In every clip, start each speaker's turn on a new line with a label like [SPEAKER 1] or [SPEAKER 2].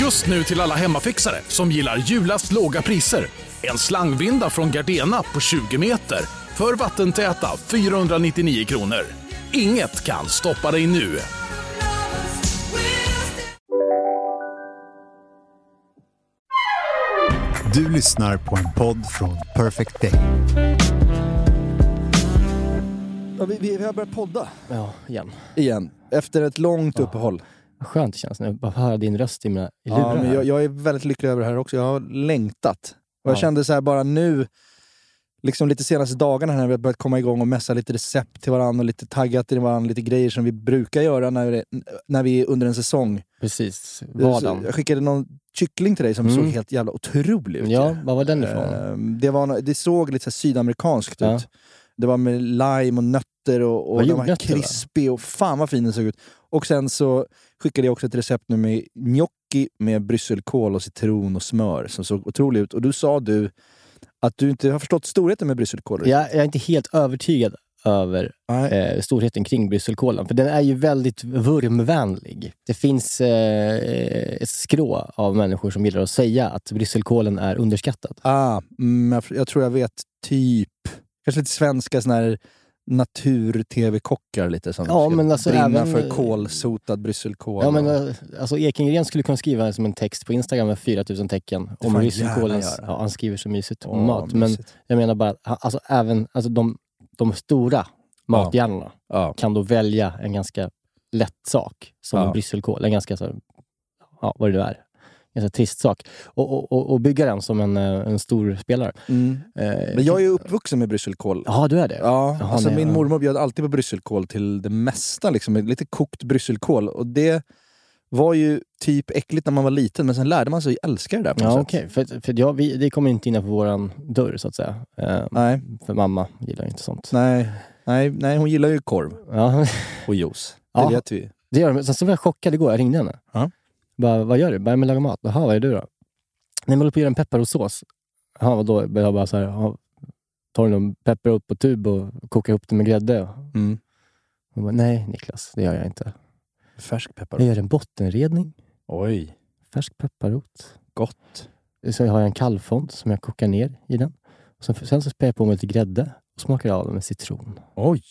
[SPEAKER 1] Just nu till alla hemmafixare som gillar julast låga priser. En slangvinda från Gardena på 20 meter för vattentäta 499 kronor. Inget kan stoppa dig nu.
[SPEAKER 2] Du lyssnar på en podd från Perfect Day.
[SPEAKER 3] Ja, vi, vi, vi har börjat podda
[SPEAKER 4] Ja, igen.
[SPEAKER 3] igen, efter ett långt uppehåll.
[SPEAKER 4] Vad Skönt det känns nu. Bara få höra din röst i mina i lurar.
[SPEAKER 3] Ja, men
[SPEAKER 4] här.
[SPEAKER 3] jag, jag är väldigt lycklig över det här också. Jag har längtat. Och jag
[SPEAKER 4] Ja.
[SPEAKER 3] kände så här bara nu, liksom lite senaste dagarna här när vi har börjat komma igång och messa lite recept till varandra och lite taggat till varandra, lite grejer som vi brukar göra när, det, när vi är under en säsong.
[SPEAKER 4] Precis.
[SPEAKER 3] Så
[SPEAKER 4] Vardagen.
[SPEAKER 3] Jag skickade någon kyckling till dig som
[SPEAKER 4] Mm.
[SPEAKER 3] såg helt jävla otrolig ut.
[SPEAKER 4] Ja, vad var den ifrån?
[SPEAKER 3] Ehm, Det, var, nå- det såg lite så här sydamerikanskt
[SPEAKER 4] Ja.
[SPEAKER 3] ut. Det var med lime och nötter och, och
[SPEAKER 4] Vad
[SPEAKER 3] den var
[SPEAKER 4] jordnötter, va?
[SPEAKER 3] krispig och fan vad fin den såg ut. Och sen så skickade jag också ett recept nu med gnocchi med brysselkål och citron och smör som såg otroligt ut. Och då sa du att du inte har förstått storheten med brysselkål.
[SPEAKER 4] Jag, jag är inte helt övertygad över
[SPEAKER 3] Nej.
[SPEAKER 4] eh, storheten kring brysselkålen. För den är ju väldigt vurmvänlig. Det finns eh, ett skrå av människor som gillar att säga att brysselkålen är underskattad.
[SPEAKER 3] Ah, mm, jag, jag tror jag vet typ, kanske lite svenska sån här natur-tv-kockar lite som
[SPEAKER 4] Ja,
[SPEAKER 3] ska
[SPEAKER 4] men alltså
[SPEAKER 3] brinna
[SPEAKER 4] även-
[SPEAKER 3] för kålsotad brysselkål.
[SPEAKER 4] Ja, men,
[SPEAKER 3] och-
[SPEAKER 4] eh, alltså Ekengren skulle kunna skriva som en text på Instagram med 4000 tecken
[SPEAKER 3] får
[SPEAKER 4] om
[SPEAKER 3] han
[SPEAKER 4] brysselkålens...
[SPEAKER 3] gärna göra.
[SPEAKER 4] Ja, han skriver så mysigt om
[SPEAKER 3] Åh,
[SPEAKER 4] mat. Men
[SPEAKER 3] mysigt.
[SPEAKER 4] jag menar bara att han- alltså, även alltså, de, de stora mathjärnorna
[SPEAKER 3] ja.
[SPEAKER 4] kan då välja en ganska lätt sak som
[SPEAKER 3] Ja.
[SPEAKER 4] en brysselkål. En ganska, så, här- ja, vad det nu är, en ganska trist sak. Och, och- och, och bygga den som en, eh, en stor spelare.
[SPEAKER 3] Mm.
[SPEAKER 4] Eh,
[SPEAKER 3] Men jag är ju uppvuxen med brysselkål.
[SPEAKER 4] Ja, du är det?
[SPEAKER 3] Ja,
[SPEAKER 4] Jaha,
[SPEAKER 3] alltså
[SPEAKER 4] nej,
[SPEAKER 3] min
[SPEAKER 4] ja.
[SPEAKER 3] mormor bjöd alltid på brysselkål till det mesta. Liksom. Lite kokt brysselkål. Och det var ju typ äckligt när man var liten, men sen lärde man sig att älska det där på något
[SPEAKER 4] Ja,
[SPEAKER 3] sätt.
[SPEAKER 4] okej. För, för jag, vi, det kommer inte innanför vår dörr, så att säga. Eh,
[SPEAKER 3] Nej,
[SPEAKER 4] för mamma gillar ju inte sånt.
[SPEAKER 3] nej, nej, nej, hon gillar ju korv
[SPEAKER 4] Ja,
[SPEAKER 3] och juice. Det
[SPEAKER 4] Ja.
[SPEAKER 3] vet vi.
[SPEAKER 4] det gör de. Sen så var jag chockad igår. Jag ringde henne.
[SPEAKER 3] Ja.
[SPEAKER 4] Bara, vad gör du? Bara, men lagar mat. Jaha, vad gör du då? Nej, men jag håller på att göra en pepparrotssås. Jaha, vadå? Jag bara så här, "Ja, tar du någon pepparrot på tub och kokar ihop det med grädde?
[SPEAKER 3] Mm.
[SPEAKER 4] Hon bara, nej Niklas, det gör jag inte.
[SPEAKER 3] Färsk pepparrot.
[SPEAKER 4] Jag gör en bottenredning,
[SPEAKER 3] Oj,
[SPEAKER 4] färsk pepparrot.
[SPEAKER 3] gott.
[SPEAKER 4] Så har jag en kallfond som jag kokar ner i den. Och sen, sen så spär jag på med lite grädde och smakar av den med citron.
[SPEAKER 3] Oj!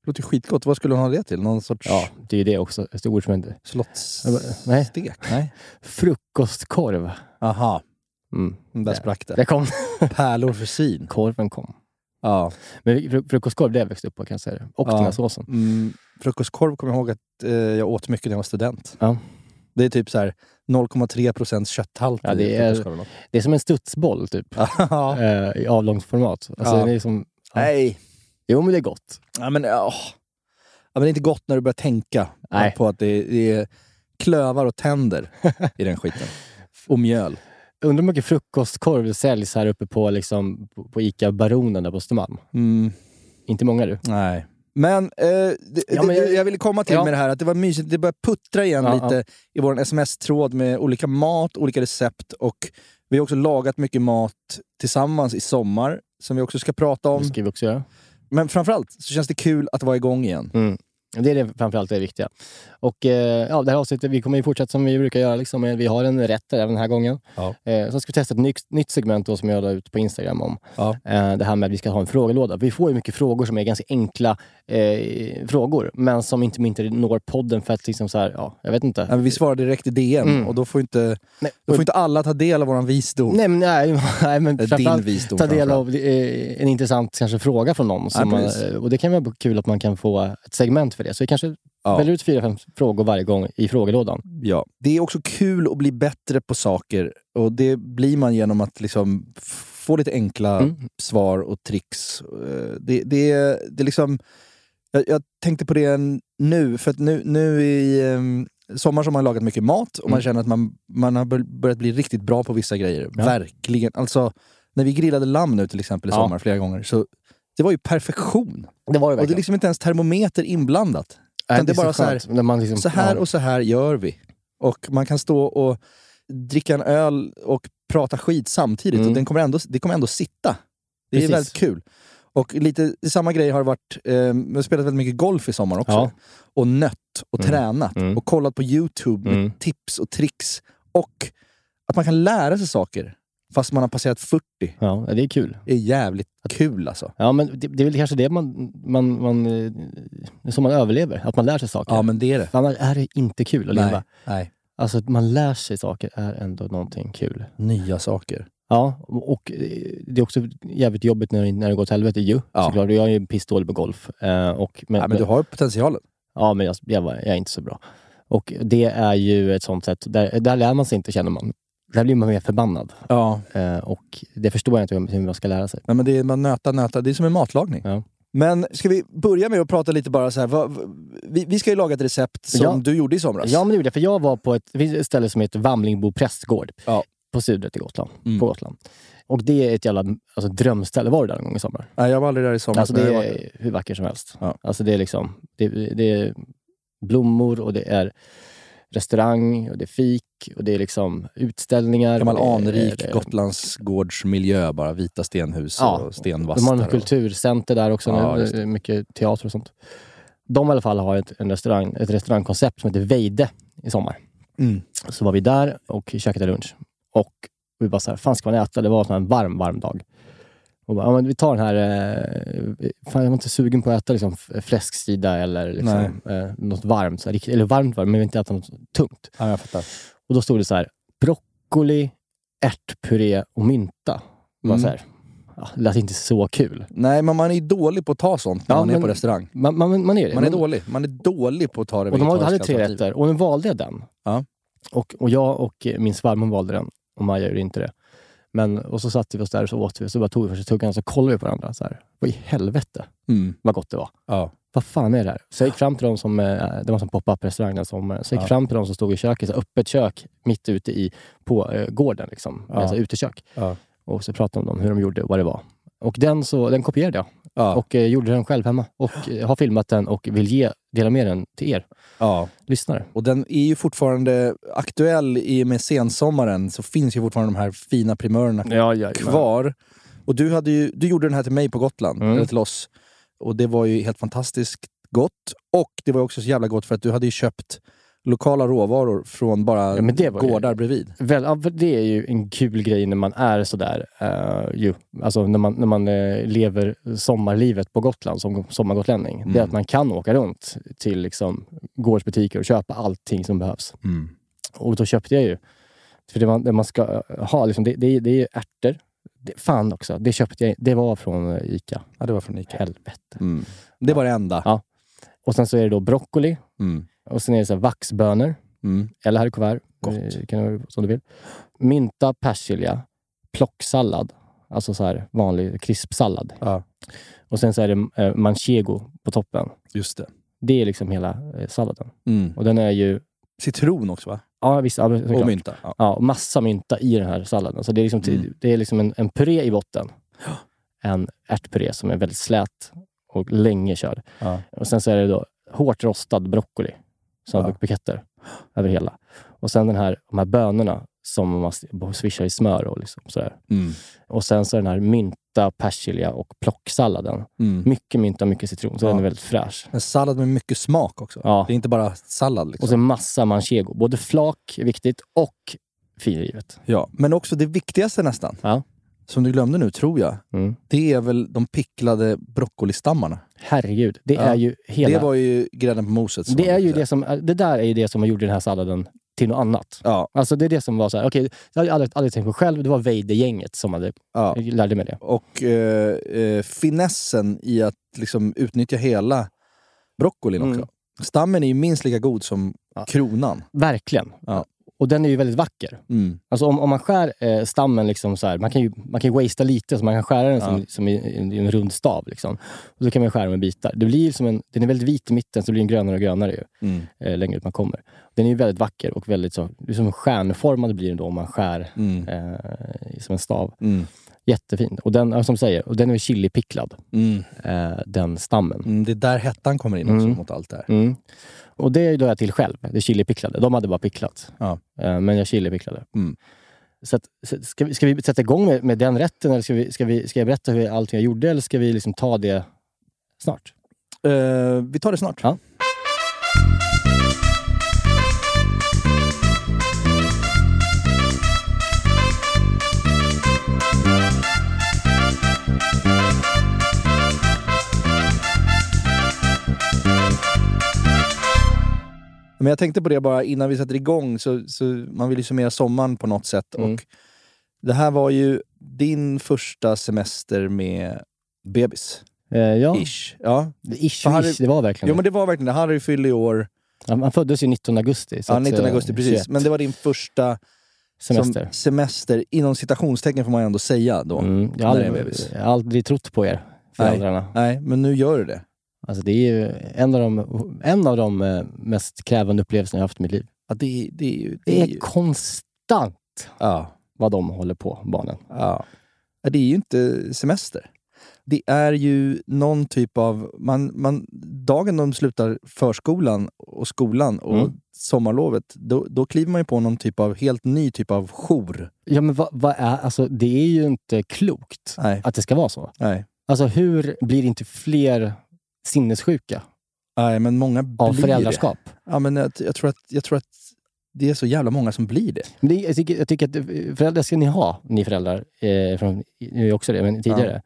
[SPEAKER 3] Det låter ju skitgott. Vad skulle hon ha det till? Någon sorts
[SPEAKER 4] Ja, det är ju det också. Ett ord som inte... Jag bara,
[SPEAKER 3] slottsstek?
[SPEAKER 4] Nej,
[SPEAKER 3] Nej.
[SPEAKER 4] frukostkorv.
[SPEAKER 3] Aha,
[SPEAKER 4] Mm.
[SPEAKER 3] där sprack det.
[SPEAKER 4] Där kom
[SPEAKER 3] Pärlor för sin.
[SPEAKER 4] Korven kom.
[SPEAKER 3] Ja.
[SPEAKER 4] Men fru- frukostkorv, det har jag växt upp på kan jag säga det. Och
[SPEAKER 3] Ja.
[SPEAKER 4] den här såsen.
[SPEAKER 3] Mm, frukostkorv kommer jag ihåg att eh, jag åt mycket när jag var student.
[SPEAKER 4] Ja.
[SPEAKER 3] Det är typ så här 0,3 procents kötthalt
[SPEAKER 4] Ja, det
[SPEAKER 3] i
[SPEAKER 4] är-
[SPEAKER 3] frukostkorven.
[SPEAKER 4] Det är som en studsboll typ.
[SPEAKER 3] Ja.
[SPEAKER 4] Eh, I avlångt format. Alltså,
[SPEAKER 3] Ja.
[SPEAKER 4] det är som...
[SPEAKER 3] Nej.
[SPEAKER 4] Jo, men det är gott.
[SPEAKER 3] Ja, men, åh. ja, men det är inte gott när du börjar tänka
[SPEAKER 4] Nej.
[SPEAKER 3] på att det är, det är klövar och tänder i den skiten. Och mjöl.
[SPEAKER 4] Undrar hur mycket frukostkorv det säljs här uppe på, liksom, på- på ICA Baronen där på Östermalm.
[SPEAKER 3] Mm,
[SPEAKER 4] Inte många du.
[SPEAKER 3] nej. Men, eh, det,
[SPEAKER 4] Ja,
[SPEAKER 3] det-
[SPEAKER 4] men jag-
[SPEAKER 3] jag, ville komma till
[SPEAKER 4] Ja.
[SPEAKER 3] med det här att det var mysigt. Det började puttra igen
[SPEAKER 4] Ja,
[SPEAKER 3] lite i vår sms-tråd med olika mat, olika recept och vi har också lagat mycket mat tillsammans i sommar som vi också ska prata om.
[SPEAKER 4] Det ska vi också göra. Mm.
[SPEAKER 3] Men framförallt så känns det kul att vara igång igen.
[SPEAKER 4] Det är det framförallt det viktiga. Och eh, ja, det här avsnittet, vi kommer ju fortsätta som vi brukar göra. Liksom. Vi har en rätt där även den här gången.
[SPEAKER 3] Ja.
[SPEAKER 4] Eh, sen ska vi testa ett nytt, nytt segment då, som jag la ut på Instagram om.
[SPEAKER 3] Ja.
[SPEAKER 4] Eh, det här med att vi ska ha en frågelåda. Vi får ju mycket frågor som är ganska enkla eh, frågor, men som inte, inte når podden för att liksom så här, ja, jag vet inte.
[SPEAKER 3] Nej, men vi svarar direkt i DM
[SPEAKER 4] Mm.
[SPEAKER 3] och då får, inte,
[SPEAKER 4] Nej,
[SPEAKER 3] då får inte alla ta del av vår visdom.
[SPEAKER 4] nej, men, nej, nej, men
[SPEAKER 3] Eh, Din
[SPEAKER 4] framförallt
[SPEAKER 3] visdom.
[SPEAKER 4] ta del
[SPEAKER 3] framförallt.
[SPEAKER 4] av eh, en intressant kanske, fråga från någon. Som,
[SPEAKER 3] precis.
[SPEAKER 4] eh, och Det kan vara kul att man kan få ett segment för det. Så vi kanske
[SPEAKER 3] Ja.
[SPEAKER 4] väljer ut fyra, fem frågor varje gång i frågelådan.
[SPEAKER 3] Ja. Det är också kul att bli bättre på saker och det blir man genom att liksom få lite enkla
[SPEAKER 4] Mm.
[SPEAKER 3] svar och tricks. Eh, Det, det, är- det är liksom, jag, jag tänkte på det nu, för att nu, nu i, ehm, sommar som man lagat mycket mat och man
[SPEAKER 4] Mm.
[SPEAKER 3] känner att man, man har bör- börjat bli riktigt bra på vissa grejer.
[SPEAKER 4] Ja.
[SPEAKER 3] Verkligen. Alltså, när vi grillade lamm nu till exempel i
[SPEAKER 4] Ja.
[SPEAKER 3] sommar flera gånger, så det var ju perfektion.
[SPEAKER 4] Det
[SPEAKER 3] Och
[SPEAKER 4] var det
[SPEAKER 3] det är
[SPEAKER 4] verkligen.
[SPEAKER 3] liksom inte ens termometer inblandat.
[SPEAKER 4] Nej,
[SPEAKER 3] utan det är bara så här-
[SPEAKER 4] skönt när man liksom,
[SPEAKER 3] Så här
[SPEAKER 4] ja.
[SPEAKER 3] och så här gör vi. Och man kan stå och dricka en öl och prata skit samtidigt.
[SPEAKER 4] Mm.
[SPEAKER 3] Och den kommer ändå, det kommer ändå sitta. Det
[SPEAKER 4] Precis.
[SPEAKER 3] är väldigt kul. Och lite samma grej har det varit, eh, jag har spelat väldigt mycket golf i sommar också.
[SPEAKER 4] Ja.
[SPEAKER 3] Och nött och
[SPEAKER 4] Mm.
[SPEAKER 3] tränat
[SPEAKER 4] Mm.
[SPEAKER 3] och kollat på YouTube med
[SPEAKER 4] Mm.
[SPEAKER 3] tips och tricks. Och att man kan lära sig saker fast man har passerat 40
[SPEAKER 4] Ja, det är kul.
[SPEAKER 3] är jävligt kul alltså.
[SPEAKER 4] Ja, men det, det är väl kanske det man, man, man, eh, det är så man överlever, att man lär sig saker.
[SPEAKER 3] Ja men det är det.
[SPEAKER 4] För Annars är det inte kul att
[SPEAKER 3] Nej,
[SPEAKER 4] leva.
[SPEAKER 3] nej.
[SPEAKER 4] Alltså att man lär sig saker är ändå någonting kul.
[SPEAKER 3] Nya saker.
[SPEAKER 4] Ja, och eh, det är också jävligt jobbigt när, det- när det går åt helvete ju.
[SPEAKER 3] Ja.
[SPEAKER 4] Såklart, jag är ju pissdålig på golf. Eh, och, men,
[SPEAKER 3] Ja, men du har ju potentialen.
[SPEAKER 4] ja, men jag, jag, var- jag är inte så bra. Och det är ju ett sånt sätt, där, där lär man sig inte känner man. Där blir man mer förbannad.
[SPEAKER 3] Ja.
[SPEAKER 4] Eh, och det förstår jag inte hur, hur man ska lära sig.
[SPEAKER 3] Nej, men det är, man nöta, nöta. Det är som en matlagning.
[SPEAKER 4] Ja.
[SPEAKER 3] Men ska vi börja med att prata lite bara så här. Vad, v- vi, vi ska ju laga ett recept som
[SPEAKER 4] Ja.
[SPEAKER 3] du gjorde i somras.
[SPEAKER 4] Ja, men det gjorde jag. För jag var på ett, det finns ett ställe som heter Vamlingbo prästgård
[SPEAKER 3] Ja.
[SPEAKER 4] på Sudret i Gotland,
[SPEAKER 3] Mm.
[SPEAKER 4] på Gotland. Och det är ett jävla alltså, drömställe. Var du där någon gång i sommar?
[SPEAKER 3] Nej, jag var aldrig där i somras.
[SPEAKER 4] Alltså, det
[SPEAKER 3] men jag var där.
[SPEAKER 4] är hur vackert som helst.
[SPEAKER 3] Ja.
[SPEAKER 4] Alltså, det, är liksom, det, det är blommor och det är restaurang och det är fik och det är liksom utställningar.
[SPEAKER 3] Gammal
[SPEAKER 4] och det är-
[SPEAKER 3] anrik
[SPEAKER 4] det är-
[SPEAKER 3] Gotlandsgårdsmiljö bara. Vita stenhus
[SPEAKER 4] Ja.
[SPEAKER 3] och stenvassar.
[SPEAKER 4] De har en
[SPEAKER 3] och-
[SPEAKER 4] kulturcenter där också.
[SPEAKER 3] Ja,
[SPEAKER 4] nu, eh,
[SPEAKER 3] just det.
[SPEAKER 4] mycket teater och sånt. De i alla fall har ett, en restaurang, ett restaurangkoncept som heter Veide i sommar.
[SPEAKER 3] Mm.
[SPEAKER 4] Så var vi där och käkade lunch. Och vi bara så här, fan ska man äta? Det var en sån här varm, varm dag. Och bara, ja, men vi tar den här, eh, fan jag var inte sugen på att äta liksom, f- fläsksida eller liksom, eh, något varmt. Så här, riktigt- eller varmt, varmt, men vi vill inte äta något tungt.
[SPEAKER 3] Ja, jag fattar.
[SPEAKER 4] Och då stod det så här, broccoli, ärtpuré och mynta. Och bara
[SPEAKER 3] Mm.
[SPEAKER 4] så här, ja, det lät inte så kul.
[SPEAKER 3] Nej, men man är ju dålig på att ta sånt när
[SPEAKER 4] Ja,
[SPEAKER 3] man är
[SPEAKER 4] men-
[SPEAKER 3] på restaurang.
[SPEAKER 4] Man, man, man är det.
[SPEAKER 3] Man är
[SPEAKER 4] Men-
[SPEAKER 3] dålig. Man är dålig på att ta det
[SPEAKER 4] Och de hade- hade
[SPEAKER 3] vegetariska
[SPEAKER 4] tre
[SPEAKER 3] alternativet.
[SPEAKER 4] rätter och nu valde jag den.
[SPEAKER 3] Ja.
[SPEAKER 4] Och, och jag och eh, min svärmor valde den och Maja gjorde inte det. Men, och så satte vi oss där och så åt vi och så bara tog vi första tuggan och så kollade vi på varandra. Så här, vad i helvete
[SPEAKER 3] Mm.
[SPEAKER 4] vad gott det var.
[SPEAKER 3] Ja.
[SPEAKER 4] Vad fan är det här? Så jag gick fram till dem som, eh, det var som pop-up restaurang den sommaren. Så jag gick
[SPEAKER 3] Ja.
[SPEAKER 4] fram till dem som stod i köket, så här, öppet kök mitt ute i, på eh, gården. Liksom,
[SPEAKER 3] Ja.
[SPEAKER 4] alltså, utekök.
[SPEAKER 3] Ja.
[SPEAKER 4] Och så pratade de om hur de gjorde och vad det var. Och den, så, den kopierade jag
[SPEAKER 3] Ja.
[SPEAKER 4] och eh, gjorde den själv hemma. Och eh, har filmat den och vill ge, dela med den till er
[SPEAKER 3] ja.
[SPEAKER 4] lyssnare.
[SPEAKER 3] Och den är ju fortfarande aktuell i och med sensommaren så finns ju fortfarande de här fina primörerna
[SPEAKER 4] Ja, ja,
[SPEAKER 3] kvar. Och du, hade ju, du gjorde den här till mig på Gotland,
[SPEAKER 4] Mm.
[SPEAKER 3] eller till oss. Och det var ju helt fantastiskt gott. Och det var också så jävla gott för att du hade ju köpt lokala råvaror från bara
[SPEAKER 4] Ja, men det var ju-
[SPEAKER 3] gårdar bredvid.
[SPEAKER 4] Väl, ja, för det är ju en kul grej när man är sådär, uh, ju, alltså när man, när man eh, lever sommarlivet på Gotland som sommargotlänning. Det är att man kan åka runt till liksom, gårdsbutiker och köpa allting som behövs. Och då köpte jag ju, för det man, det man ska ha, liksom, det, det, är- det är ju ärtor. Det, fan också, det köpte jag, det var från eh, Ica.
[SPEAKER 3] Ja, det var från Ica.
[SPEAKER 4] Helvete.
[SPEAKER 3] Mm. Det var det enda.
[SPEAKER 4] Ja. Och sen så är det då broccoli
[SPEAKER 3] Mm.
[SPEAKER 4] och sen är det så här vaxbönor.
[SPEAKER 3] Mm.
[SPEAKER 4] eller här i kuvert.
[SPEAKER 3] Gott.
[SPEAKER 4] Eh, Kan du, som du vill. Mynta, persilja, plocksallad. Alltså så här vanlig krispsallad.
[SPEAKER 3] Ja.
[SPEAKER 4] Och sen så är det eh, manchego på toppen.
[SPEAKER 3] Just det.
[SPEAKER 4] Det är liksom hela eh, salladen.
[SPEAKER 3] Mm.
[SPEAKER 4] Och den är ju...
[SPEAKER 3] Citron också va?
[SPEAKER 4] Ja, visst. Ja, såklart.
[SPEAKER 3] Och mynta. Ja.
[SPEAKER 4] Ja, och massa mynta i den här salladen. Så det är liksom,
[SPEAKER 3] Mm.
[SPEAKER 4] det är liksom en, en puré i botten. En ärtpuré som är väldigt slät och länge körd.
[SPEAKER 3] Ja.
[SPEAKER 4] Och sen så är det då hårt rostad broccoli som
[SPEAKER 3] Ja.
[SPEAKER 4] ja. buketter över hela. Och sen den här, de här bönorna som man s- swishar i smör och liksom sådär.
[SPEAKER 3] Mm.
[SPEAKER 4] Och sen så den här mynta, persilja och plocksalladen.
[SPEAKER 3] Mm.
[SPEAKER 4] Mycket mynta, mycket citron. Så
[SPEAKER 3] Ja.
[SPEAKER 4] den är väldigt fräsch.
[SPEAKER 3] En sallad med mycket smak också.
[SPEAKER 4] Ja.
[SPEAKER 3] Det är inte bara sallad. Liksom.
[SPEAKER 4] Och sen massa manchego. Både flak, viktigt, och finrivet.
[SPEAKER 3] Ja, men också det viktigaste nästan,
[SPEAKER 4] Ja.
[SPEAKER 3] som du glömde nu tror jag,
[SPEAKER 4] Mm.
[SPEAKER 3] det är väl de picklade broccolistammarna.
[SPEAKER 4] Herregud, det
[SPEAKER 3] Ja.
[SPEAKER 4] är ju hela...
[SPEAKER 3] Det var ju grädden på moset. som
[SPEAKER 4] Det,
[SPEAKER 3] man
[SPEAKER 4] är ju
[SPEAKER 3] brukar
[SPEAKER 4] det,
[SPEAKER 3] säga.
[SPEAKER 4] som, det där är ju det som gjorde den här salladen till något annat.
[SPEAKER 3] Ja,
[SPEAKER 4] Alltså det är det som var så här, okej, det hade jag aldrig, aldrig tänkt på själv. Det var Veide-gänget som hade,
[SPEAKER 3] ja.
[SPEAKER 4] lärde mig det.
[SPEAKER 3] Och eh, eh, finessen i att liksom utnyttja hela broccolin
[SPEAKER 4] Mm.
[SPEAKER 3] också. Stammen är ju minst lika god som
[SPEAKER 4] Ja.
[SPEAKER 3] kronan.
[SPEAKER 4] Verkligen.
[SPEAKER 3] Ja.
[SPEAKER 4] Och Och den är ju väldigt vacker.
[SPEAKER 3] Mm.
[SPEAKER 4] Alltså om, om man skär eh, stammen, liksom så här, man kan ju, man kan ju wastea lite, så man kan skära den som, som i, i en, i en rund stav. Liksom. Och så kan man skära den i bitar. Det blir ju som en, den är väldigt vit i mitten, så blir den grönare och grönare ju,
[SPEAKER 3] Mm.
[SPEAKER 4] eh, längre ut man kommer. Den är ju väldigt vacker och väldigt så, liksom stjärnformad blir den då om man skär
[SPEAKER 3] Mm.
[SPEAKER 4] eh, som en stav.
[SPEAKER 3] Mm.
[SPEAKER 4] Jättefin. Och den, ja, som du säger, och den är chilipicklad,
[SPEAKER 3] Mm.
[SPEAKER 4] eh, den stammen.
[SPEAKER 3] Mm, det är där hettan kommer in också
[SPEAKER 4] Mm.
[SPEAKER 3] mot allt det här.
[SPEAKER 4] Mm. Och det la jag till själv, det chilipicklade. De hade bara picklat,
[SPEAKER 3] Ja.
[SPEAKER 4] Eh, men jag chilipicklade.
[SPEAKER 3] Mm.
[SPEAKER 4] Så att, så- ska, vi, ska vi sätta igång med, med den rätten, eller ska, vi, ska, vi, ska jag berätta hur allting jag gjorde, eller ska vi liksom ta det snart?
[SPEAKER 3] Eh, vi tar det snart.
[SPEAKER 4] Ja.
[SPEAKER 3] Men jag tänkte på det bara innan vi sätter igång, så, så man vill ju summera sommaren på något sätt.
[SPEAKER 4] Mm.
[SPEAKER 3] Och det här var ju din första semester med bebis.
[SPEAKER 4] Eh, ja,
[SPEAKER 3] Ish. Ja.
[SPEAKER 4] ish,
[SPEAKER 3] För Harry-
[SPEAKER 4] ish, det var verkligen
[SPEAKER 3] Jo men det var verkligen det. Harry fyllde i år,
[SPEAKER 4] det. Han föddes ju 19 augusti. så
[SPEAKER 3] ja,
[SPEAKER 4] att,
[SPEAKER 3] 19
[SPEAKER 4] eh,
[SPEAKER 3] augusti precis.
[SPEAKER 4] 21
[SPEAKER 3] Men det var din första
[SPEAKER 4] semester.
[SPEAKER 3] Som semester, inom citationstecken får man ju ändå säga då.
[SPEAKER 4] Mm, jag, har
[SPEAKER 3] när det är
[SPEAKER 4] aldrig,
[SPEAKER 3] bebis.
[SPEAKER 4] jag har aldrig trott på er, föräldrarna.
[SPEAKER 3] Nej, men nu gör du det.
[SPEAKER 4] Alltså det är ju en av de, en av de eh, mest krävande upplevelserna jag haft i mitt liv.
[SPEAKER 3] Ja, det, det är ju...
[SPEAKER 4] Det
[SPEAKER 3] ju-
[SPEAKER 4] är konstant
[SPEAKER 3] ja.
[SPEAKER 4] vad de håller på, barnen.
[SPEAKER 3] Ja. Ja, Det är ju inte semester. Det är ju någon typ av... Man, man, dagen de slutar förskolan och skolan och
[SPEAKER 4] Mm.
[SPEAKER 3] sommarlovet, då, då kliver man ju på någon typ av helt ny typ av jour.
[SPEAKER 4] Ja, men vad, vad är, alltså, det är ju inte klokt
[SPEAKER 3] Nej.
[SPEAKER 4] att det ska vara så.
[SPEAKER 3] Nej.
[SPEAKER 4] Alltså hur blir inte fler sinnessjuka
[SPEAKER 3] Nej, men många
[SPEAKER 4] av
[SPEAKER 3] blir det.
[SPEAKER 4] föräldraskap?
[SPEAKER 3] Ja, men jag, jag, tror att, jag tror att det är så jävla många som blir det.
[SPEAKER 4] Men det, jag, tycker, jag tycker att eh, föräldrar ska ni ha, ni föräldrar, eh, från, nu är jag också det, men tidigare.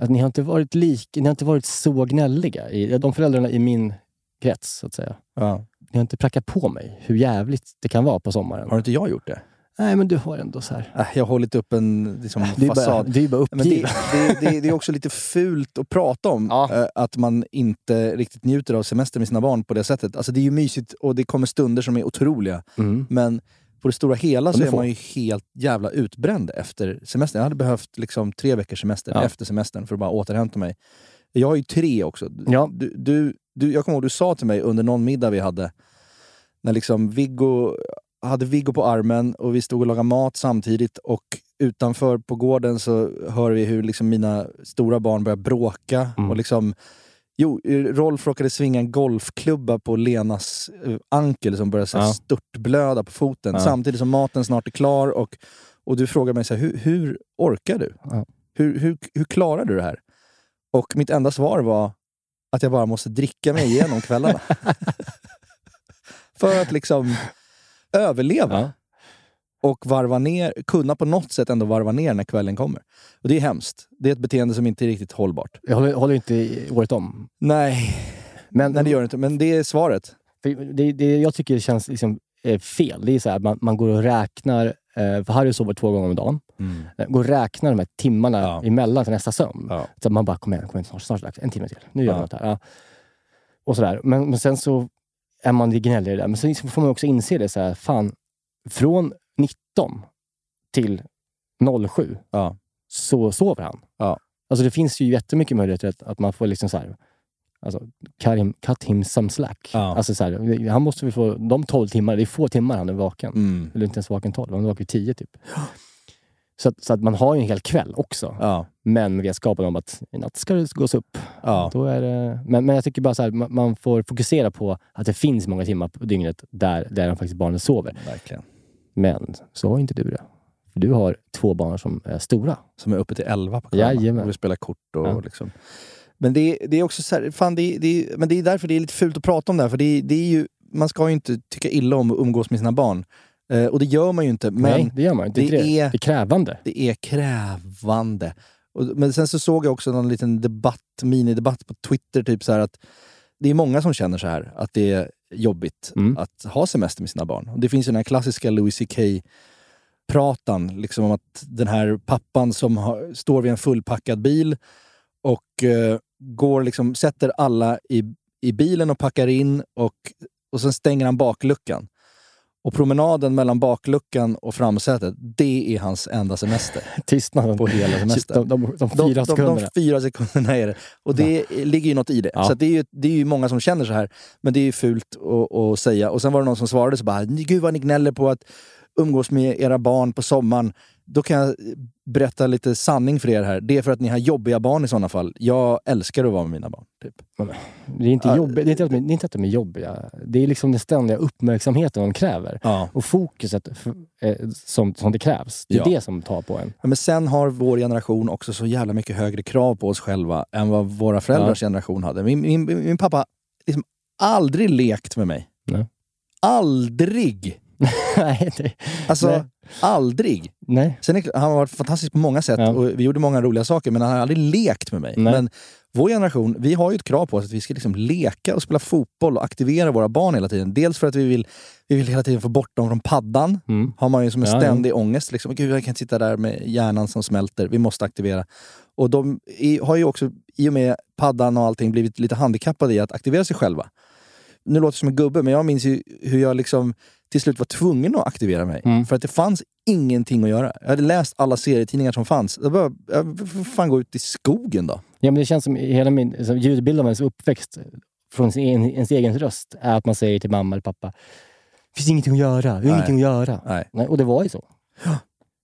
[SPEAKER 4] Att ni har inte varit lik, ni har inte varit så gnälliga. I, de föräldrarna i min krets, så att säga.
[SPEAKER 3] Ja.
[SPEAKER 4] Ni har inte prackat på mig hur jävligt det kan vara på sommaren.
[SPEAKER 3] Har inte jag gjort det?
[SPEAKER 4] Nej, men du har ändå så här...
[SPEAKER 3] Äh, Jag har hållit upp en liksom,
[SPEAKER 4] Det är bara,
[SPEAKER 3] fasad.
[SPEAKER 4] det är bara
[SPEAKER 3] Men det,
[SPEAKER 4] uppgivet.
[SPEAKER 3] det, det, det är också lite fult att prata om
[SPEAKER 4] Ja.
[SPEAKER 3] eh, att man inte riktigt njuter av semester med sina barn på det sättet. Alltså det är ju mysigt och det kommer stunder som är otroliga.
[SPEAKER 4] Mm.
[SPEAKER 3] Men på det stora hela så
[SPEAKER 4] De är
[SPEAKER 3] är
[SPEAKER 4] få.
[SPEAKER 3] man ju helt jävla utbränd efter semestern. Jag hade behövt liksom tre veckors semester
[SPEAKER 4] Ja.
[SPEAKER 3] efter semestern för att bara återhämta mig. Jag har ju tre också. Du-
[SPEAKER 4] Ja.
[SPEAKER 3] Du, du, du, jag kommer ihåg du sa till mig under någon middag vi hade, när liksom Viggo hade Viggo på armen och vi stod och lagade mat samtidigt och utanför på gården så hör vi hur liksom mina stora barn börjar bråka.
[SPEAKER 4] Mm.
[SPEAKER 3] Och liksom, jo, Rolf råkade svinga en golfklubba på Lenas eh, ankel som började så här,
[SPEAKER 4] Ja.
[SPEAKER 3] störtblöda på foten
[SPEAKER 4] Ja.
[SPEAKER 3] samtidigt som maten snart är klar. Och, och du frågar mig så här, hur, hur orkar du?
[SPEAKER 4] Ja.
[SPEAKER 3] Hur, hur, hur klarar du det här? Och mitt enda svar var att jag bara måste dricka mig igenom kvällarna. För att liksom överleva
[SPEAKER 4] Ja.
[SPEAKER 3] och varva ner, kunna på något sätt ändå varva ner när kvällen kommer. Och Det är hemskt. Det är ett beteende som inte är riktigt hållbart.
[SPEAKER 4] Jag håller, håller inte i- året om.
[SPEAKER 3] Nej,
[SPEAKER 4] Men
[SPEAKER 3] nej det gör det inte. Men det är svaret.
[SPEAKER 4] för det, det jag tycker känns liksom, eh, fel, det är så här, man, man går och räknar. Eh, för Harry sover två gånger om dagen. Eh, Går och räknar de här timmarna
[SPEAKER 3] Ja.
[SPEAKER 4] emellan till nästa sömn.
[SPEAKER 3] Ja.
[SPEAKER 4] Så man bara, kom igen, kom igen snart, snart, är det dags. en timme till. Nu gör vi
[SPEAKER 3] Ja.
[SPEAKER 4] något här. Ja. Och sådär. Men, men sen så är man det gnällig i det där. Men sen får man också inse det, så här, fan, från 19 till 07
[SPEAKER 3] Ja.
[SPEAKER 4] så sover han.
[SPEAKER 3] Ja.
[SPEAKER 4] Alltså det finns ju jättemycket möjligheter att, att man får liksom så här, alltså, cut him, cut him some slack.
[SPEAKER 3] Ja.
[SPEAKER 4] Alltså så här, han måste väl få de 12 timmar, det är få timmar han är vaken.
[SPEAKER 3] Mm.
[SPEAKER 4] Eller inte ens vaken 12, han är vaken 10 typ. Så att, så att man har ju en hel kväll också.
[SPEAKER 3] Ja.
[SPEAKER 4] Men med vetskapen om att i natt ska det gås upp.
[SPEAKER 3] Ja.
[SPEAKER 4] Då är det, men, men jag tycker bara så här, man, man får fokusera på att det finns många timmar på dygnet där, där de faktiskt barnen sover.
[SPEAKER 3] Verkligen.
[SPEAKER 4] Men så har inte du det. För Du har två barn som är stora.
[SPEAKER 3] Som är uppe till 11 på kvällarna
[SPEAKER 4] Jajamän.
[SPEAKER 3] och vill spela kort. Och
[SPEAKER 4] Ja.
[SPEAKER 3] liksom. Men det, det är också så här, fan det, det, men det är därför det är lite fult att prata om det här. För det, det är ju, man ska ju inte tycka illa om att umgås med sina barn. Eh, och det gör man ju inte. Men
[SPEAKER 4] Nej, det gör man inte. Det,
[SPEAKER 3] det
[SPEAKER 4] är,
[SPEAKER 3] är-
[SPEAKER 4] det är krävande.
[SPEAKER 3] Det är krävande. Och, men sen så såg jag också någon liten debatt, minidebatt på Twitter, typ så här att det är många som känner så här, att det är jobbigt
[SPEAKER 4] Mm.
[SPEAKER 3] att ha semester med sina barn. Och det finns ju den här klassiska Louis CK pratan, liksom om att den här pappan som har, står vid en fullpackad bil och eh, går liksom, sätter alla i, i bilen och packar in och, och sen stänger han bakluckan. Och promenaden mellan bakluckan och framsätet, det är hans enda semester.
[SPEAKER 4] Tystnaden.
[SPEAKER 3] På hela semestern.
[SPEAKER 4] De, de, de
[SPEAKER 3] De,
[SPEAKER 4] fyra
[SPEAKER 3] de,
[SPEAKER 4] sekunderna.
[SPEAKER 3] de fyra sekunderna är det. Och det ligger ju något i det.
[SPEAKER 4] Ja.
[SPEAKER 3] Så att det, är ju, det är ju många som känner så här, men det är ju fult att, att säga. Och sen var det någon som svarade så bara, gud vad ni gnäller på att umgås med era barn på sommaren. Då kan jag berätta lite sanning för er här. Det är för att ni har jobbiga barn i sådana fall. Jag älskar att vara med mina barn. Typ.
[SPEAKER 4] Det är inte
[SPEAKER 3] Ja.
[SPEAKER 4] jobbigt. Det är inte, att de- det är inte att de är jobbiga. Det är liksom den ständiga uppmärksamheten de kräver.
[SPEAKER 3] Ja.
[SPEAKER 4] Och fokuset f- eh, som, som det krävs. Det är
[SPEAKER 3] Ja.
[SPEAKER 4] det som tar på en.
[SPEAKER 3] Ja, Men sen har vår generation också så jävla mycket högre krav på oss själva än vad våra föräldrars generation hade. Min, min, min pappa har liksom aldrig lekt med mig.
[SPEAKER 4] Nej.
[SPEAKER 3] Aldrig!
[SPEAKER 4] nej, det,
[SPEAKER 3] Alltså,
[SPEAKER 4] Nej.
[SPEAKER 3] aldrig.
[SPEAKER 4] nej.
[SPEAKER 3] Sen är, han har varit fantastisk på många sätt
[SPEAKER 4] Ja.
[SPEAKER 3] och vi gjorde många roliga saker, men han har aldrig lekt med mig.
[SPEAKER 4] Nej.
[SPEAKER 3] Men vår generation, vi har ju ett krav på oss att vi ska liksom leka och spela fotboll och aktivera våra barn hela tiden. Dels för att vi vill, vi vill hela tiden få bort dem från paddan.
[SPEAKER 4] Mm.
[SPEAKER 3] Har man ju som en
[SPEAKER 4] Ja, ja.
[SPEAKER 3] ständig ångest. Liksom. Gud, jag kan inte sitta där med hjärnan som smälter. Vi måste aktivera. Och de i- har ju också, i och med paddan och allting, blivit lite handikappade i att aktivera sig själva. Nu låter jag som en gubbe, men jag minns ju hur jag liksom till slut var tvungen att aktivera mig.
[SPEAKER 4] Mm.
[SPEAKER 3] För att det fanns ingenting att göra. Jag hade läst alla serietidningar som fanns. Jag bara, jag får fan gå ut i skogen då.
[SPEAKER 4] Ja, men det känns som hela min som ljudbild av ens uppväxt från sin, egen- ens egen röst är att man säger till mamma eller pappa finns ingenting att göra, vi har
[SPEAKER 3] Nej.
[SPEAKER 4] ingenting att göra.
[SPEAKER 3] Nej.
[SPEAKER 4] Nej, och det var ju så.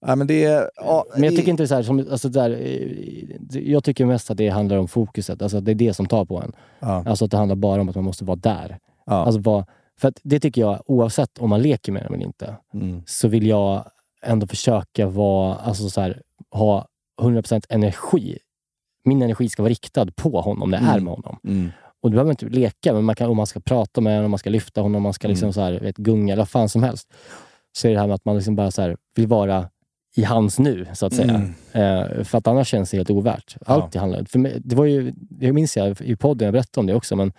[SPEAKER 3] Nej, men det är... Ja,
[SPEAKER 4] Men jag
[SPEAKER 3] det-
[SPEAKER 4] tycker inte det är så här, som, alltså där, eh, jag tycker mest att det handlar om fokuset. Alltså att det är det som tar på en.
[SPEAKER 3] Ja.
[SPEAKER 4] Alltså att det handlar bara om att man måste vara där.
[SPEAKER 3] Ja.
[SPEAKER 4] Alltså vara, för att det tycker jag, oavsett om man leker med dem eller inte,
[SPEAKER 3] Mm.
[SPEAKER 4] så vill jag ändå försöka vara, alltså så här, ha 100% energi. Min energi ska vara riktad på honom när jag är
[SPEAKER 3] Mm.
[SPEAKER 4] med honom.
[SPEAKER 3] Mm.
[SPEAKER 4] Och du behöver inte leka, men man kan, om man ska prata med honom, om man ska lyfta honom, om man ska liksom så här, vet, gunga eller vad fan som helst. Så är det här med att man liksom bara så här, vill vara i hans nu, så att säga. Eh, för att annars känns det helt ovärt. Allt det handlar för mig, det var ju, Det minns jag i podden, jag berättade om det också, men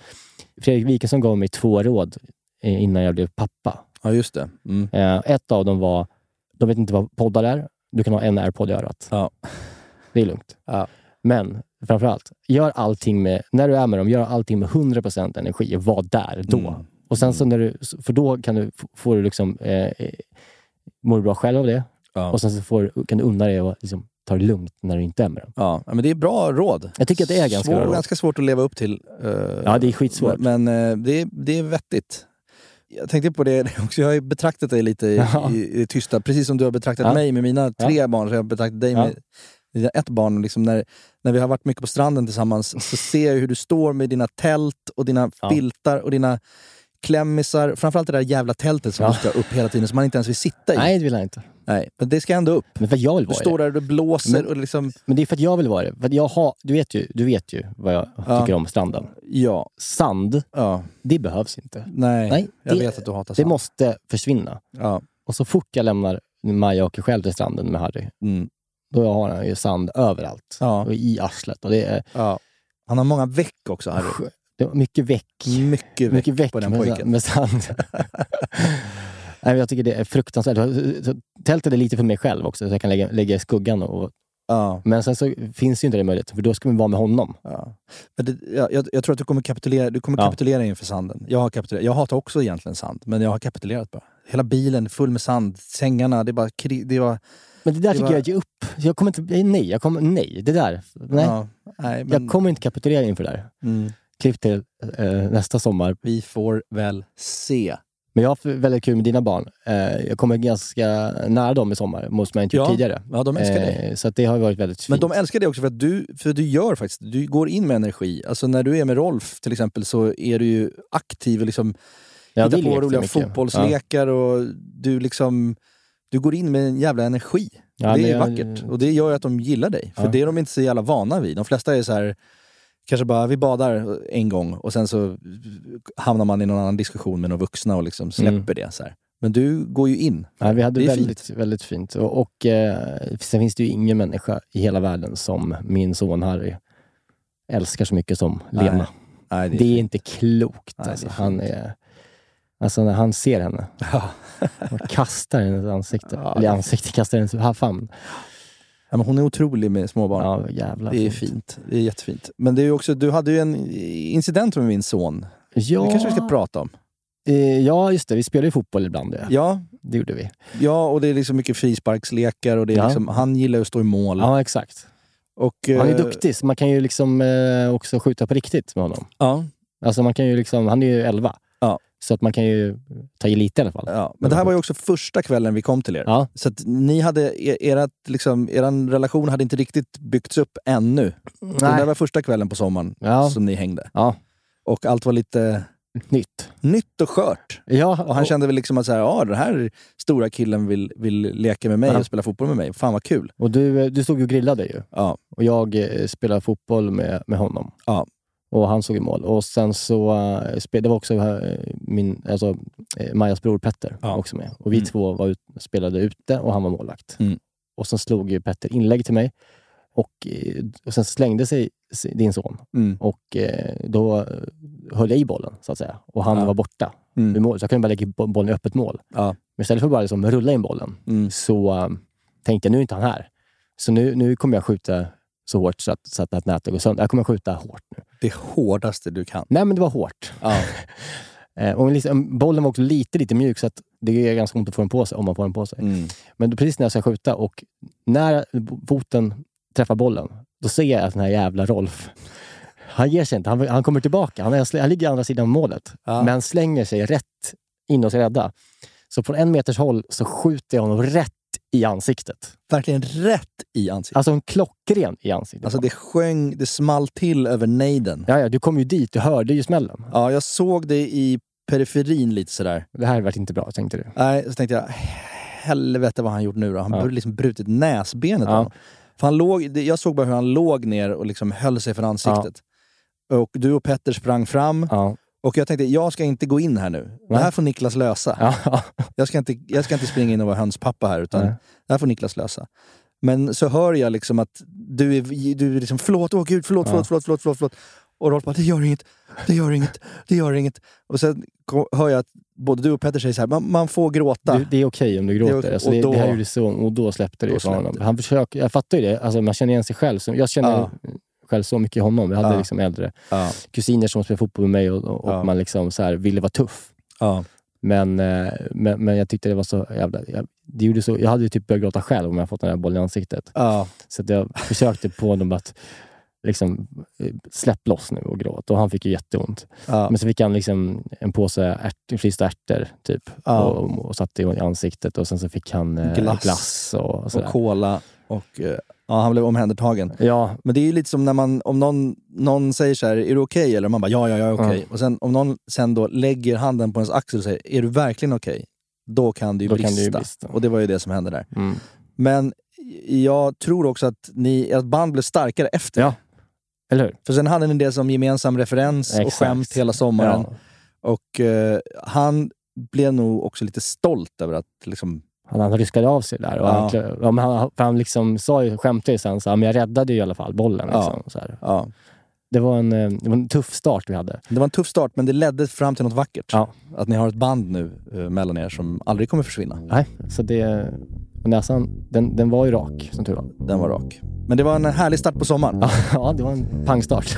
[SPEAKER 4] Fredrik Wikingsson gav mig två råd eh, innan jag blev pappa.
[SPEAKER 3] ja, just det. Mm.
[SPEAKER 4] Eh, ett av dem var, de vet inte vad poddar är. Du kan ha en airpod i örat.
[SPEAKER 3] Ja.
[SPEAKER 4] Det är lugnt.
[SPEAKER 3] Ja.
[SPEAKER 4] Men framför allt, gör allting med, när du är med dem, gör allting med 100% energi. och Var där då.
[SPEAKER 3] Mm.
[SPEAKER 4] Och sen så när du, för då kan du, f- får du liksom, eh, eh, mår du bra själv av det.
[SPEAKER 3] Ja.
[SPEAKER 4] Och sen så får, du- kan du unna dig att liksom, ta det lugnt när du inte är med dem.
[SPEAKER 3] Ja, men det är bra råd.
[SPEAKER 4] Jag tycker att det är ganska
[SPEAKER 3] Svår,
[SPEAKER 4] bra råd.
[SPEAKER 3] ganska svårt att leva upp till. eh,
[SPEAKER 4] Ja, det är skitsvårt.
[SPEAKER 3] Men eh, det, är- det är vettigt. Jag tänkte på det också, jag har ju betraktat dig lite i,
[SPEAKER 4] Ja.
[SPEAKER 3] i, i det tysta. Precis som du har betraktat
[SPEAKER 4] Ja.
[SPEAKER 3] mig med mina tre barn, så har jag betraktat dig
[SPEAKER 4] Ja.
[SPEAKER 3] med dina ett barn. Liksom när, när vi har varit mycket på stranden tillsammans så ser jag hur du står med dina tält och dina
[SPEAKER 4] Ja.
[SPEAKER 3] filtar och dina klämmisar. Framförallt det där jävla tältet som
[SPEAKER 4] Ja.
[SPEAKER 3] du ska upp hela tiden, som man inte ens vill sitta i.
[SPEAKER 4] Nej, det vill jag inte.
[SPEAKER 3] Nej, men det ska ändå upp.
[SPEAKER 4] Men för att jag vill
[SPEAKER 3] Du
[SPEAKER 4] vara i det.
[SPEAKER 3] står där och du blåser
[SPEAKER 4] Men-
[SPEAKER 3] och liksom...
[SPEAKER 4] Men det är för att jag vill vara det. För att jag har, du, vet ju, du vet ju vad jag
[SPEAKER 3] Ja.
[SPEAKER 4] tycker om stranden.
[SPEAKER 3] Ja,
[SPEAKER 4] Sand,
[SPEAKER 3] ja.
[SPEAKER 4] det behövs inte.
[SPEAKER 3] Nej,
[SPEAKER 4] Nej,
[SPEAKER 3] jag
[SPEAKER 4] det-
[SPEAKER 3] vet att du hatar
[SPEAKER 4] Det
[SPEAKER 3] sand.
[SPEAKER 4] måste försvinna.
[SPEAKER 3] Ja.
[SPEAKER 4] Och så fort jag lämnar Maja och åker själv till stranden med Harry,
[SPEAKER 3] Mm.
[SPEAKER 4] då har han ju sand överallt.
[SPEAKER 3] Ja.
[SPEAKER 4] Och i arslet. Och det, är,
[SPEAKER 3] Ja. Han har många veck också, Harry.
[SPEAKER 4] det är mycket väck.
[SPEAKER 3] Mycket veck
[SPEAKER 4] Mycket väck
[SPEAKER 3] på den
[SPEAKER 4] med,
[SPEAKER 3] pojken.
[SPEAKER 4] med sand. Nej, men jag tycker det är fruktansvärt. Så- så- Tältet är lite för mig själv också, så jag kan lägga, lägga i skuggan. Och,
[SPEAKER 3] Ja,
[SPEAKER 4] men sen så finns ju inte den möjligheten, för då ska man vara med honom.
[SPEAKER 3] ja. Men det, ja, jag, jag tror att du kommer kapitulera, du kommer
[SPEAKER 4] Ja.
[SPEAKER 3] kapitulera inför sanden. Jag, har kapitulerat. jag hatar också egentligen sand, men jag har kapitulerat bara. Hela bilen är full med sand, sängarna, det är bara... Kri, det är bara
[SPEAKER 4] Men det där
[SPEAKER 3] Det
[SPEAKER 4] tycker
[SPEAKER 3] var-
[SPEAKER 4] jag, ge upp. Jag kommer inte, nej, jag kommer, nej, det där. Nej,
[SPEAKER 3] Ja, nej, men,
[SPEAKER 4] jag kommer inte kapitulera inför det där.
[SPEAKER 3] mm,
[SPEAKER 4] Klipp till eh, nästa sommar.
[SPEAKER 3] vi får väl se.
[SPEAKER 4] Men jag har haft väldigt kul med dina barn. Eh, jag kommer ganska nära dem i sommar, mot som jag inte gjort
[SPEAKER 3] Ja,
[SPEAKER 4] tidigare.
[SPEAKER 3] Ja, de älskar dig.
[SPEAKER 4] Eh, så att det har varit väldigt fint.
[SPEAKER 3] Men de älskar dig också för att du, för du gör faktiskt, du går in med energi. Alltså när du är med Rolf till exempel så är du ju aktiv och liksom
[SPEAKER 4] Jag
[SPEAKER 3] hitta
[SPEAKER 4] vill ju
[SPEAKER 3] på
[SPEAKER 4] extra
[SPEAKER 3] roliga
[SPEAKER 4] mycket.
[SPEAKER 3] fotbollslekar och du liksom... Du går in med en jävla energi.
[SPEAKER 4] Ja,
[SPEAKER 3] det
[SPEAKER 4] men
[SPEAKER 3] är
[SPEAKER 4] jag-
[SPEAKER 3] vackert. Och det gör ju att de gillar dig. För
[SPEAKER 4] Ja.
[SPEAKER 3] det är de inte så jävla vana vid. De flesta är så här... Kanske bara, vi badar en gång och sen så hamnar man i någon annan diskussion med några vuxna och liksom släpper
[SPEAKER 4] Mm.
[SPEAKER 3] det. Så här. Men du går ju in.
[SPEAKER 4] Ja, vi hade
[SPEAKER 3] Det är
[SPEAKER 4] väldigt, väldigt fint. Och, och eh, sen finns det ju ingen människa i hela världen som min son Harry älskar så mycket som
[SPEAKER 3] Nej,
[SPEAKER 4] Lena.
[SPEAKER 3] Nej,
[SPEAKER 4] det, är
[SPEAKER 3] fint.
[SPEAKER 4] inte klokt.
[SPEAKER 3] Nej, det är
[SPEAKER 4] alltså,
[SPEAKER 3] fint.
[SPEAKER 4] han är, alltså när han ser henne,
[SPEAKER 3] Ja.
[SPEAKER 4] han kastar hennes ansikte.
[SPEAKER 3] Ja, det
[SPEAKER 4] Eller
[SPEAKER 3] är
[SPEAKER 4] ansikte, kastar hennes ha- famn.
[SPEAKER 3] Ja, men hon är otrolig med småbarn.
[SPEAKER 4] Ja, jävla
[SPEAKER 3] det är
[SPEAKER 4] fint.
[SPEAKER 3] fint. Det är jättefint. Men det är ju också, du hade ju en incident med min son.
[SPEAKER 4] Ja,
[SPEAKER 3] Det kanske vi ska prata om.
[SPEAKER 4] Eh, Ja, just det. Vi spelade ju fotboll ibland. Ja.
[SPEAKER 3] Ja, Mm.
[SPEAKER 4] Det gjorde vi.
[SPEAKER 3] ja, och det är liksom mycket frisparkslekar och det är
[SPEAKER 4] Ja.
[SPEAKER 3] liksom, han gillar ju att stå i mål.
[SPEAKER 4] Ja, exakt.
[SPEAKER 3] Och,
[SPEAKER 4] Han är
[SPEAKER 3] eh,
[SPEAKER 4] duktig, så man kan ju liksom eh, också skjuta på riktigt med honom.
[SPEAKER 3] Ja,
[SPEAKER 4] Alltså man kan ju liksom, han är ju 11.
[SPEAKER 3] Ja.
[SPEAKER 4] Så att man kan ju ta i lite i alla fall.
[SPEAKER 3] ja. Men det här var ju också första kvällen vi kom till er.
[SPEAKER 4] Ja.
[SPEAKER 3] Så att ni hade, er, erat, liksom, eran relation hade inte riktigt byggts upp ännu. Så Det där var första kvällen på sommaren
[SPEAKER 4] Ja.
[SPEAKER 3] som ni hängde.
[SPEAKER 4] ja,
[SPEAKER 3] Och allt var lite
[SPEAKER 4] nytt.
[SPEAKER 3] nytt och skört.
[SPEAKER 4] Ja,
[SPEAKER 3] Och han kände väl liksom att så här, ja, den här stora killen vill, vill leka med mig
[SPEAKER 4] Ja.
[SPEAKER 3] och spela fotboll med mig. Fan vad kul.
[SPEAKER 4] och du, eh, du stod ju och grillade ju.
[SPEAKER 3] Ja.
[SPEAKER 4] Och jag eh, spelade fotboll med, med honom.
[SPEAKER 3] Ja.
[SPEAKER 4] Och han såg i mål. Och sen så, eh, spe- det var också eh, min, alltså, eh, Majas bror Petter
[SPEAKER 3] Ja.
[SPEAKER 4] också med. Och vi
[SPEAKER 3] Mm.
[SPEAKER 4] två var ut, spelade ute och han var målvakt.
[SPEAKER 3] Mm.
[SPEAKER 4] Och sen slog ju Petter inlägg till mig. Och, eh, och sen slängde sig sig din son.
[SPEAKER 3] Mm.
[SPEAKER 4] Och eh, då höll jag i bollen, så att säga. Och han
[SPEAKER 3] Ja.
[SPEAKER 4] var borta
[SPEAKER 3] Mm.
[SPEAKER 4] vid mål. Så jag kunde bara lägga bo- bollen i öppet mål.
[SPEAKER 3] Ja.
[SPEAKER 4] Men istället för att bara liksom rulla in bollen
[SPEAKER 3] Mm.
[SPEAKER 4] så eh, tänkte jag, nu är inte han här. Så nu, nu kommer jag skjuta så hårt så att, så att nätet går sönder. Jag kommer skjuta hårt nu.
[SPEAKER 3] Det hårdaste du kan.
[SPEAKER 4] Nej, men det var hårt.
[SPEAKER 3] Ja.
[SPEAKER 4] Eh, och liksom, bollen var också lite, lite mjuk, så att det gör ganska ont att få den på sig, om man får den på sig.
[SPEAKER 3] Mm.
[SPEAKER 4] Men då, precis när jag ska skjuta och när foten träffar bollen, då ser jag att den här jävla Rolf, han ger sig inte. Han, han kommer tillbaka. Han, är, han ligger andra sidan målet,
[SPEAKER 3] Ja.
[SPEAKER 4] men slänger sig rätt in och ska rädda. Så från en meters håll så skjuter jag honom rätt i ansiktet.
[SPEAKER 3] Verkligen rätt i ansiktet.
[SPEAKER 4] Alltså en klockren i ansiktet.
[SPEAKER 3] Alltså det sjöng, det small till över nejden.
[SPEAKER 4] ja, ja, du kom ju dit, du hörde ju smällen.
[SPEAKER 3] Ja, jag såg det i periferin lite sådär.
[SPEAKER 4] Det här vart inte bra, tänkte du.
[SPEAKER 3] Nej, så tänkte jag, helvete vad han gjort nu då. Han
[SPEAKER 4] Ja.
[SPEAKER 3] borde liksom brutit näsbenet.
[SPEAKER 4] Ja.
[SPEAKER 3] av honom. För han låg, det- jag såg bara hur han låg ner och liksom höll sig för ansiktet. Och du och Petter sprang fram.
[SPEAKER 4] Ja.
[SPEAKER 3] Och jag tänkte, jag ska inte gå in här nu. Det här
[SPEAKER 4] Nej.
[SPEAKER 3] får Niklas lösa.
[SPEAKER 4] Ja.
[SPEAKER 3] Jag, ska inte, jag ska inte springa in och vara hönspappa här, utan
[SPEAKER 4] Nej.
[SPEAKER 3] det här får Niklas lösa. Men så hör jag liksom att du är, du är liksom, förlåt, åh gud, förlåt, förlåt, förlåt, förlåt, förlåt, förlåt. Och Rolf bara, det gör inget, det gör inget, det gör inget. Och sen kom- hör jag att både du och Petter säger så här, man, man får gråta.
[SPEAKER 4] Du, det är okej om du gråter.
[SPEAKER 3] Det är okej.
[SPEAKER 4] alltså,
[SPEAKER 3] Och
[SPEAKER 4] det,
[SPEAKER 3] då-
[SPEAKER 4] det här gjorde så, och då släppte det
[SPEAKER 3] då
[SPEAKER 4] ju för
[SPEAKER 3] släppte
[SPEAKER 4] honom.
[SPEAKER 3] det.
[SPEAKER 4] Han försöker, jag fattar ju det. Alltså, man känner igen sig själv. Så, jag känner
[SPEAKER 3] Ja.
[SPEAKER 4] själv så mycket i honom. Jag hade
[SPEAKER 3] Ja.
[SPEAKER 4] liksom äldre
[SPEAKER 3] Ja,
[SPEAKER 4] kusiner som spelade fotboll med mig och, och
[SPEAKER 3] Ja.
[SPEAKER 4] man liksom så här ville vara tuff.
[SPEAKER 3] ja,
[SPEAKER 4] Men, eh, men, men jag tyckte det var så jävla... Jag, det gjorde så, jag hade ju typ börjat gråta själv om jag fått den här bollen i ansiktet.
[SPEAKER 3] ja.
[SPEAKER 4] Så att jag försökte på honom att liksom, eh, släpp loss nu och gråt. Och han fick ju jätteont.
[SPEAKER 3] ja.
[SPEAKER 4] Men så fick han liksom en påse ärt, frysta ärtor typ,
[SPEAKER 3] Ja.
[SPEAKER 4] och, och satte i ansiktet. Och Sen så fick han eh,
[SPEAKER 3] Glass.
[SPEAKER 4] glass. och, och
[SPEAKER 3] Och
[SPEAKER 4] sådär.
[SPEAKER 3] cola. Och, eh, ja, han blev omhändertagen.
[SPEAKER 4] Ja,
[SPEAKER 3] Men det är ju lite som när man, om någon, någon säger så här, är du okej? Eller man bara, ja, ja, jag är okej.
[SPEAKER 4] Ja.
[SPEAKER 3] Och sen om någon sen då lägger handen på ens axel och säger, är du verkligen okej? Då kan det ju
[SPEAKER 4] Då kan
[SPEAKER 3] brista.
[SPEAKER 4] det ju brista.
[SPEAKER 3] Och det var ju det som hände där.
[SPEAKER 4] mm.
[SPEAKER 3] Men jag tror också att ni, ert band blev starkare efter.
[SPEAKER 4] ja. Eller hur?
[SPEAKER 3] För sen hade ni det som gemensam referens och
[SPEAKER 4] Exakt.
[SPEAKER 3] skämt hela sommaren.
[SPEAKER 4] Ja.
[SPEAKER 3] Och eh, han blev nog också lite stolt över att liksom,
[SPEAKER 4] Han, han ryskade av sig där. Och
[SPEAKER 3] Ja.
[SPEAKER 4] han, klö- ja, men han, för han liksom sa ju, skämtade ju sen, så, här, men jag räddade ju i alla fall bollen.
[SPEAKER 3] Ja.
[SPEAKER 4] Liksom, så här.
[SPEAKER 3] ja.
[SPEAKER 4] Det, var en, eh, det var en tuff start vi hade.
[SPEAKER 3] Det var en tuff start, men det ledde fram till något vackert.
[SPEAKER 4] Ja.
[SPEAKER 3] Att ni har ett band nu eh, mellan er som aldrig kommer försvinna.
[SPEAKER 4] Nej, så det, och näsan, den, den var ju rak, som tur var.
[SPEAKER 3] Den var rak. Men det var en härlig start på sommaren.
[SPEAKER 4] Ja, det var en pangstart.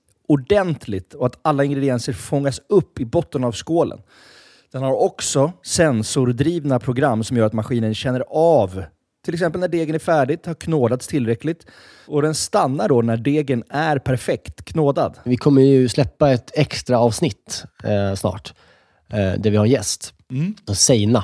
[SPEAKER 3] ordentligt och att alla ingredienser fångas upp i botten av skålen. Den har också sensordrivna program som gör att maskinen känner av till exempel när degen är färdigt, har knådats tillräckligt och den stannar då när degen är perfekt knådad.
[SPEAKER 5] Vi kommer ju släppa ett extra avsnitt eh, snart eh, där vi har en gäst. Seina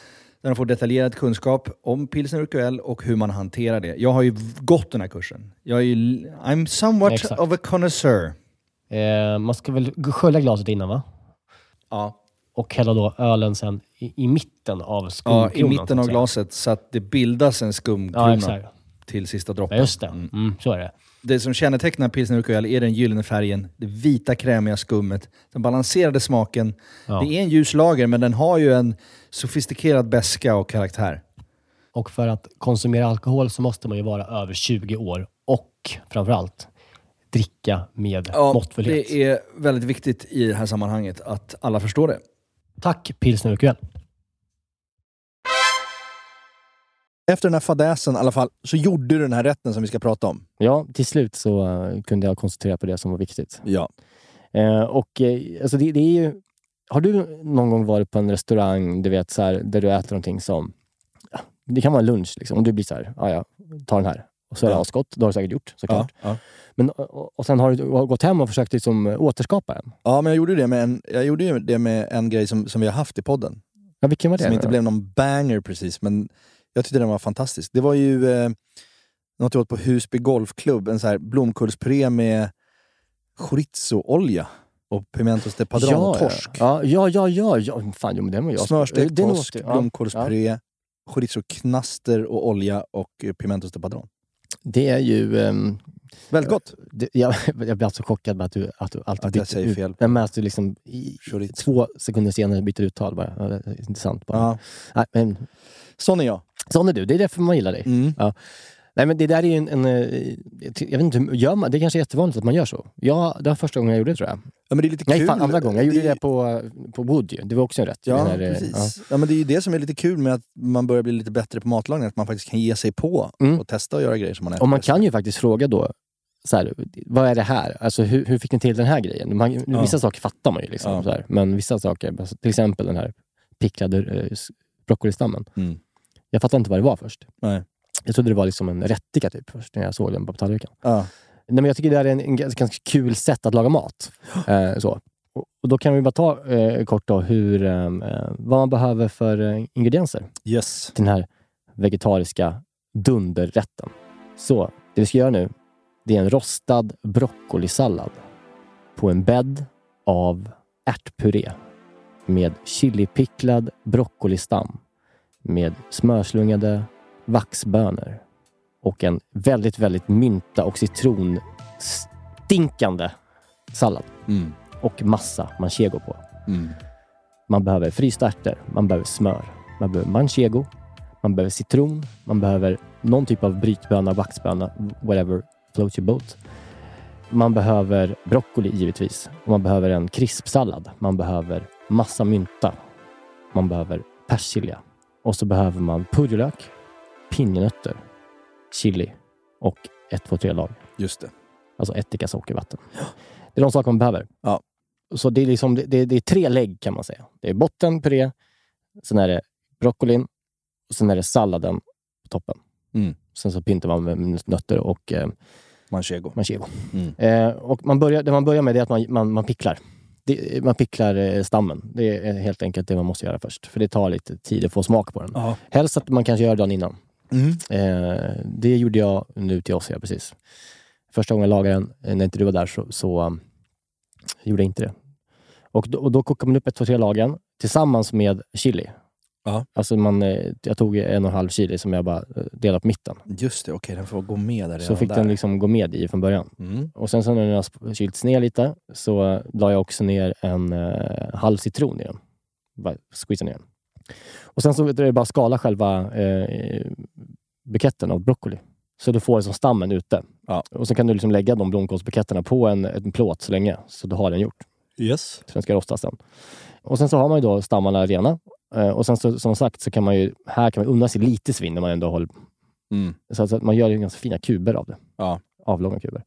[SPEAKER 3] Där de får detaljerad kunskap om pilsner urquell och hur man hanterar det. Jag har ju v- gått den här kursen. Jag är ju, l- I'm somewhat
[SPEAKER 5] Exakt.
[SPEAKER 3] of a connoisseur.
[SPEAKER 5] Eh, man ska väl g- skölja glaset innan va?
[SPEAKER 3] Ja,
[SPEAKER 5] Och hälla då ölen sen i, i mitten av
[SPEAKER 3] ja,
[SPEAKER 5] skumkronan.
[SPEAKER 3] I
[SPEAKER 5] så
[SPEAKER 3] mitten
[SPEAKER 5] att
[SPEAKER 3] av
[SPEAKER 5] säga.
[SPEAKER 3] glaset så att det bildas en skumkrona
[SPEAKER 5] Ja, exakt.
[SPEAKER 3] till sista
[SPEAKER 5] Ja,
[SPEAKER 3] droppen.
[SPEAKER 5] just det. Mm, så är det.
[SPEAKER 3] Det som kännetecknar pilsner urquell är den gyllene färgen, det vita krämiga skummet, den balanserade smaken.
[SPEAKER 5] Ja.
[SPEAKER 3] Det är en ljus lager, men den har ju en sofistikerad beska och karaktär.
[SPEAKER 5] Och för att konsumera alkohol så måste man ju vara över 20 år och framförallt dricka med måttfullhet.
[SPEAKER 3] det är väldigt viktigt i det här sammanhanget att alla förstår det.
[SPEAKER 5] Tack Pilsner Urquell.
[SPEAKER 3] Efter den här fadäsen i alla fall, så gjorde du den här rätten som vi ska prata om.
[SPEAKER 4] Ja, till slut så eh, kunde jag koncentrera på det som var viktigt.
[SPEAKER 3] Ja.
[SPEAKER 4] Eh, och eh, alltså det, det är ju... Har du någon gång varit på en restaurang, du vet, så här, där du äter någonting som... ja, Det kan vara en lunch liksom. Och du blir så här, ja, ja, ta den här. Och så är det
[SPEAKER 3] Ja.
[SPEAKER 4] asgott. Det har du säkert
[SPEAKER 3] Ja,
[SPEAKER 4] gjort såklart.
[SPEAKER 3] ja.
[SPEAKER 4] Men, och, och sen har du har gått hem och försökt liksom, återskapa den.
[SPEAKER 3] ja, men jag gjorde ju det med en, jag gjorde ju det med en grej som, som vi har haft i podden.
[SPEAKER 4] Ja, vilken var det?
[SPEAKER 3] Som
[SPEAKER 4] nu
[SPEAKER 3] inte
[SPEAKER 4] då?
[SPEAKER 3] blev någon banger precis, men jag tyckte den var fantastisk. Det var ju eh, något jag åt på Husby Golfklubb, en så här blomkullspuré med chorizo-olja och pimentos de padron och torsk.
[SPEAKER 4] Ja, ja, ja. ja, ja. Fan, jo, men den var jag.
[SPEAKER 3] Smörstekt
[SPEAKER 4] Den åt
[SPEAKER 3] torsk,
[SPEAKER 4] jag. Ja, ja.
[SPEAKER 3] blomkålspuré, chorizo-knaster och olja och eh, pimentos de padron.
[SPEAKER 4] Det är ju... ehm,
[SPEAKER 3] Väldigt gott!
[SPEAKER 4] det, jag, jag blir alltså chockad med att du, att du alltid
[SPEAKER 3] Att jag
[SPEAKER 4] byter
[SPEAKER 3] säger
[SPEAKER 4] ut-
[SPEAKER 3] fel.
[SPEAKER 4] Nej, men att du liksom i,
[SPEAKER 3] Chorizo.
[SPEAKER 4] två sekunder senare byter uttal bara. Ja, det är intressant bara.
[SPEAKER 3] Ja.
[SPEAKER 4] Nej, men,
[SPEAKER 3] Sån är jag.
[SPEAKER 4] sån är du. Det är därför man gillar dig.
[SPEAKER 3] Mm.
[SPEAKER 4] Nej, men det där är ju en... en eh, jag vet inte, hur- gör man, det kanske är jättevanligt att man gör så. Ja, det var första gången jag gjorde det tror jag.
[SPEAKER 3] Ja, men det är lite
[SPEAKER 4] Nej,
[SPEAKER 3] kul.
[SPEAKER 4] fan, andra gången. Jag gjorde
[SPEAKER 3] Det-
[SPEAKER 4] det på, på Wood ju. Det var också en rätt.
[SPEAKER 3] Ja,
[SPEAKER 4] Den här, eh,
[SPEAKER 3] precis.
[SPEAKER 4] ja.
[SPEAKER 3] Ja. men det är ju det som är lite kul med att man börjar bli lite bättre på matlagning. Att man faktiskt kan ge sig på
[SPEAKER 4] Mm.
[SPEAKER 3] och testa och göra grejer som man äter.
[SPEAKER 4] Och man kan ju faktiskt fråga då, så här, vad är det här? Alltså, hur, hur fick ni till den här grejen? Man,
[SPEAKER 3] Ja.
[SPEAKER 4] Vissa saker fattar man ju, liksom,
[SPEAKER 3] Ja.
[SPEAKER 4] så här, men vissa saker, alltså, till exempel den här picklade eh, s- broccolistammen.
[SPEAKER 3] Mm.
[SPEAKER 4] Jag fattade inte vad det var först.
[SPEAKER 3] Nej.
[SPEAKER 4] Jag trodde det var liksom en rättika typ, först när jag såg den på tallriken.
[SPEAKER 3] Ja.
[SPEAKER 4] Nej, men jag tycker det här är en, en ganska, ganska kul sätt att laga mat. Eh, så. Och, och Då kan vi bara ta eh, kort då, hur, ehm, eh, vad man behöver för eh, ingredienser
[SPEAKER 3] Yes.
[SPEAKER 4] till den här vegetariska dunderrätten. Så det vi ska göra nu, det är en rostad broccolisallad på en bädd av ärtpuré med chilipicklad broccolistam med smörslungade vaxbönor och en väldigt, väldigt mynta och citronstinkande sallad
[SPEAKER 3] Mm.
[SPEAKER 4] och massa manchego på.
[SPEAKER 3] Mm.
[SPEAKER 4] Man behöver frysta ärtor, man behöver smör, man behöver manchego, man behöver citron, man behöver någon typ av brytböna, vaxböna, whatever, float your boat. Man behöver broccoli givetvis och man behöver en krispsallad. Man behöver massa mynta. Man behöver persilja och så behöver man purjolök, pinjenötter, chili och ett, två, tre lag.
[SPEAKER 3] Just det.
[SPEAKER 4] Alltså ättika, sockervatten. Det är de saker man behöver.
[SPEAKER 3] Ja.
[SPEAKER 4] Så det är, liksom, det, det, det är tre lägg kan man säga. Det är botten, puré, sen är det broccolin och sen är det salladen på toppen.
[SPEAKER 3] Mm.
[SPEAKER 4] Sen så pyntar man med nötter och eh,
[SPEAKER 3] Manchego.
[SPEAKER 4] manchego.
[SPEAKER 3] Mm.
[SPEAKER 4] Eh, och man börjar, det man börjar med det är att man, man, man picklar. Det, man picklar eh, stammen. Det är helt enkelt det man måste göra först. För det tar lite tid att få smak på den.
[SPEAKER 3] Ja.
[SPEAKER 4] Helst att man kanske gör dagen innan.
[SPEAKER 3] Mm.
[SPEAKER 4] Eh, det gjorde jag nu till oss, ja, precis. Första gången jag lagade den, eh, när inte du var där, så, så um, gjorde jag inte det. Och då, och då kokar man upp ett, två, tre lagen tillsammans med chili.
[SPEAKER 3] Ja.
[SPEAKER 4] Alltså man, eh, jag tog en och en halv chili som jag bara eh, delade på mitten.
[SPEAKER 3] Just det, okej den får gå med där
[SPEAKER 4] Så
[SPEAKER 3] redan
[SPEAKER 4] fick
[SPEAKER 3] där.
[SPEAKER 4] den liksom gå med i från början.
[SPEAKER 3] Mm.
[SPEAKER 4] Och sen så när den har sp- kylts ner lite så eh, la jag också ner en eh, halv citron i den. Bara squeeza ner den. Och sen så är det bara att skala själva eh, buketten av broccoli. Så du får liksom stammen ute.
[SPEAKER 3] Ja.
[SPEAKER 4] Och sen kan du liksom lägga de blomkålsbuketterna på en, en plåt så länge, så du har den gjort.
[SPEAKER 3] Yes.
[SPEAKER 4] Så den ska rostas sen. Och sen så har man ju då stammarna rena. Eh, och sen så, som sagt, så kan man ju, här kan man unna sig lite svinn när man ändå håller
[SPEAKER 3] Mm.
[SPEAKER 4] så att, så att man gör ju ganska fina kuber av det.
[SPEAKER 3] Ja.
[SPEAKER 4] Avlånga kuber.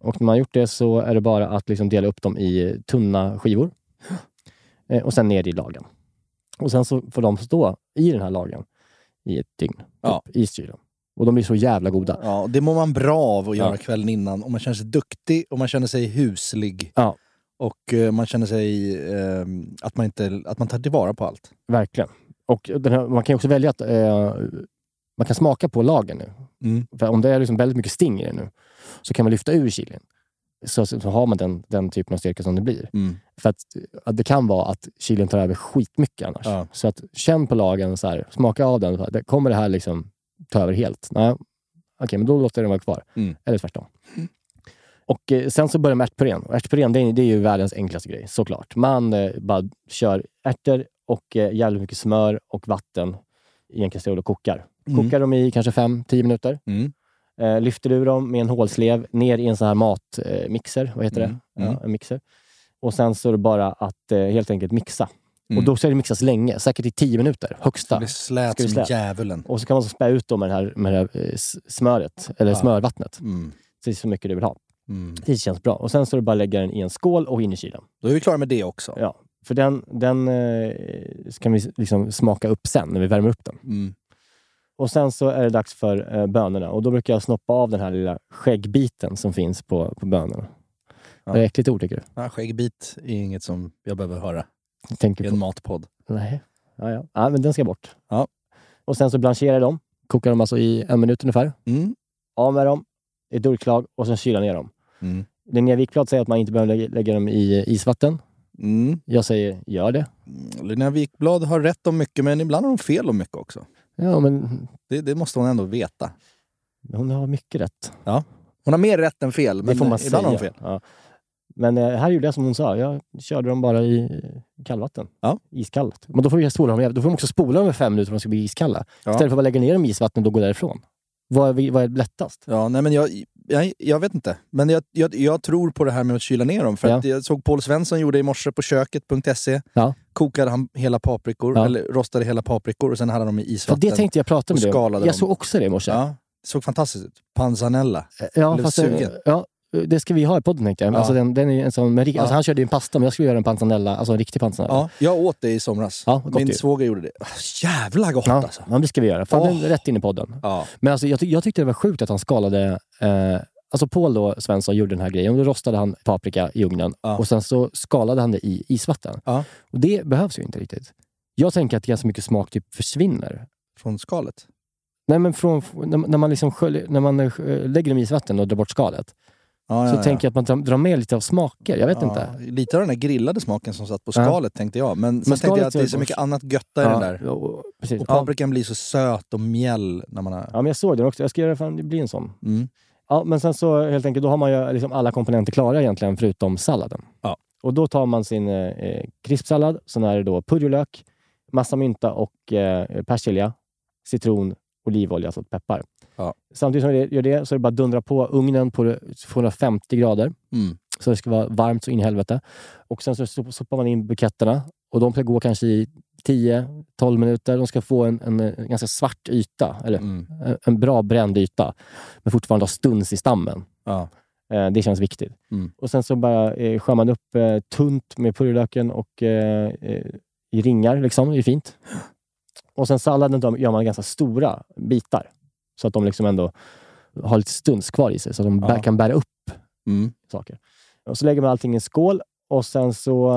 [SPEAKER 4] Och när man har gjort det så är det bara att liksom dela upp dem i tunna skivor. Eh, och sen ner i lagen. Och sen så får de stå i den här lagen i ett dygn. Typ,
[SPEAKER 3] Ja.
[SPEAKER 4] I kylen. Och de blir så jävla goda.
[SPEAKER 3] Ja, det mår man bra av att göra
[SPEAKER 4] Ja.
[SPEAKER 3] kvällen innan. Och man känner sig duktig och man känner sig huslig.
[SPEAKER 4] Ja.
[SPEAKER 3] Och eh, man känner sig eh, att, man inte, att man tar tillvara på allt.
[SPEAKER 4] Verkligen. Och den här, man kan ju också välja att eh, man kan smaka på lagen nu.
[SPEAKER 3] Mm.
[SPEAKER 4] För om det är liksom väldigt mycket sting i det nu så kan man lyfta ur chilin. Så, så, så har man den, den typen av styrka som det blir.
[SPEAKER 3] Mm.
[SPEAKER 4] För att, att det kan vara att chilin tar över skitmycket annars.
[SPEAKER 3] Ja.
[SPEAKER 4] Så att känn på lagen, så här, smaka av den. Så här, det- kommer det här liksom ta över helt? Nej, okej, men då låter jag den vara kvar.
[SPEAKER 3] Mm.
[SPEAKER 4] Eller tvärtom. Och eh, sen så börjar man med ärtpurén. Och ärtpurén, det är, det är ju världens enklaste grej, såklart. Man eh, bara kör ärtor och eh, jävligt mycket smör och vatten i en kastrull och kokar.
[SPEAKER 3] Mm.
[SPEAKER 4] Kokar dem i kanske 5-10 minuter.
[SPEAKER 3] Mm.
[SPEAKER 4] Eh, lyfter ur dem med en hålslev ner i en sån här matmixer. Eh, mixer. vad heter
[SPEAKER 3] Mm,
[SPEAKER 4] det?
[SPEAKER 3] mm.
[SPEAKER 4] Ja, en mixer. Och sen så är det bara att eh, helt enkelt mixa.
[SPEAKER 3] Mm.
[SPEAKER 4] Och då ska det mixas länge, säkert i 10 minuter, högsta.
[SPEAKER 3] Det blir slät
[SPEAKER 4] Ska vi
[SPEAKER 3] som
[SPEAKER 4] slät?
[SPEAKER 3] djävulen.
[SPEAKER 4] Och så kan man så spä ut dem med det här, med det här eh, s- smöret, eller
[SPEAKER 3] Ja.
[SPEAKER 4] smörvattnet.
[SPEAKER 3] Mm.
[SPEAKER 4] Precis så mycket du vill ha.
[SPEAKER 3] Mm.
[SPEAKER 4] Det känns bra. Och sen så är det bara att lägga den i en skål och in i kylen.
[SPEAKER 3] Då är vi klara med det också.
[SPEAKER 4] Ja, för den, den eh, kan vi liksom smaka upp sen, när vi värmer upp den.
[SPEAKER 3] Mm.
[SPEAKER 4] Och sen så är det dags för eh, bönorna. Och då brukar jag snoppa av den här lilla skäggbiten som finns på, på bönorna.
[SPEAKER 3] Ja.
[SPEAKER 4] Är det äckligt ord tycker du?
[SPEAKER 3] Ja, skäggbit är inget som jag behöver höra i
[SPEAKER 4] Jag Tänker på.
[SPEAKER 3] en matpodd.
[SPEAKER 4] Nej. Ja, ja. ja, men den ska bort.
[SPEAKER 3] Ja.
[SPEAKER 4] Och sen så blancherar jag dem. Kokar dem alltså i en minut ungefär.
[SPEAKER 3] Mm.
[SPEAKER 4] Av med dem i durklag och sen kyla ner dem.
[SPEAKER 3] Mm.
[SPEAKER 4] Linnea Wikblad säger att man inte behöver lä- lägga dem i eh, isvatten.
[SPEAKER 3] Mm.
[SPEAKER 4] Jag säger, gör det.
[SPEAKER 3] Linnea Wikblad har rätt om mycket, men ibland har hon fel om mycket också.
[SPEAKER 4] Ja, men
[SPEAKER 3] Det, det måste hon ändå veta.
[SPEAKER 4] hon har mycket rätt.
[SPEAKER 3] Hon har mer rätt än fel, men
[SPEAKER 4] det får man
[SPEAKER 3] ibland
[SPEAKER 4] säga.
[SPEAKER 3] har hon fel.
[SPEAKER 4] Ja. Men eh, här gjorde jag som hon sa. Jag körde dem bara i eh, kallvatten.
[SPEAKER 3] Ja.
[SPEAKER 4] Iskallt. Men då får, vi spola dem, då får de också spola dem i fem minuter för att de ska bli iskalla.
[SPEAKER 3] Ja.
[SPEAKER 4] Istället för att bara lägga ner dem i isvattnet och gå därifrån. Vad är, vi- vad är lättast?
[SPEAKER 3] Ja, nej, men jag, jag, jag vet inte. Men jag, jag, jag tror på det här med att kyla ner dem. För
[SPEAKER 4] Ja.
[SPEAKER 3] att jag såg Paul Svensson gjorde i morse på köket.se.
[SPEAKER 4] Ja.
[SPEAKER 3] Kokade han hela paprikor,
[SPEAKER 4] Ja.
[SPEAKER 3] eller rostade hela paprikor och sen hade de i
[SPEAKER 4] För
[SPEAKER 3] isvatten.
[SPEAKER 4] det tänkte jag prata
[SPEAKER 3] och
[SPEAKER 4] med dig om.
[SPEAKER 3] skala
[SPEAKER 4] Jag
[SPEAKER 3] dem.
[SPEAKER 4] såg också det i morse.
[SPEAKER 3] ja, det såg fantastiskt ut. Panzanella.
[SPEAKER 4] Ja,
[SPEAKER 3] Blev
[SPEAKER 4] fast,
[SPEAKER 3] sugen.
[SPEAKER 4] ja, det ska vi ha i podden tänkte jag.
[SPEAKER 3] Ja.
[SPEAKER 4] Alltså, den, den är en sån, med, ri-
[SPEAKER 3] Ja.
[SPEAKER 4] alltså, han körde ju en pasta, men jag skulle göra en panzanella, alltså en riktig panzanella.
[SPEAKER 3] Ja, jag åt det i somras.
[SPEAKER 4] Ja, gott ju.
[SPEAKER 3] Min svåger gjorde det. Ah, Jävla gott
[SPEAKER 4] Ja,
[SPEAKER 3] alltså!
[SPEAKER 4] men det ska vi göra. Fan,
[SPEAKER 3] Åh.
[SPEAKER 4] det är rätt in i podden.
[SPEAKER 3] Ja.
[SPEAKER 4] Men alltså, jag, ty- jag tyckte det var sjukt att han skalade... Eh, alltså Paul då, Svensson gjorde den här grejen. Då rostade han paprika i ugnen
[SPEAKER 3] Ja.
[SPEAKER 4] och sen så skalade han det i isvatten.
[SPEAKER 3] Ja.
[SPEAKER 4] Och det behövs ju inte riktigt. Jag tänker att ganska mycket smak typ försvinner.
[SPEAKER 3] Från skalet.
[SPEAKER 4] Nej, men från, f- när, när man, liksom sköljer, när man eh, lägger dem i isvatten och drar bort skalet
[SPEAKER 3] Ja,
[SPEAKER 4] så
[SPEAKER 3] ja,
[SPEAKER 4] tänker jag att man drar, drar med lite av smaker. Jag vet
[SPEAKER 3] ja.
[SPEAKER 4] inte.
[SPEAKER 3] Ja, Lite av den där grillade smaken som satt på
[SPEAKER 4] Ja.
[SPEAKER 3] skalet tänkte jag. Men, sen tänkte
[SPEAKER 4] skalet
[SPEAKER 3] jag att det är så
[SPEAKER 4] är-
[SPEAKER 3] mycket annat götta i den där.
[SPEAKER 4] och- och- precis.
[SPEAKER 3] Och
[SPEAKER 4] Ja,
[SPEAKER 3] paprikan blir så söt och mjäll när man har...
[SPEAKER 4] ja, men jag såg den också. Jag ska göra fan, det blir en sån.
[SPEAKER 3] Mm.
[SPEAKER 4] Ja, men sen så helt enkelt, då har man ju liksom alla komponenter klara egentligen, förutom salladen.
[SPEAKER 3] Ja.
[SPEAKER 4] Och då tar man sin eh, eh, krispsallad, sen är det då purjolök, massa mynta och eh, persilja, citron, olivolja, alltså peppar.
[SPEAKER 3] Ja.
[SPEAKER 4] Samtidigt som du gör det så är det bara att dundra på ugnen på 250 grader.
[SPEAKER 3] Mm.
[SPEAKER 4] Så det ska vara varmt så in i helvete. Och sen så sop- sopar man in buketterna och de ska gå kanske i 10-12 minuter. De ska få en, en, eh, ganska svart yta, eller
[SPEAKER 3] Mm.
[SPEAKER 4] en- en bra bränd yta, men fortfarande ha stuns i stammen.
[SPEAKER 3] Ja.
[SPEAKER 4] Eh, Det känns viktigt.
[SPEAKER 3] Mm.
[SPEAKER 4] Och Sen så bara eh, skär man upp eh, tunt med purjolöken och eh, eh, i ringar. Liksom. Det är fint. Och sen salladen de- gör man ganska stora bitar så att de liksom ändå har lite stuns kvar i sig, så att de
[SPEAKER 3] Ja.
[SPEAKER 4] bär, kan bära upp
[SPEAKER 3] Mm.
[SPEAKER 4] saker. Och så lägger man allting i en skål och sen så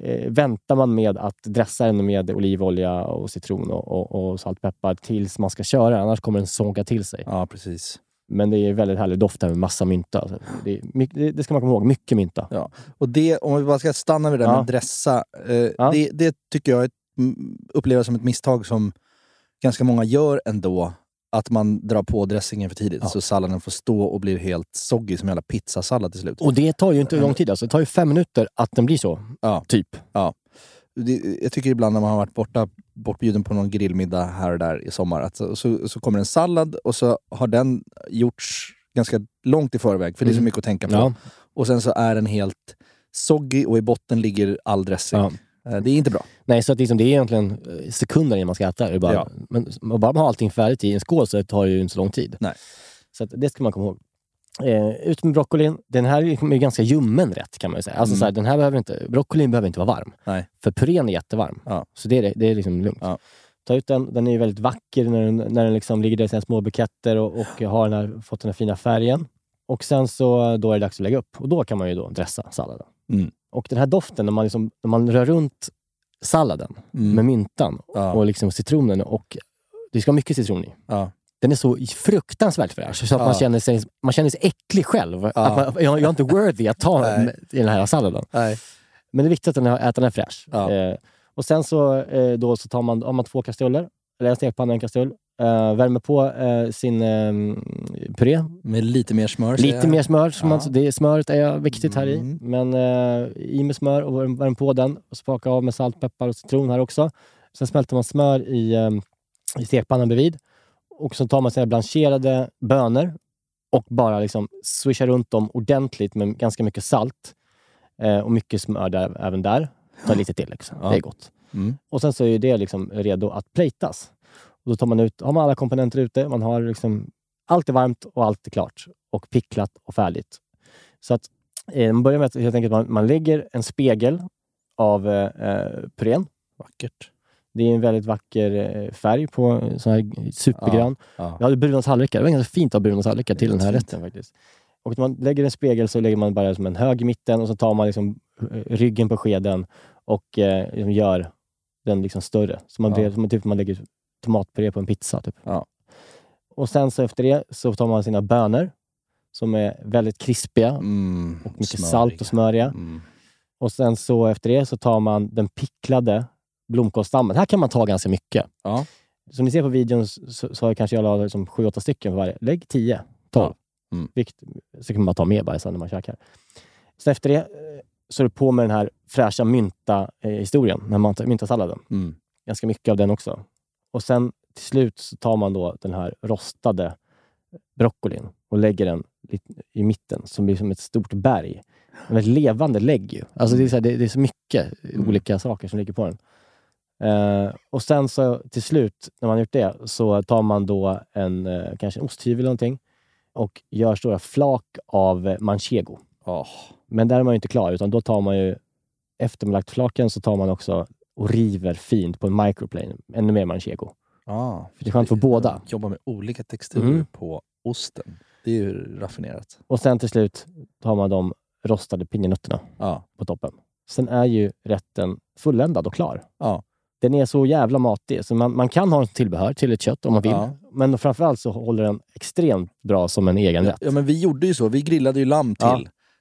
[SPEAKER 4] eh, väntar man med att dressa den med olivolja och citron och, och, och saltpeppar tills man ska köra. Annars kommer den såga till sig.
[SPEAKER 3] ja, precis.
[SPEAKER 4] Men det är väldigt härlig doft här med massa mynta. Alltså, Det, är mycket- det, det ska man komma ihåg. Mycket mynta.
[SPEAKER 3] Och det, om vi bara ska stanna vid det där
[SPEAKER 4] Ja.
[SPEAKER 3] med att dressa. Eh,
[SPEAKER 4] Ja.
[SPEAKER 3] det, det tycker jag är ett- m- upplever som ett misstag som ganska många gör ändå. Att man drar på dressingen för tidigt
[SPEAKER 4] Ja.
[SPEAKER 3] så salladen får stå och blir helt soggy som en jävla pizzasallad till slut.
[SPEAKER 4] Och det tar ju inte lång tid. Alltså. Det tar ju fem minuter att den blir så.
[SPEAKER 3] Ja.
[SPEAKER 4] Typ.
[SPEAKER 3] det, jag tycker ibland när man har varit borta, bortbjuden på någon grillmiddag här och där i sommar, att så, så, så kommer en sallad och så har den gjorts ganska långt i förväg, för det är så
[SPEAKER 4] Mm.
[SPEAKER 3] mycket att tänka på.
[SPEAKER 4] Ja.
[SPEAKER 3] Och sen så är den helt soggy och i botten ligger all dressing.
[SPEAKER 4] Ja.
[SPEAKER 3] Eh, Det är inte bra.
[SPEAKER 4] Nej, så att liksom, det är egentligen eh, sekunder innan man ska äta. Det är bara,
[SPEAKER 3] Ja.
[SPEAKER 4] men, och bara man har allting färdigt i en skål så tar det ju inte så lång tid.
[SPEAKER 3] Nej.
[SPEAKER 4] Så att, det ska man komma ihåg. Eh, ut med broccolin. Den här är ju ganska ljummen rätt kan man ju säga. Alltså,
[SPEAKER 3] Mm.
[SPEAKER 4] så här, den här behöver inte, broccolin behöver inte vara varm.
[SPEAKER 3] Nej.
[SPEAKER 4] För purén är jättevarm.
[SPEAKER 3] Ja.
[SPEAKER 4] Så det är, det är liksom lugnt.
[SPEAKER 3] Ja.
[SPEAKER 4] Ta ut den. Den är ju väldigt vacker när den, när den liksom ligger där i sina små buketter och, och har den här, fått den här fina färgen. Och sen så då är det dags att lägga upp och då kan man ju då dressa salladen.
[SPEAKER 3] Mm.
[SPEAKER 4] Och den här doften, när man, liksom, när man rör runt salladen
[SPEAKER 3] Mm.
[SPEAKER 4] med myntan
[SPEAKER 3] Ja.
[SPEAKER 4] och liksom citronen. Och det ska ha mycket citron i.
[SPEAKER 3] Ja.
[SPEAKER 4] Den är så fruktansvärt fräsch så att man,
[SPEAKER 3] Ja.
[SPEAKER 4] känner sig, man känner sig äcklig själv. Att man, jag, jag är inte worthy att ta
[SPEAKER 3] Nej.
[SPEAKER 4] i den här salladen.
[SPEAKER 3] Nej.
[SPEAKER 4] Men det är viktigt att den är, att den är fräsch.
[SPEAKER 3] Ja.
[SPEAKER 4] Eh, och sen så, eh, då så tar man, har man två kastruller, eller en stekpanna och en kastrull. Eh, värmer på eh, sin eh, puré
[SPEAKER 3] Med lite mer smör säger
[SPEAKER 4] Lite
[SPEAKER 3] jag.
[SPEAKER 4] mer smör. Som
[SPEAKER 3] Ja.
[SPEAKER 4] man, det, smöret är viktigt här i.
[SPEAKER 3] Mm.
[SPEAKER 4] Men eh, i med smör och värm- värm på den. Och spaka av med salt, peppar och citron här också. Sen smälter man smör i, eh, i stekpannan bredvid. Och så tar man sina blancherade bönor och bara liksom swishar runt dem ordentligt med ganska mycket salt. Eh, och mycket smör där, även där. Ta lite till. Liksom.
[SPEAKER 3] Ja.
[SPEAKER 4] Det är gott.
[SPEAKER 3] Mm.
[SPEAKER 4] Och sen så är ju det liksom redo att plejtas. Och då tar man ut, har man alla komponenter ute, man har liksom, allt är varmt och allt är klart och picklat och färdigt. Så att eh, man börjar med att helt enkelt man, man lägger en spegel av eh, eh, purén.
[SPEAKER 3] Vackert.
[SPEAKER 4] Det är en väldigt vacker eh, färg på eh, sån här supergrön.
[SPEAKER 3] Ja.
[SPEAKER 4] Jag hade bruna tallrikar. Det var ganska fint att ha bruna tallrikar till den här
[SPEAKER 3] Fint.
[SPEAKER 4] rätten faktiskt. Och när man lägger en spegel så lägger man bara som en hög i mitten och så tar man liksom eh, ryggen på skeden och eh, liksom gör den liksom större. Så man,
[SPEAKER 3] Ja.
[SPEAKER 4] blir- som typ man lägger tomatpuré på en pizza. Typ.
[SPEAKER 3] Ja.
[SPEAKER 4] Och sen så efter det så tar man sina bönor som är väldigt krispiga.
[SPEAKER 3] Mm,
[SPEAKER 4] Och mycket
[SPEAKER 3] smöriga.
[SPEAKER 4] salt och smöriga.
[SPEAKER 3] Mm.
[SPEAKER 4] Och sen så efter det så tar man den picklade blomkålsstammen. Här kan man ta ganska mycket.
[SPEAKER 3] Ja.
[SPEAKER 4] Som ni ser på videon så, så har jag kanske jag la liksom 7-8 stycken för varje. Lägg 10, 12.
[SPEAKER 3] Ja. Mm.
[SPEAKER 4] Vikt, så kan man bara ta med bara sen när man käkar. Så efter det eh, så är det på med den här fräscha eh, mynta-historien, den här mynta- myntasalladen.
[SPEAKER 3] Mm.
[SPEAKER 4] Ganska mycket av den också. Och sen till slut så tar man då den här rostade broccolin och lägger den lite i mitten som blir som ett stort berg. Men ett levande lägg ju. Alltså det, är så här, det, det är så mycket olika saker som ligger på den. Eh, och sen så till slut, när man har gjort det, så tar man då en, eh, kanske en osthyvel eller någonting och gör stora flak av eh, manchego.
[SPEAKER 3] Ah.
[SPEAKER 4] Men där är man ju inte klar, utan då tar man ju, efter man lagt flaken, så tar man också och river fint på en microplane. Ännu mer manchego.
[SPEAKER 3] Ah.
[SPEAKER 4] För det är skönt för båda.
[SPEAKER 3] Jobba med olika texturer
[SPEAKER 4] Mm.
[SPEAKER 3] på osten. Det är ju raffinerat.
[SPEAKER 4] Och sen till slut tar man de rostade pinjenötterna
[SPEAKER 3] Ja.
[SPEAKER 4] på toppen. Sen är ju rätten fulländad och klar.
[SPEAKER 3] Ja.
[SPEAKER 4] Den är så jävla matig, så man, man kan ha en tillbehör till ett kött om man vill.
[SPEAKER 3] Ja.
[SPEAKER 4] Men framförallt så håller den extremt bra som en egen rätt.
[SPEAKER 3] ja, men vi gjorde ju så. Vi grillade ju lamm till.
[SPEAKER 4] Ja.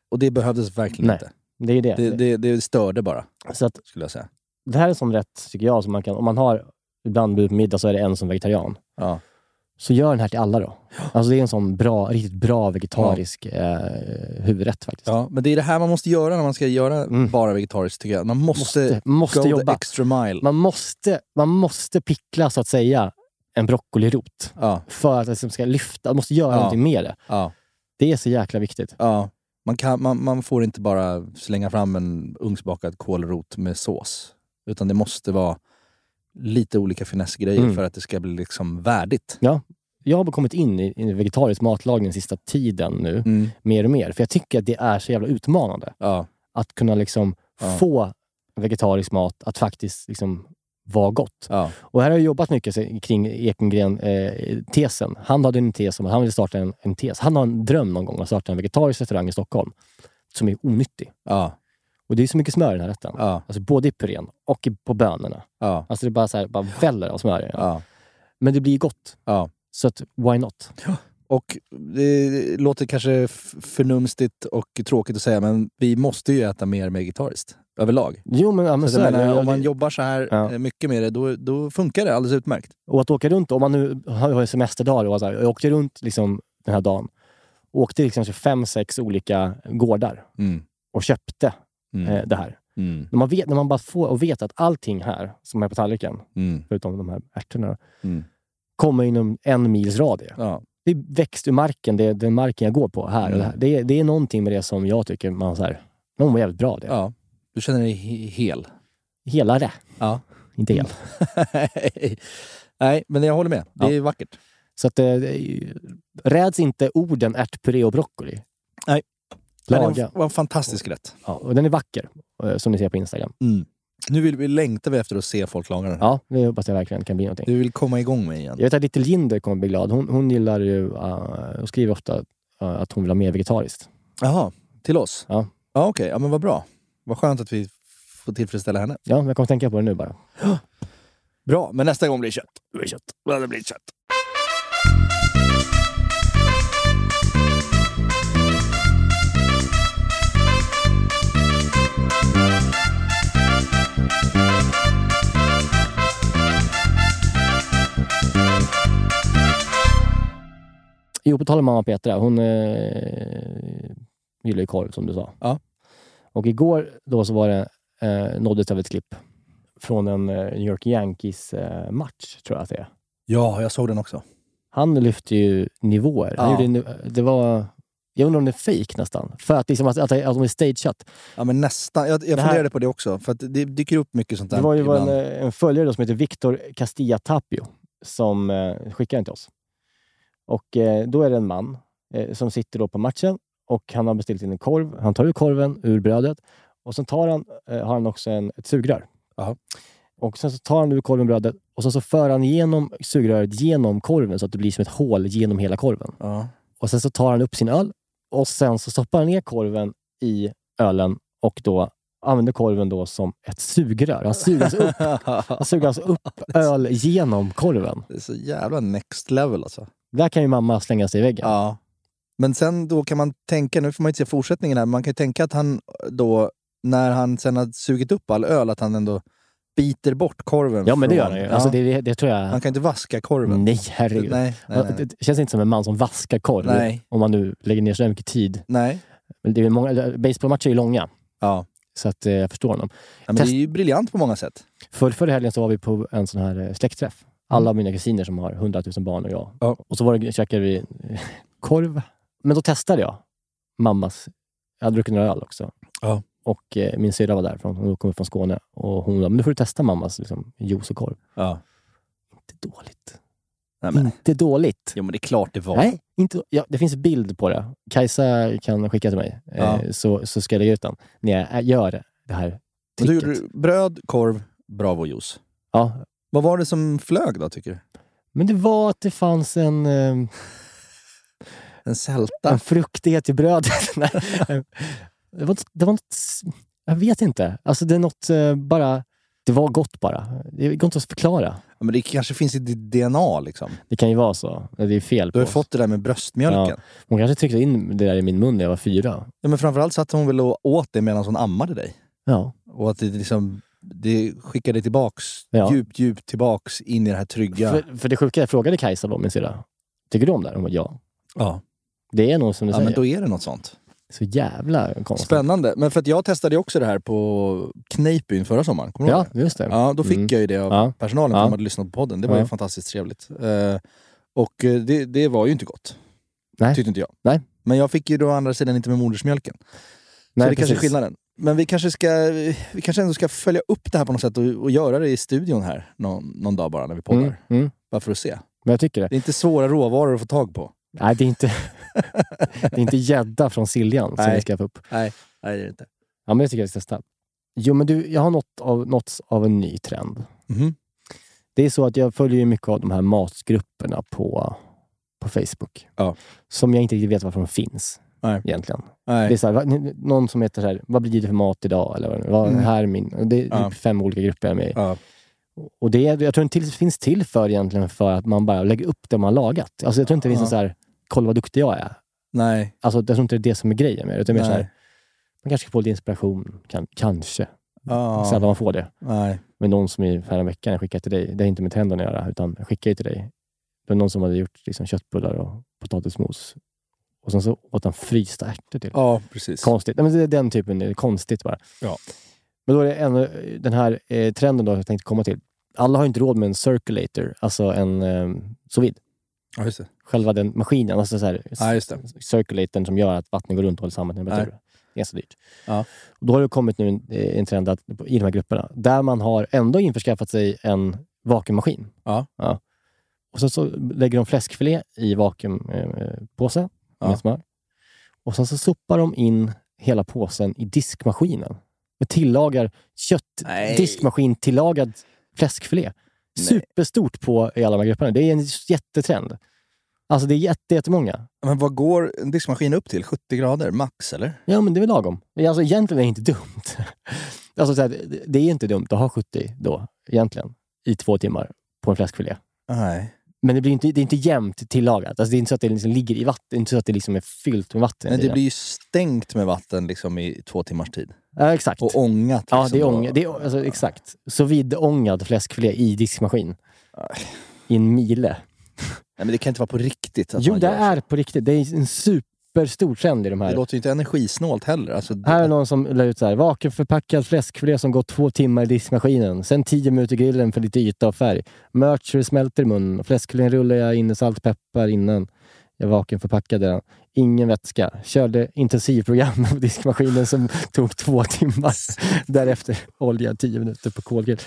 [SPEAKER 3] Och det behövdes verkligen
[SPEAKER 4] Nej.
[SPEAKER 3] inte.
[SPEAKER 4] Det är
[SPEAKER 3] Det,
[SPEAKER 4] det.
[SPEAKER 3] det, det störde bara,
[SPEAKER 4] Så att,
[SPEAKER 3] skulle jag säga.
[SPEAKER 4] det här är en sån rätt, tycker jag, som man kan... Om man har ibland bjudit på middag så är det en som vegetarian.
[SPEAKER 3] Ja.
[SPEAKER 4] Så gör den här till alla då. Alltså det är en sån bra, riktigt bra vegetarisk eh, huvudrätt faktiskt.
[SPEAKER 3] Ja, men det är det här man måste göra när man ska göra
[SPEAKER 4] Mm.
[SPEAKER 3] bara vegetariskt, tycker jag. Man måste,
[SPEAKER 4] Måste- måste
[SPEAKER 3] go the
[SPEAKER 4] jobba.
[SPEAKER 3] extra mile.
[SPEAKER 4] Man, måste, man måste pickla, så att säga, en broccolirot
[SPEAKER 3] Ja,
[SPEAKER 4] för att det liksom ska lyfta. Man måste göra
[SPEAKER 3] Ja.
[SPEAKER 4] någonting med det.
[SPEAKER 3] ja,
[SPEAKER 4] Det är så jäkla viktigt.
[SPEAKER 3] ja. Man, kan, man, man får inte bara slänga fram en ugnsbakad kålrot med sås. Utan det måste vara lite olika finessgrejer
[SPEAKER 4] Mm.
[SPEAKER 3] för att det ska bli liksom värdigt.
[SPEAKER 4] Jag har kommit in i, i vegetarisk matlagning sista tiden nu,
[SPEAKER 3] Mm.
[SPEAKER 4] mer och mer. För jag tycker att det är så jävla utmanande.
[SPEAKER 3] Ja.
[SPEAKER 4] Att kunna liksom
[SPEAKER 3] Ja.
[SPEAKER 4] få vegetarisk mat att faktiskt liksom vara gott.
[SPEAKER 3] Ja.
[SPEAKER 4] Och här har jag jobbat mycket se- kring Ekengren-tesen. han hade en tes om att han ville starta en, en tes. Han har en dröm någon gång att starta en vegetarisk restaurang i Stockholm som är onyttig.
[SPEAKER 3] Ja.
[SPEAKER 4] Och det är så mycket smör i den här rätten.
[SPEAKER 3] Ja.
[SPEAKER 4] Alltså både i purén och i, på bönorna.
[SPEAKER 3] Ja.
[SPEAKER 4] Alltså det bara, så här, bara väller av smör i den.
[SPEAKER 3] Ja.
[SPEAKER 4] Men det blir gott.
[SPEAKER 3] Ja.
[SPEAKER 4] Så att, why not?
[SPEAKER 3] Och det låter kanske f- förnumstigt och tråkigt att säga, men vi måste ju äta mer vegetariskt överlag.
[SPEAKER 4] Jo, men, ja, men
[SPEAKER 3] Så
[SPEAKER 4] så
[SPEAKER 3] jag
[SPEAKER 4] är det.
[SPEAKER 3] menar, om man jobbar så här
[SPEAKER 4] Ja.
[SPEAKER 3] eh, mycket med det, då, då funkar det alldeles utmärkt.
[SPEAKER 4] Och att åka runt, om man nu har har semesterdagar. Och så här, jag åkte runt liksom den här dagen. Åkte liksom till fem, sex olika gårdar
[SPEAKER 3] Mm.
[SPEAKER 4] och köpte
[SPEAKER 3] Mm.
[SPEAKER 4] eh, det här.
[SPEAKER 3] Mm.
[SPEAKER 4] När man, vet, när man bara får och vet att allting här som är på tallriken,
[SPEAKER 3] Mm.
[SPEAKER 4] förutom de här ärtorna,
[SPEAKER 3] Mm.
[SPEAKER 4] kommer inom en mils radie.
[SPEAKER 3] Ja.
[SPEAKER 4] Det är växt ur marken, det är den marken jag går på här.
[SPEAKER 3] Mm.
[SPEAKER 4] Och det, här. Det, är, det är någonting med det som jag tycker man så här, någon var jävligt bra av det.
[SPEAKER 3] ja. Du känner dig he- hel?
[SPEAKER 4] Hela det.
[SPEAKER 3] Ja.
[SPEAKER 4] Inte hel.
[SPEAKER 3] Nej, men jag håller med. Det
[SPEAKER 4] Ja.
[SPEAKER 3] är vackert.
[SPEAKER 4] Så att, eh, det är ju- räds inte orden ärtpuré och broccoli.
[SPEAKER 3] Nej. Men
[SPEAKER 4] Laga.
[SPEAKER 3] Det var en fantastisk rätt. Mm.
[SPEAKER 4] Ja, och den är vacker, eh, som ni ser på Instagram.
[SPEAKER 3] Nu vill vi, längtar vi efter att se folk laga den.
[SPEAKER 4] Ja, det hoppas jag verkligen kan bli någonting.
[SPEAKER 3] Du vill komma igång med igen.
[SPEAKER 4] Jag vet att Little Jinder kommer bli glad. Hon, hon gillar ju, eh, hon skriver ofta eh, att hon vill ha mer vegetariskt.
[SPEAKER 3] Jaha, till oss?
[SPEAKER 4] Ja.
[SPEAKER 3] Ja, okej. Ja, men vad bra. Vad skönt att vi får tillfredsställa henne.
[SPEAKER 4] Ja, men jag kommer att tänka på det nu bara.
[SPEAKER 3] Bra, men nästa gång blir det kött. Det blir kött. Ja, det blir kött.
[SPEAKER 4] Jo, på tal om mamma Petra. Hon eh, gillar ju korv, som du sa.
[SPEAKER 3] Ja.
[SPEAKER 4] Och igår då så var det, eh, nåddes jag av ett klipp från en eh, New York Yankees-match, tror jag att det är.
[SPEAKER 3] Ja, jag såg den också.
[SPEAKER 4] Han lyfte ju nivåer. Han
[SPEAKER 3] Ja.
[SPEAKER 4] gjorde, nu- det var... Jag undrar om det är fejk nästan. För att, liksom, att, att, att de är stageat.
[SPEAKER 3] Ja, men nästan. Jag, jag
[SPEAKER 4] Det här-
[SPEAKER 3] funderade på det också, för att det dyker upp mycket sånt där
[SPEAKER 4] Det var ju en,
[SPEAKER 3] ibland.
[SPEAKER 4] eh, en följare då som heter Victor Castilla Tapio som eh, skickade den till oss. Och eh, då är det en man eh, som sitter då på matchen och han har beställt in en korv. Han tar ur korven ur brödet och sen tar han, eh, har han också en, ett sugrör.
[SPEAKER 3] Aha.
[SPEAKER 4] Och sen så tar han ur korven brödet och sen så för han igenom sugröret genom korven så att det blir som ett hål genom hela korven.
[SPEAKER 3] Ja.
[SPEAKER 4] Och sen så tar han upp sin öl och sen så stoppar han ner korven i ölen och då använder korven då som ett sugrör. Han suger alltså upp, han suger alltså upp öl genom korven.
[SPEAKER 3] Det är så jävla next level alltså.
[SPEAKER 4] Där kan ju mamma slänga sig i väggen.
[SPEAKER 3] Ja. Men sen då kan man tänka, nu får man inte se fortsättningen här, men man kan ju tänka att han då, när han sen har sugit upp all öl, att han ändå biter bort korven.
[SPEAKER 4] Ja, men det gör
[SPEAKER 3] från-
[SPEAKER 4] han ju.
[SPEAKER 3] Ja.
[SPEAKER 4] Alltså, det, det, det tror jag...
[SPEAKER 3] Han kan inte vaska korven.
[SPEAKER 4] Nej, herregud.
[SPEAKER 3] nej, nej, nej.
[SPEAKER 4] Det känns inte som en man som vaskar korv.
[SPEAKER 3] Nej.
[SPEAKER 4] Om man nu lägger ner så mycket tid.
[SPEAKER 3] nej.
[SPEAKER 4] Men Det är många, baseballmatcher är ju långa,
[SPEAKER 3] Ja.
[SPEAKER 4] så att, eh, jag förstår honom.
[SPEAKER 3] Ja, men det är ju briljant på många sätt.
[SPEAKER 4] För, förra helgen så var vi på en sån här eh, släktträff. Alla mina kusiner som har 100 000 barn och jag.
[SPEAKER 3] Mm. Ja.
[SPEAKER 4] Och så var det, käkade vi eh, korv. Men då testade jag mammas... Jag hade druckit några öl också.
[SPEAKER 3] Ja.
[SPEAKER 4] Och eh, min syrra var därifrån. Hon kom upp från Skåne. Och hon sa, men nu får du testa mammas liksom, juice och korv.
[SPEAKER 3] Ja.
[SPEAKER 4] Inte dåligt.
[SPEAKER 3] Nej, men.
[SPEAKER 4] Inte dåligt.
[SPEAKER 3] Jo, men det är klart det var.
[SPEAKER 4] Nej, inte, ja, det finns bild på det. Kajsa kan skicka till mig,
[SPEAKER 3] Ja.
[SPEAKER 4] eh, så, så ska jag lägga ut den. När jag eh, gör det här
[SPEAKER 3] Men då gjorde
[SPEAKER 4] tricket.
[SPEAKER 3] du bröd, korv, bravo-juice.
[SPEAKER 4] Ja,
[SPEAKER 3] Vad var det som flög då, tycker du?
[SPEAKER 4] men det var att det fanns en, eh,
[SPEAKER 3] En sälta?
[SPEAKER 4] en fruktighet i brödet. Nej, eh, det, var, det var något... Jag vet inte. Alltså, det är något eh, bara... Det var gott bara. Det går inte att förklara.
[SPEAKER 3] Ja, men det kanske finns i ditt DNA, liksom.
[SPEAKER 4] Det kan ju vara så. Det är fel
[SPEAKER 3] Du
[SPEAKER 4] på
[SPEAKER 3] har ju
[SPEAKER 4] oss.
[SPEAKER 3] fått det där med bröstmjölken. Ja.
[SPEAKER 4] Hon kanske tryckte in det där i min mun när jag var fyra.
[SPEAKER 3] men framförallt satt hon väl och åt det medan hon ammade dig.
[SPEAKER 4] Ja.
[SPEAKER 3] Och att det liksom det skickar dig tillbaks,
[SPEAKER 4] Ja.
[SPEAKER 3] djupt, djupt tillbaks in i det här trygga.
[SPEAKER 4] För, för det sjuka, jag frågade Kajsa då, min syrra. Tycker du om det här? Hon bara, ja.
[SPEAKER 3] ja.
[SPEAKER 4] Det är nog som du
[SPEAKER 3] ja,
[SPEAKER 4] säger.
[SPEAKER 3] men då är det något sånt.
[SPEAKER 4] Så jävla konstigt.
[SPEAKER 3] Spännande. Men för att jag testade ju också det här på Kneippbyn förra sommaren. Kommer du ihåg
[SPEAKER 4] Ja,
[SPEAKER 3] det?
[SPEAKER 4] just det.
[SPEAKER 3] Ja, då fick
[SPEAKER 4] Mm.
[SPEAKER 3] jag ju det av
[SPEAKER 4] Ja.
[SPEAKER 3] personalen för
[SPEAKER 4] Ja.
[SPEAKER 3] de hade lyssnat på podden. Det var ju
[SPEAKER 4] Ja.
[SPEAKER 3] fantastiskt trevligt. Eh, och eh, det, det var ju inte gott.
[SPEAKER 4] Nej.
[SPEAKER 3] Tyckte inte jag.
[SPEAKER 4] Nej.
[SPEAKER 3] Men jag fick ju då å andra sidan inte med modersmjölken.
[SPEAKER 4] Nej,
[SPEAKER 3] så det kanske är
[SPEAKER 4] precis.
[SPEAKER 3] skillnaden. Men vi kanske, ska, vi kanske ändå ska följa upp det här på något sätt och, och göra det i studion här någon, någon dag bara när vi poddar.
[SPEAKER 4] Mm, mm.
[SPEAKER 3] Bara för att se.
[SPEAKER 4] Men jag tycker det.
[SPEAKER 3] Det är inte svåra råvaror att få tag på.
[SPEAKER 4] Nej, det är inte det är inte gädda från Siljan som
[SPEAKER 3] Nej.
[SPEAKER 4] vi ska få upp.
[SPEAKER 3] Nej, nej det är det inte.
[SPEAKER 4] Ja, men jag tycker jag ska testa. Jo, men du, jag har nått av, nåtts av en ny trend.
[SPEAKER 3] Mhm.
[SPEAKER 4] Det är så att jag följer ju mycket av de här matgrupperna på, på Facebook.
[SPEAKER 3] Ja.
[SPEAKER 4] Som jag inte riktigt vet varför de finns
[SPEAKER 3] Nej.
[SPEAKER 4] egentligen. Det är
[SPEAKER 3] Nej.
[SPEAKER 4] så här, va- n- någon som heter så här, vad blir det för mat idag? Eller vad- vad
[SPEAKER 3] Mm.
[SPEAKER 4] här är min... Det är typ
[SPEAKER 3] Ja.
[SPEAKER 4] fem olika grupper jag är med i.
[SPEAKER 3] Ja.
[SPEAKER 4] Och det, jag tror inte det finns till för egentligen för att man bara lägger upp det man har lagat. Alltså jag tror inte det finns
[SPEAKER 3] Ja.
[SPEAKER 4] en så här, kolla vad duktig jag är.
[SPEAKER 3] Nej.
[SPEAKER 4] Alltså jag tror inte det är det som är grejen med det. Utan mer så
[SPEAKER 3] Nej.
[SPEAKER 4] här, man kanske får lite inspiration, kan, kanske.
[SPEAKER 3] Ja.
[SPEAKER 4] Sällan man får det.
[SPEAKER 3] Ah, Nej.
[SPEAKER 4] Men någon som i förra veckan jag skickade till dig, det har inte med tänderna att göra, utan jag skickade till dig. Det var någon som hade gjort liksom, köttbullar och potatismos. Och sen så åt han frysta ärtor till.
[SPEAKER 3] Ja, precis.
[SPEAKER 4] Konstigt. Nej, men det är den typen, det är konstigt bara.
[SPEAKER 3] Ja.
[SPEAKER 4] Men då är det en, den här eh, trenden då jag tänkte komma till. Alla har ju inte råd med en circulator, alltså en eh, sous vide.
[SPEAKER 3] Ja, just det.
[SPEAKER 4] Själva den maskinen, alltså så här,
[SPEAKER 3] Ja, just det.
[SPEAKER 4] circulatorn som gör att vattnet går runt och håller samma temperatur.
[SPEAKER 3] Nej.
[SPEAKER 4] Det är ganska dyrt.
[SPEAKER 3] Ja.
[SPEAKER 4] Och då har det kommit nu en, eh, en trend att, i de här grupperna, där man har ändå införskaffat sig en vakuummaskin.
[SPEAKER 3] Ja.
[SPEAKER 4] Och sen så lägger de fläskfilé i vakuumpåse med
[SPEAKER 3] Ja.
[SPEAKER 4] smör. Och sen så sopar de in hela påsen i diskmaskinen. Och tillagar kött,
[SPEAKER 3] Nej.
[SPEAKER 4] diskmaskin tillagad fläskfilé. Superstort på i alla de här grupperna. Det är en jättetrend. Alltså det är jätte, jättemånga.
[SPEAKER 3] Men vad går en diskmaskin upp till? 70 grader max, eller?
[SPEAKER 4] Ja, men det är väl lagom. Alltså, egentligen är det inte dumt. Alltså, så här, det- det är inte dumt att ha 70 då, egentligen, i två timmar på en fläskfilé.
[SPEAKER 3] Nej.
[SPEAKER 4] Men det, blir inte, det är inte jämnt tillagat. Alltså, det är inte så att det liksom ligger i vatten. Det är inte så att det liksom är fyllt med vatten. i
[SPEAKER 3] Men det
[SPEAKER 4] tiden.
[SPEAKER 3] blir ju stängt med vatten liksom i två timmars tid.
[SPEAKER 4] ja, exakt.
[SPEAKER 3] Och ångat. Liksom
[SPEAKER 4] ja, det är
[SPEAKER 3] då.
[SPEAKER 4] ånga. Det är, alltså, exakt. Så vidångad fläskfilé i diskmaskin. I en mile.
[SPEAKER 3] Nej, men det kan inte vara på riktigt. Att
[SPEAKER 4] Jo,
[SPEAKER 3] man
[SPEAKER 4] det
[SPEAKER 3] gör så.
[SPEAKER 4] är på riktigt. Det är en superstor trend i de
[SPEAKER 3] Det
[SPEAKER 4] här.
[SPEAKER 3] låter ju inte energisnålt heller. Alltså,
[SPEAKER 4] Här är någon som la ut så här. Vakuumförpackad fläskfilé som går två timmar i diskmaskinen. Sen tio minuter i grillen för lite yta och färg. Mörtser smälter i munnen. Fläskfilén rullar jag in i salt och peppar innan jag vakuumförpackade den. Ingen vätska. Körde intensivprogram på diskmaskinen som tog två timmar. Därefter olja tio minuter på kolgrill.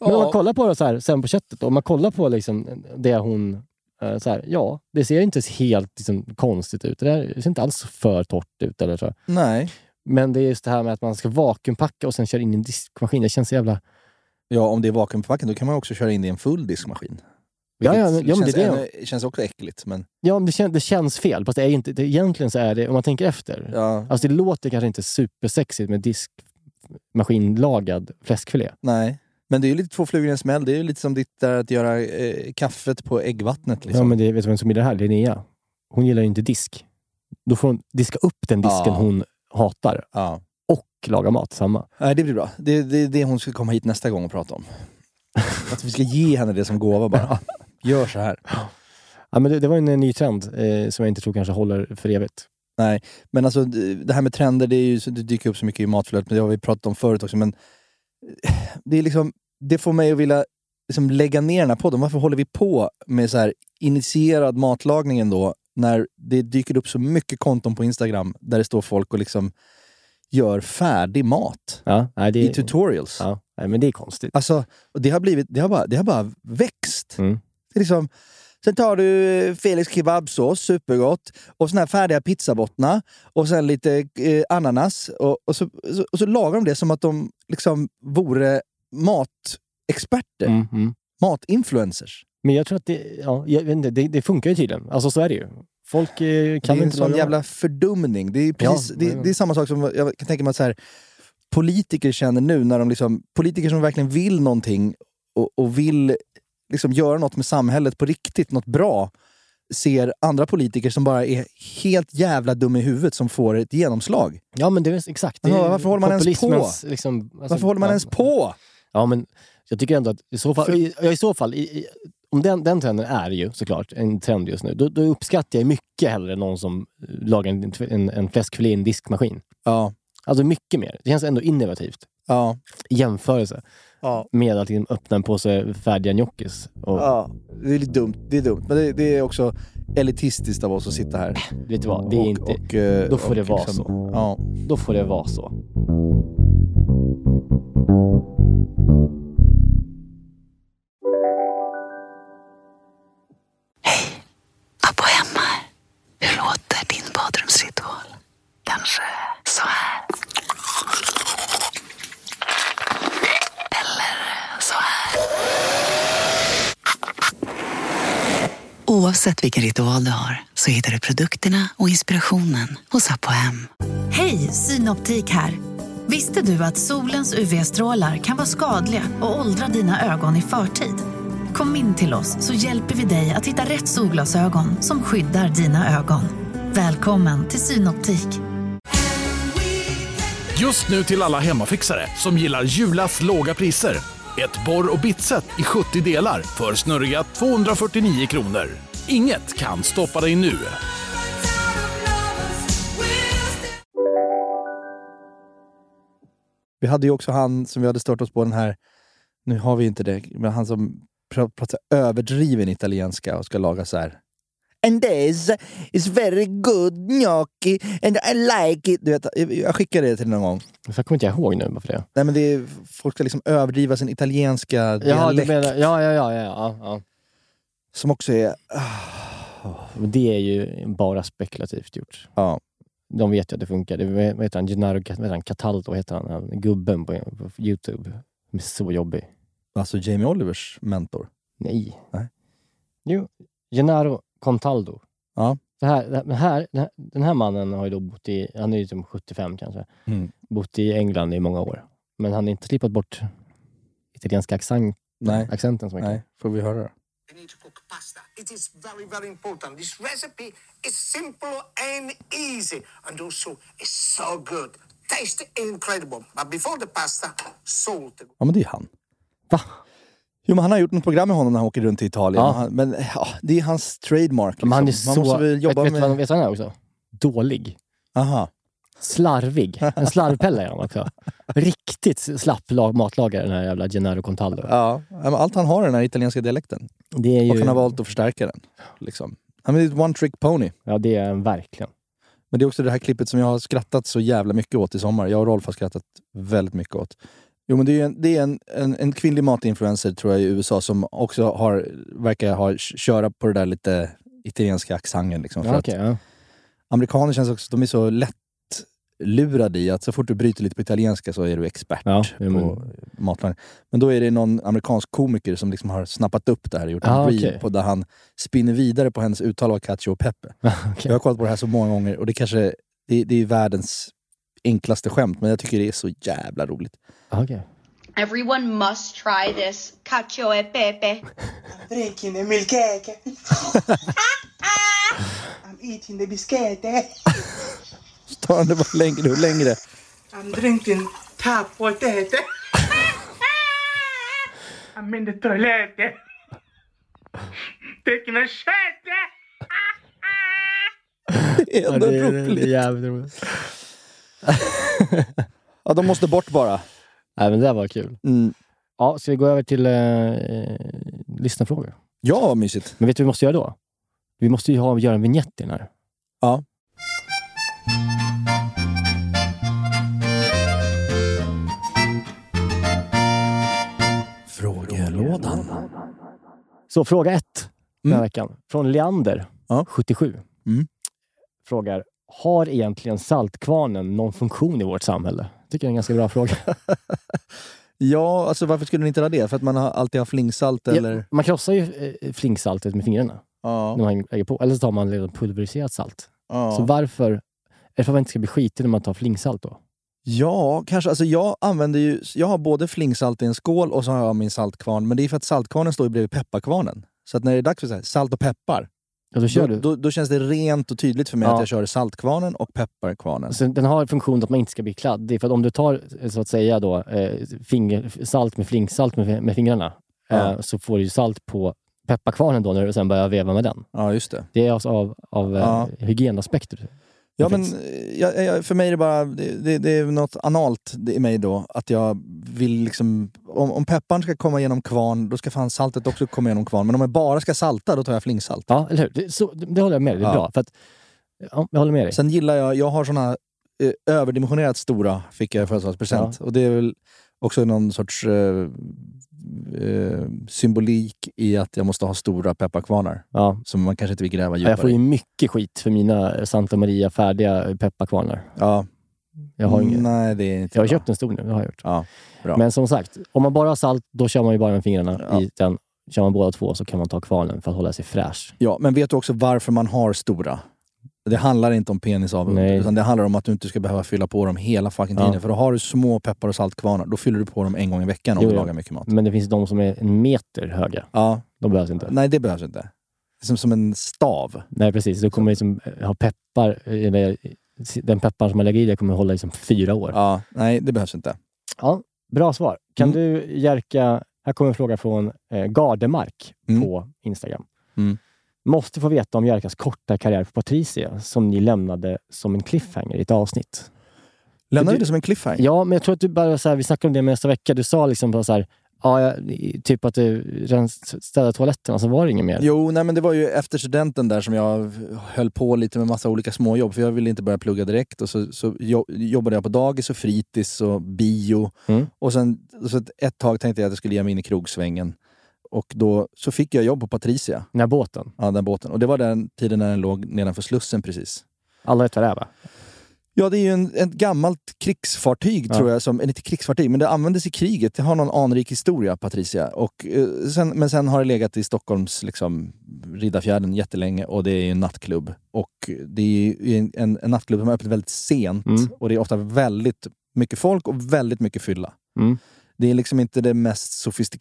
[SPEAKER 4] Men om man kollar på det så här, sen på köttet, då, om man kollar på liksom det hon... eh, Så här, ja, det ser inte helt liksom, konstigt ut. Det, där, det ser inte alls för torrt ut. Eller så.
[SPEAKER 3] Nej.
[SPEAKER 4] Men det är just det här med att man ska vakuumpacka och sen köra in i en diskmaskin. Det känns så jävla...
[SPEAKER 3] Ja, om det är vakuumförpackat då kan man också köra in det i en full diskmaskin.
[SPEAKER 4] Ja, ja,
[SPEAKER 3] Vilket
[SPEAKER 4] ja, men det
[SPEAKER 3] känns,
[SPEAKER 4] är det.
[SPEAKER 3] ännu- känns också äckligt. Men,
[SPEAKER 4] Ja, men det, kän, det känns fel. Fast det är ju inte, det, egentligen så är det, om man tänker efter.
[SPEAKER 3] ja,
[SPEAKER 4] Alltså det låter kanske inte supersexigt med diskmaskinlagad fläskfilé.
[SPEAKER 3] nej. men det är ju lite två flugor i en smäll. Det är ju lite som ditt där att göra eh, kaffet på äggvattnet. Liksom.
[SPEAKER 4] Ja, men det, vet du vem som gillar det här? Linnea. Hon gillar ju inte disk. Då får hon diska upp den disken
[SPEAKER 3] Ja.
[SPEAKER 4] hon hatar
[SPEAKER 3] Ja.
[SPEAKER 4] och laga mat samma.
[SPEAKER 3] Nej, det blir bra. Det är det, är det hon ska komma hit nästa gång och prata om. Att vi ska ge henne det som gåva bara. Gör så här.
[SPEAKER 4] Ja, men det, det var en eh, ny trend eh, som jag inte tror kanske håller för evigt.
[SPEAKER 3] Nej, men alltså det det här med trender, det, är ju, så- det dyker upp så mycket i matflödet, men det har vi pratat om förut också. Men det, är liksom, det får mig att vilja liksom lägga ner den här podden. Varför håller vi på med så här initierad matlagning ändå, när det dyker upp så mycket konton på Instagram där det står folk och liksom gör färdig mat
[SPEAKER 4] Ja, nej, det,
[SPEAKER 3] i tutorials.
[SPEAKER 4] ja, nej, men det är konstigt.
[SPEAKER 3] Alltså, och det har, blivit, det har, bara, det har bara växt.
[SPEAKER 4] Mm.
[SPEAKER 3] Det är liksom, sen tar du Felix kebabsås, supergott. Och såna här färdiga pizzabottnar. Och sen lite eh, ananas. Och, och, så, så, och så lagar de det som att de liksom vore matexperter.
[SPEAKER 4] Mm, mm.
[SPEAKER 3] Matinfluencers.
[SPEAKER 4] Men jag tror att det, ja, jag vet inte, det, det funkar ju tydligen. Alltså så är det ju. Folk eh, kan
[SPEAKER 3] det är en
[SPEAKER 4] inte
[SPEAKER 3] sån
[SPEAKER 4] laga
[SPEAKER 3] jävla
[SPEAKER 4] mat.
[SPEAKER 3] fördumning. Det är, precis,
[SPEAKER 4] Ja,
[SPEAKER 3] det,
[SPEAKER 4] men-
[SPEAKER 3] det är samma sak som jag kan tänka mig att så här, politiker känner nu. när de liksom, Politiker som verkligen vill någonting och, och vill liksom göra något med samhället på riktigt, något bra ser andra politiker som bara är helt jävla dum i huvudet som får ett genomslag.
[SPEAKER 4] Ja, men det är exakt. Det är
[SPEAKER 3] Ja, varför håller man ens på?
[SPEAKER 4] populismens, Liksom, alltså,
[SPEAKER 3] Varför håller man
[SPEAKER 4] ja,
[SPEAKER 3] ens på?
[SPEAKER 4] Ja, men jag tycker ändå att i så fall, i, ja, i så fall i, i, om den, den trenden är ju såklart en trend just nu, då, då uppskattar jag mycket hellre någon som eh, lagar en, en, en fläskfilé i en diskmaskin.
[SPEAKER 3] Ja,
[SPEAKER 4] Alltså mycket mer. Det känns ändå innovativt
[SPEAKER 3] ja,
[SPEAKER 4] i jämförelse
[SPEAKER 3] ja.
[SPEAKER 4] med att liksom öppna en påse färdiga gnocchis. Och,
[SPEAKER 3] ja. Det är lite dumt. Det är dumt. Men det, det är också elitistiskt av oss att sitta här.
[SPEAKER 4] Vet du vad? Det är
[SPEAKER 3] och,
[SPEAKER 4] inte...
[SPEAKER 3] och, eh,
[SPEAKER 4] då får
[SPEAKER 3] och
[SPEAKER 4] det vara så.
[SPEAKER 3] Ja.
[SPEAKER 4] Då får det vara så.
[SPEAKER 6] Abba hemma. Hur låter din badrumsritual? Kanske så här. Eller så här. Oavsett vilken ritual du har så hittar du produkterna och inspirationen hos Abba Hem.
[SPEAKER 7] Hej, Synoptik här. Visste du att solens UV-strålar kan vara skadliga och åldra dina ögon i förtid? Kom in till oss så hjälper vi dig att hitta rätt solglasögon som skyddar dina ögon. Välkommen till Synoptik.
[SPEAKER 1] Just nu till alla hemmafixare som gillar Julas låga priser. Ett borr och bitset i 70 delar för snurriga 249 kronor. Inget kan stoppa dig nu.
[SPEAKER 3] Vi hade ju också han som vi hade stört oss på, den här, nu har vi inte det, men han som pra- pratar överdriven italienska och ska laga så här. And this is very good gnocchi and I like it. Du vet, jag- jag skickade det till dig någon gång.
[SPEAKER 4] Jag kommer inte jag ihåg nu varför det.
[SPEAKER 3] Nej, men det är, folk ska liksom överdriva sin italienska
[SPEAKER 4] Ja, du
[SPEAKER 3] dialekt.
[SPEAKER 4] menar, ja, ja, ja, ja, ja, ja.
[SPEAKER 3] Som också är... ah,
[SPEAKER 4] Men Det är ju bara spekulativt gjort.
[SPEAKER 3] Ja.
[SPEAKER 4] De vet ju att det funkar. Det, vad vad heter han? Gennaro vad heter han? Cataldo heter han, han, gubben på, på Youtube. Han är så jobbig.
[SPEAKER 3] Alltså Jamie Olivers mentor.
[SPEAKER 4] Nej.
[SPEAKER 3] Nej.
[SPEAKER 4] Jo, Gennaro Contaldo.
[SPEAKER 3] Ja.
[SPEAKER 4] Det här, det här, den, här, den här- den här mannen har ju då bott i, han är ju typ 75 kanske,
[SPEAKER 3] Mm.
[SPEAKER 4] bott i England i många år. Men han har inte slipat bort italienska accent,
[SPEAKER 3] Nej.
[SPEAKER 4] accenten så mycket.
[SPEAKER 3] Nej, får vi höra det?
[SPEAKER 8] I need to cook pasta. It is very, very important. This recipe is simple and easy, and also it's so good. Taste incredible. But before the pasta, salt.
[SPEAKER 3] Ja, men det är ju han.
[SPEAKER 4] Va?
[SPEAKER 3] Jo, men han har gjort något program med honom när han åker runt i Italien.
[SPEAKER 4] Ja.
[SPEAKER 3] Och Han, men ja, det är hans trademark. Liksom.
[SPEAKER 4] Men han är
[SPEAKER 3] Man
[SPEAKER 4] så...
[SPEAKER 3] måste väl jobba
[SPEAKER 4] vet, vet,
[SPEAKER 3] med...
[SPEAKER 4] vad, vet du vad han är också? Dålig.
[SPEAKER 3] Aha.
[SPEAKER 4] Slarvig. En slarvpelle är han också. Riktigt slapp lag, matlagare, den här jävla Gennaro Contaldo.
[SPEAKER 3] Ja, ja, men allt han har är den här italienska dialekten.
[SPEAKER 4] Det är
[SPEAKER 3] Och
[SPEAKER 4] ju...
[SPEAKER 3] han har valt att förstärka den. Liksom. Han är ett one trick pony.
[SPEAKER 4] Ja, det är han verkligen.
[SPEAKER 3] Men det är också det här klippet som jag har skrattat så jävla mycket åt i sommar. Jag och Rolf har skrattat väldigt mycket åt. Jo, men det är, en, det är en, en, en kvinnlig matinfluencer tror jag i USA som också har, verkar ha, köra på det där lite italienska accenten. Liksom, för
[SPEAKER 4] Ja,
[SPEAKER 3] att
[SPEAKER 4] okej, ja.
[SPEAKER 3] amerikaner känns också, de är så lätt lurade i att så fort du bryter lite på italienska så är du expert
[SPEAKER 4] Ja, jo, men-
[SPEAKER 3] på matlagning. Men då är det någon amerikansk komiker som liksom har snappat upp det här och gjort en
[SPEAKER 4] Ah,
[SPEAKER 3] reel
[SPEAKER 4] okej.
[SPEAKER 3] på där han spinner vidare på hennes uttal av cacio och pepe.
[SPEAKER 4] Okej.
[SPEAKER 3] Jag har kollat på det här så många gånger och det kanske det, det är världens enklaste skämt men jag tycker det är så jävla roligt.
[SPEAKER 4] Ja, okej.
[SPEAKER 9] Everyone must try this cacio e pepe.
[SPEAKER 10] Drinking a milkshake. I'm I'm eating the biscuit. Eh?
[SPEAKER 3] Så tar han det bara längre och längre.
[SPEAKER 10] I'm drinking tap water. Eh? I'm in the toilet. Eh? Taking a shit. Eh?
[SPEAKER 3] Det är ändå
[SPEAKER 4] Ja, det är-
[SPEAKER 3] roligt.
[SPEAKER 4] det är jävligt roligt.
[SPEAKER 3] Ja, de måste bort bara.
[SPEAKER 4] Nej, men det där var kul.
[SPEAKER 3] Mm.
[SPEAKER 4] Ja, ska vi gå över till eh, eh, lyssnarfrågor?
[SPEAKER 3] Ja, vad mysigt.
[SPEAKER 4] Men vet du vad vi måste göra då? Vi måste ju ha, göra en vignett till den här.
[SPEAKER 3] Ja. Frågelådan.
[SPEAKER 4] Så fråga ett den här
[SPEAKER 3] Mm.
[SPEAKER 4] veckan. Från Leander,
[SPEAKER 3] Ja.
[SPEAKER 4] 77.
[SPEAKER 3] Mm.
[SPEAKER 4] Frågar, har egentligen Saltkvarnen någon funktion i vårt samhälle? Tycker jag är en ganska bra fråga.
[SPEAKER 3] Ja, alltså varför skulle ni inte ha det? För att man har alltid har flingsalt
[SPEAKER 4] Ja,
[SPEAKER 3] eller?
[SPEAKER 4] Man krossar ju eh, flingsaltet med fingrarna
[SPEAKER 3] Ja.
[SPEAKER 4] när man lägger på. Eller så tar man redan pulveriserat salt. Så
[SPEAKER 3] Ja.
[SPEAKER 4] varför, är det för att man inte ska bli skitig när man tar flingsalt då?
[SPEAKER 3] ja, kanske. Alltså jag använder ju... Jag har både flingsalt i en skål och så har jag min saltkvarn. Men det är för att saltkvarnen står ju bredvid pepparkvarnen. Så att när det är dags för så här, salt och peppar,
[SPEAKER 4] Ja, då
[SPEAKER 3] då,
[SPEAKER 4] kör du.
[SPEAKER 3] då, då känns det rent och tydligt för mig
[SPEAKER 4] Ja.
[SPEAKER 3] att jag kör saltkvarnen och pepparkvarnen.
[SPEAKER 4] Alltså, den har funktionen att man inte ska bli kladdig. För att om du tar eh, så att säga då, eh, finger, salt med flingsalt med, med fingrarna
[SPEAKER 3] Ja.
[SPEAKER 4] eh, så får du ju salt på pepparkvarnen då när du sen börjar veva med den.
[SPEAKER 3] Ja, just det.
[SPEAKER 4] Det är alltså av, av eh,
[SPEAKER 3] Ja.
[SPEAKER 4] hygienaspekter.
[SPEAKER 3] Ja,
[SPEAKER 4] Det
[SPEAKER 3] men,
[SPEAKER 4] finns.
[SPEAKER 3] eh, jag, jag, för mig är det bara det, det, det är något analt det- i mig då. Att jag vill liksom... Om, om pepparn ska komma genom kvarn, då ska fan saltet också komma genom kvarn. Men om jag bara ska salta, då tar jag flingsalt.
[SPEAKER 4] Ja, eller hur? Det, så, det, det håller jag med dig. Det är
[SPEAKER 3] Ja.
[SPEAKER 4] bra. För att, ja, jag håller med dig.
[SPEAKER 3] Sen gillar jag... Jag har såna eh, överdimensionerat stora fick jag i födelsedagspresent. Och det är väl också någon sorts eh, eh, symbolik i att jag måste ha stora pepparkvarnar.
[SPEAKER 4] Ja.
[SPEAKER 3] Som man kanske inte vill gräva
[SPEAKER 4] Ja,
[SPEAKER 3] djupare
[SPEAKER 4] Jag får
[SPEAKER 3] i.
[SPEAKER 4] ju mycket skit för mina Santa Maria färdiga pepparkvarnar.
[SPEAKER 3] Ja.
[SPEAKER 4] Jag har, ingen,
[SPEAKER 3] Nej, det är inte
[SPEAKER 4] jag har
[SPEAKER 3] bra.
[SPEAKER 4] köpt en stor nu. Det har jag gjort.
[SPEAKER 3] Ja, bra.
[SPEAKER 4] Men som sagt, om man bara har salt, då kör man ju bara med fingrarna
[SPEAKER 3] Ja.
[SPEAKER 4] i den. Kör man båda två så kan man ta kvarnen för att hålla sig fräsch.
[SPEAKER 3] Ja, men vet du också varför man har stora? Det handlar inte om penisavund,
[SPEAKER 4] Nej.
[SPEAKER 3] utan det handlar om att du inte ska behöva fylla på dem hela fucking
[SPEAKER 4] Ja.
[SPEAKER 3] tiden. För då har du små peppar och saltkvarnar, då fyller du på dem en gång i veckan om
[SPEAKER 4] Jo,
[SPEAKER 3] du
[SPEAKER 4] jo.
[SPEAKER 3] lagar mycket mat.
[SPEAKER 4] Men det finns de som är en meter höga.
[SPEAKER 3] Ja,
[SPEAKER 4] De behövs inte.
[SPEAKER 3] nej det behövs inte. Det är Som, som en stav.
[SPEAKER 4] Nej, precis. Då kommer liksom ha peppar. eh, eller Den peppar som man lägger i det kommer hålla i som fyra år. Ja.
[SPEAKER 3] Ja, nej det behövs inte.
[SPEAKER 4] bra svar. Kan
[SPEAKER 3] Mm.
[SPEAKER 4] du, Jerka... Här kommer en fråga från eh, Gardemark
[SPEAKER 3] Mm.
[SPEAKER 4] på Instagram.
[SPEAKER 3] Mm.
[SPEAKER 4] Måste få veta om Jerkas korta karriär på Patricia som ni lämnade som en cliffhanger i ett avsnitt.
[SPEAKER 3] Lämnar vi
[SPEAKER 4] Du-
[SPEAKER 3] det som en cliffhanger?
[SPEAKER 4] Ja, men jag tror att du bara, så här, vi snackade om det nästa vecka. Du sa liksom bara så här, ja, jag- typ att du rens- städade toaletterna, så var det inget mer.
[SPEAKER 3] Jo, nej men det var ju efter studenten där som jag höll på lite med massa olika småjobb. För jag ville inte börja plugga direkt. Och så, så jo, jobbade jag på dagis och fritids och bio.
[SPEAKER 4] Mm.
[SPEAKER 3] Och sen, så ett, ett tag tänkte jag att jag skulle ge mig in i krogsvängen. Och då så fick jag jobb på Patricia,
[SPEAKER 4] Den här båten.
[SPEAKER 3] ja, den båten. Och det var den tiden när den låg nedanför Slussen precis.
[SPEAKER 4] Alla vet vad det är, va?
[SPEAKER 3] Ja, det är ju en, ett gammalt krigsfartyg,
[SPEAKER 4] Ja.
[SPEAKER 3] tror jag. Som, eller inte krigsfartyg, men det användes i kriget. Det har någon anrik historia, Patricia. Och, eh, sen, men sen har det legat i Stockholms liksom, Riddarfjärden jättelänge och det är ju en nattklubb. Och det är ju en, en, en nattklubb som har öppet väldigt sent
[SPEAKER 4] Mm.
[SPEAKER 3] och det är ofta väldigt mycket folk och väldigt mycket fylla.
[SPEAKER 4] Mm.
[SPEAKER 3] Det är liksom inte det mest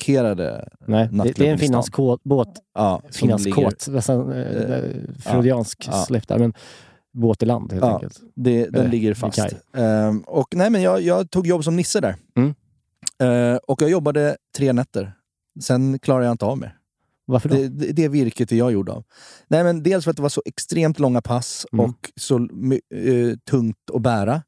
[SPEAKER 3] sofistikerade.
[SPEAKER 4] Nej, det, det är en
[SPEAKER 3] Nattklubben i
[SPEAKER 4] finlandsk kå- båt
[SPEAKER 3] Ja, som ligger-
[SPEAKER 4] Finlandskåt, nästan eh,
[SPEAKER 3] Eh,
[SPEAKER 4] freudiansk
[SPEAKER 3] ja.
[SPEAKER 4] släpp där. Men båt i land helt
[SPEAKER 3] Ja.
[SPEAKER 4] enkelt.
[SPEAKER 3] Det, den
[SPEAKER 4] Eh,
[SPEAKER 3] ligger
[SPEAKER 4] vid
[SPEAKER 3] fast.
[SPEAKER 4] kaj.
[SPEAKER 3] Ehm, och, nej, men jag, jag tog jobb som Nisse där.
[SPEAKER 4] Mm.
[SPEAKER 3] Eh, och jag jobbade tre nätter. Sen klarade jag inte av mer.
[SPEAKER 4] Varför då?
[SPEAKER 3] Det, det, det virket är jag gjord av. Nej, men dels för att det var så extremt långa pass
[SPEAKER 4] Mm.
[SPEAKER 3] och så my- eh, tungt att bära.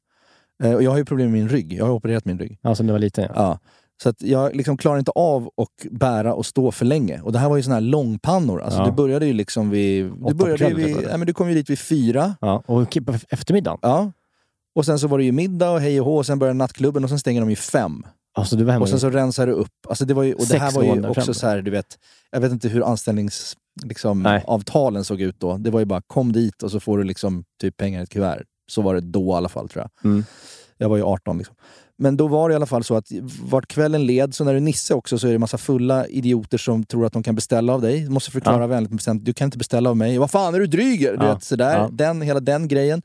[SPEAKER 3] Eh, och jag har ju problem med min rygg. Jag har opererat min rygg.
[SPEAKER 4] Ja, sen du var liten ja.
[SPEAKER 3] Ja. Så att jag liksom klarar inte av att bära och stå för länge. Och det här var ju såna här långpannor. Alltså,
[SPEAKER 4] Ja.
[SPEAKER 3] Det började ju liksom vid...
[SPEAKER 4] på
[SPEAKER 3] Du, började ju
[SPEAKER 4] kvällen,
[SPEAKER 3] vid
[SPEAKER 4] typ, eller?
[SPEAKER 3] nej, men du kom ju dit vid fyra.
[SPEAKER 4] ja. Och okej, på eftermiddagen?
[SPEAKER 3] Ja. Och sen så var det ju middag och hej och hå och sen började nattklubben och sen stänger de ju fem.
[SPEAKER 4] Alltså du var hemma
[SPEAKER 3] Och sen så rensar du upp. Alltså det var ju, och det
[SPEAKER 4] Sex
[SPEAKER 3] här var ju
[SPEAKER 4] månader fram.
[SPEAKER 3] också så här, du vet, jag vet inte hur anställningsavtalen liksom,
[SPEAKER 4] Nej.
[SPEAKER 3] avtalen såg ut då. Det var ju bara kom dit och så får du liksom typ pengar i ett kuvert. Så var det då i alla fall tror jag.
[SPEAKER 4] Mm.
[SPEAKER 3] Jag var ju 18 liksom. Men då var det i alla fall så att vart kvällen led, så när du är Nisse också så är det massa fulla idioter som tror att de kan beställa av dig. Du måste förklara
[SPEAKER 4] Ja.
[SPEAKER 3] vänligt men bestämt, du kan inte beställa av mig. Vad fan är du dryg? Du
[SPEAKER 4] Ja.
[SPEAKER 3] vet, sådär.
[SPEAKER 4] Ja.
[SPEAKER 3] Den, hela den grejen.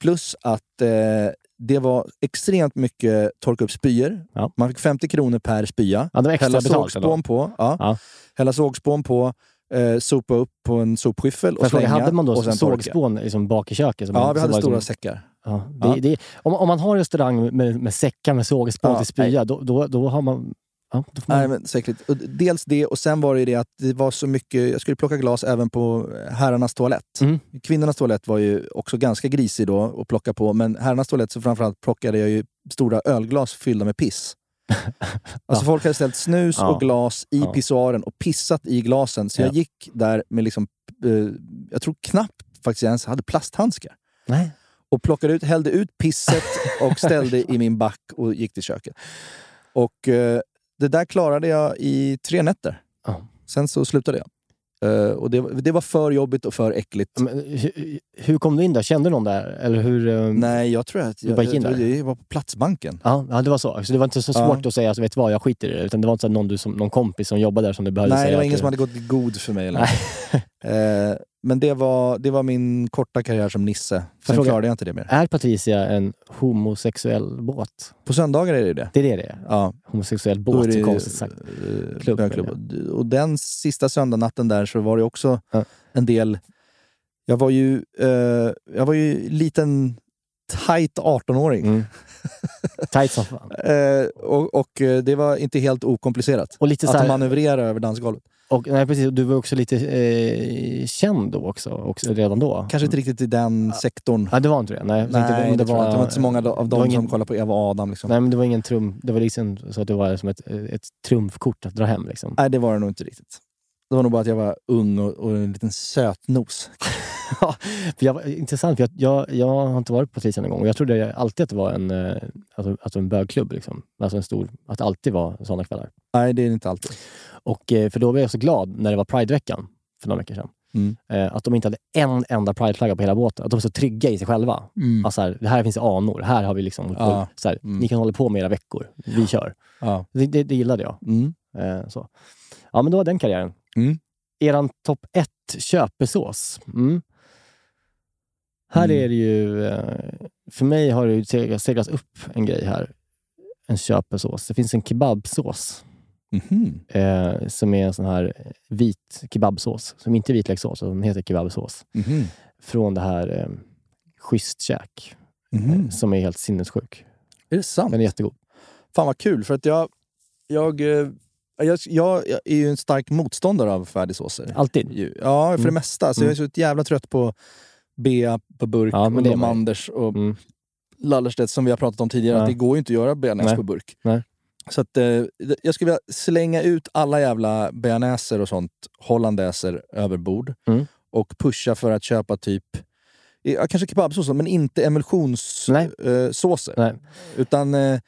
[SPEAKER 3] Plus att eh, det var extremt mycket torka upp spyor.
[SPEAKER 4] Ja.
[SPEAKER 3] Man fick 50 kronor per spya.
[SPEAKER 4] Ja, det var extra
[SPEAKER 3] Hälla
[SPEAKER 4] betalt, eller?
[SPEAKER 3] sågspån på. Ja.
[SPEAKER 4] Ja.
[SPEAKER 3] Hälla sågspån på. eh, sopa upp på en sopskyffel
[SPEAKER 4] Får
[SPEAKER 3] och
[SPEAKER 4] jag fråga,
[SPEAKER 3] slänga.
[SPEAKER 4] hade man
[SPEAKER 3] och
[SPEAKER 4] då
[SPEAKER 3] sen torka.
[SPEAKER 4] sågspån liksom bak i köket? som
[SPEAKER 3] Ja,
[SPEAKER 4] man-
[SPEAKER 3] vi
[SPEAKER 4] som
[SPEAKER 3] hade
[SPEAKER 4] var
[SPEAKER 3] stora
[SPEAKER 4] liksom-
[SPEAKER 3] säckar.
[SPEAKER 4] Ja, det, Det, om, om man har en restaurang med, med säckar med sågspån
[SPEAKER 3] Ja,
[SPEAKER 4] till spya, då, då, då har man... Ja, då får man
[SPEAKER 3] Nej, men säkert. Och d- Dels det, och sen var det ju det att det var så mycket... Jag skulle plocka glas även på eh, herrarnas toalett.
[SPEAKER 4] Mm.
[SPEAKER 3] Kvinnornas toalett var ju också ganska grisig då att plocka på, men herrarnas toalett så framförallt plockade jag ju stora ölglas fyllda med piss. Alltså folk hade ställt snus
[SPEAKER 4] Ja.
[SPEAKER 3] och glas i
[SPEAKER 4] Ja.
[SPEAKER 3] pissoaren och pissat i glasen. Så
[SPEAKER 4] Ja.
[SPEAKER 3] jag gick där med liksom, eh, jag tror knappt faktiskt jag ens hade plasthandskar.
[SPEAKER 4] Nej.
[SPEAKER 3] Och plockade ut, hällde ut pisset och ställde i min back och gick till köket. Och eh, det där klarade jag i tre nätter.
[SPEAKER 4] Ja.
[SPEAKER 3] Sen så slutade jag. Eh, och det, det var för jobbigt och för äckligt.
[SPEAKER 4] Men hur, hur kom du in där? Kände någon där? Eller hur? ehm,
[SPEAKER 3] Nej, jag tror att
[SPEAKER 4] Du bara
[SPEAKER 3] jag,
[SPEAKER 4] gick
[SPEAKER 3] jag,
[SPEAKER 4] in
[SPEAKER 3] tror
[SPEAKER 4] där?
[SPEAKER 3] det var på Platsbanken.
[SPEAKER 4] Ja, ja, det var så. Så det var inte så
[SPEAKER 3] Ja.
[SPEAKER 4] svårt att säga, alltså, vet du vad, jag skiter i det. Utan det var inte så att någon, du, som, någon kompis som jobbade där som du behövde
[SPEAKER 3] Nej,
[SPEAKER 4] säga.
[SPEAKER 3] det var
[SPEAKER 4] att
[SPEAKER 3] ingen
[SPEAKER 4] du-
[SPEAKER 3] som hade gått i god för mig. Eller något. eh, men det var, det var min korta karriär som Nisse. Sen
[SPEAKER 4] fråga?
[SPEAKER 3] klarade jag inte det mer.
[SPEAKER 4] Är Patricia en homosexuell båt?
[SPEAKER 3] På söndagar är det ju det.
[SPEAKER 4] Det är det det är.
[SPEAKER 3] Ja,
[SPEAKER 4] Homosexuell
[SPEAKER 3] då är
[SPEAKER 4] båt,
[SPEAKER 3] det ju,
[SPEAKER 4] konstigt sagt.
[SPEAKER 3] eh,
[SPEAKER 4] Klubb,
[SPEAKER 3] bögklubb. Och den sista söndagnatten där så var det också
[SPEAKER 4] Ja.
[SPEAKER 3] en del... Jag var ju, eh, jag var ju liten tight 18-åring.
[SPEAKER 4] Mm. Tight som fan.
[SPEAKER 3] Eh, och, och eh, det var inte helt okomplicerat
[SPEAKER 4] Och Mm. lite så
[SPEAKER 3] att
[SPEAKER 4] här,
[SPEAKER 3] manövrera över dansgolvet.
[SPEAKER 4] och, nej, precis, och du var också lite eh, känd då också, också, redan då.
[SPEAKER 3] Kanske inte riktigt i den sektorn.
[SPEAKER 4] Mm. Ja, det var inte det. Nej, jag tänkte
[SPEAKER 3] Nej, det,
[SPEAKER 4] om
[SPEAKER 3] tror jag inte. det var inte så många av
[SPEAKER 4] det var
[SPEAKER 3] dem
[SPEAKER 4] ingen-
[SPEAKER 3] som kollade på Eva och Adam. Liksom. Nej.
[SPEAKER 4] Nej, men det var ingen trum... Det var liksom så att det var som ett, ett trumfkort att dra hem. Liksom.
[SPEAKER 3] det var det nog inte riktigt. Det var nog bara att jag var ung och, och en liten sötnos.
[SPEAKER 4] Ja, för jag, var- intressant, för jag, jag, jag har inte varit på Tisen en gång och jag trodde jag alltid att det var en, eh, alltså, alltså en bögklubb. Liksom. Alltså en stor, att det alltid var sådana kvällar.
[SPEAKER 3] Nej, det är det inte alltid.
[SPEAKER 4] Och, eh, för då blev jag så glad när det var Prideveckan för några veckor sedan.
[SPEAKER 3] Mm.
[SPEAKER 4] Eh, Att de inte hade en enda Pride-flagga på hela båten. Att de var så trygga i sig själva.
[SPEAKER 3] Mm.
[SPEAKER 4] Alltså, så här, det här finns anor. Här har vi liksom...
[SPEAKER 3] Ja.
[SPEAKER 4] Så här,
[SPEAKER 3] Mm.
[SPEAKER 4] Ni kan hålla på med era veckor. Vi kör.
[SPEAKER 3] Ja.
[SPEAKER 4] Det, det, det gillade jag.
[SPEAKER 3] Mm.
[SPEAKER 4] Eh, så. Ja, men det var den karriären.
[SPEAKER 3] Mm.
[SPEAKER 4] Eran topp ett köpesås. Mm. Här
[SPEAKER 3] Mm.
[SPEAKER 4] är det ju... eh, För mig har det ju seg- seglats upp en grej här. En köpesås. Det finns en kebabsås
[SPEAKER 3] Mhm.
[SPEAKER 4] eh, som är en sån här vit kebabsås. Som inte är vitlökssås, utan den heter kebabsås.
[SPEAKER 3] Mhm.
[SPEAKER 4] Från det här eh, Schysst käk,
[SPEAKER 3] Mhm.
[SPEAKER 4] eh, som är helt sinnessjuk.
[SPEAKER 3] Är det sant?
[SPEAKER 4] Den är jättegod.
[SPEAKER 3] Fan vad kul, för att jag, jag, eh, jag, jag är ju en stark motståndare av färdigsåser.
[SPEAKER 4] Alltid.
[SPEAKER 3] ju. Ja, för det
[SPEAKER 4] Mm.
[SPEAKER 3] mesta. Så jag är så jävla trött på Bea på burk
[SPEAKER 4] Ja, men
[SPEAKER 3] och
[SPEAKER 4] det är man ju.
[SPEAKER 3] Manders och
[SPEAKER 4] Mm.
[SPEAKER 3] Lallerstedt som vi har pratat om tidigare.
[SPEAKER 4] Ja.
[SPEAKER 3] Att det går ju inte att göra bearnaise
[SPEAKER 4] Nej.
[SPEAKER 3] på burk.
[SPEAKER 4] Nej.
[SPEAKER 3] Så att, eh, jag skulle vilja slänga ut alla jävla bearnaiser och sånt, hollandaise över bord.
[SPEAKER 4] Mm.
[SPEAKER 3] Och pusha för att köpa typ ja, kanske kebabsåser, men inte eh,
[SPEAKER 4] Nej.
[SPEAKER 3] emulsionssåser.
[SPEAKER 4] Nej.
[SPEAKER 3] Utan eh,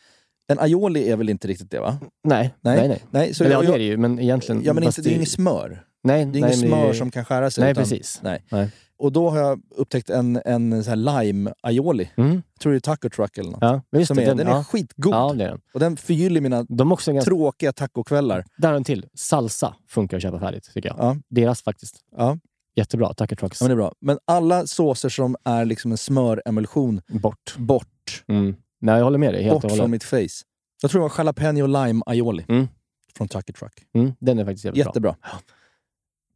[SPEAKER 3] en aioli är väl inte riktigt det va?
[SPEAKER 4] Nej, nej,
[SPEAKER 3] Nej.
[SPEAKER 4] nej.
[SPEAKER 3] Nej, så
[SPEAKER 4] Eller ja,
[SPEAKER 3] jag,
[SPEAKER 4] det är det ju, men egentligen...
[SPEAKER 3] ja, men
[SPEAKER 4] fast
[SPEAKER 3] inte, det är ju inget smör.
[SPEAKER 4] nej,
[SPEAKER 3] Det är inget
[SPEAKER 4] nej, men
[SPEAKER 3] smör
[SPEAKER 4] det är-
[SPEAKER 3] som kan skära sig.
[SPEAKER 4] Nej,
[SPEAKER 3] utan,
[SPEAKER 4] precis.
[SPEAKER 3] Nej.
[SPEAKER 4] Nej.
[SPEAKER 3] Och då har jag upptäckt en, en så här lime aioli.
[SPEAKER 4] Mm.
[SPEAKER 3] Jag tror det är taco truck eller något.
[SPEAKER 4] Ja, just
[SPEAKER 3] som
[SPEAKER 4] det,
[SPEAKER 3] är, den, är
[SPEAKER 4] ja.
[SPEAKER 3] skitgod.
[SPEAKER 4] Ja, det är den.
[SPEAKER 3] Och den förgyller mina
[SPEAKER 4] De är också ganska...
[SPEAKER 3] tråkiga tacokvällar.
[SPEAKER 4] Där har en till. Salsa funkar att köpa färdigt, tycker jag.
[SPEAKER 3] Ja.
[SPEAKER 4] Deras faktiskt.
[SPEAKER 3] Ja.
[SPEAKER 4] Jättebra. Tucker Trucks.
[SPEAKER 3] Ja, men det är bra. Men alla såser som är liksom en smöremulsion,
[SPEAKER 4] Bort.
[SPEAKER 3] bort.
[SPEAKER 4] Mm. Nej, jag håller med dig helt
[SPEAKER 3] Bort
[SPEAKER 4] och
[SPEAKER 3] från
[SPEAKER 4] hållet.
[SPEAKER 3] mitt face. Jag tror det var jalapeno lime aioli.
[SPEAKER 4] Mm.
[SPEAKER 3] Från taco truck.
[SPEAKER 4] Mm. Den är faktiskt jävligt bra.
[SPEAKER 3] Jättebra.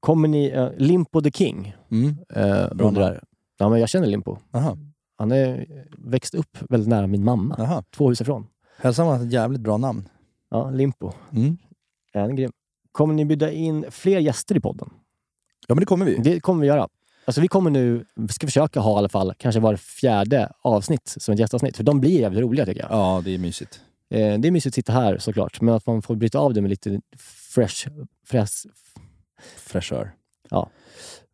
[SPEAKER 4] Kommer ni... eh, Limpo the King
[SPEAKER 3] Mm.
[SPEAKER 4] eh,
[SPEAKER 3] Bra
[SPEAKER 4] undrar. Ja, men jag känner Limpo.
[SPEAKER 3] Aha.
[SPEAKER 4] Han är växt upp väldigt nära min mamma.
[SPEAKER 3] Aha.
[SPEAKER 4] Två hus ifrån.
[SPEAKER 3] Hälsan var ett jävligt bra namn.
[SPEAKER 4] Ja, Limpo.
[SPEAKER 3] Mm.
[SPEAKER 4] Ja, Han är grym. Kommer ni bjuda in fler gäster i podden?
[SPEAKER 3] Ja, men det kommer vi.
[SPEAKER 4] Det kommer vi göra. Alltså vi kommer nu, vi ska försöka ha i alla fall kanske var fjärde avsnitt som ett gästavsnitt. För de blir jävligt roliga tycker jag.
[SPEAKER 3] Ja, det är mysigt.
[SPEAKER 4] Eh, det är mysigt att sitta här såklart, men att man får bryta av det med lite fresh, fresh
[SPEAKER 3] Fräschör.
[SPEAKER 4] Ja.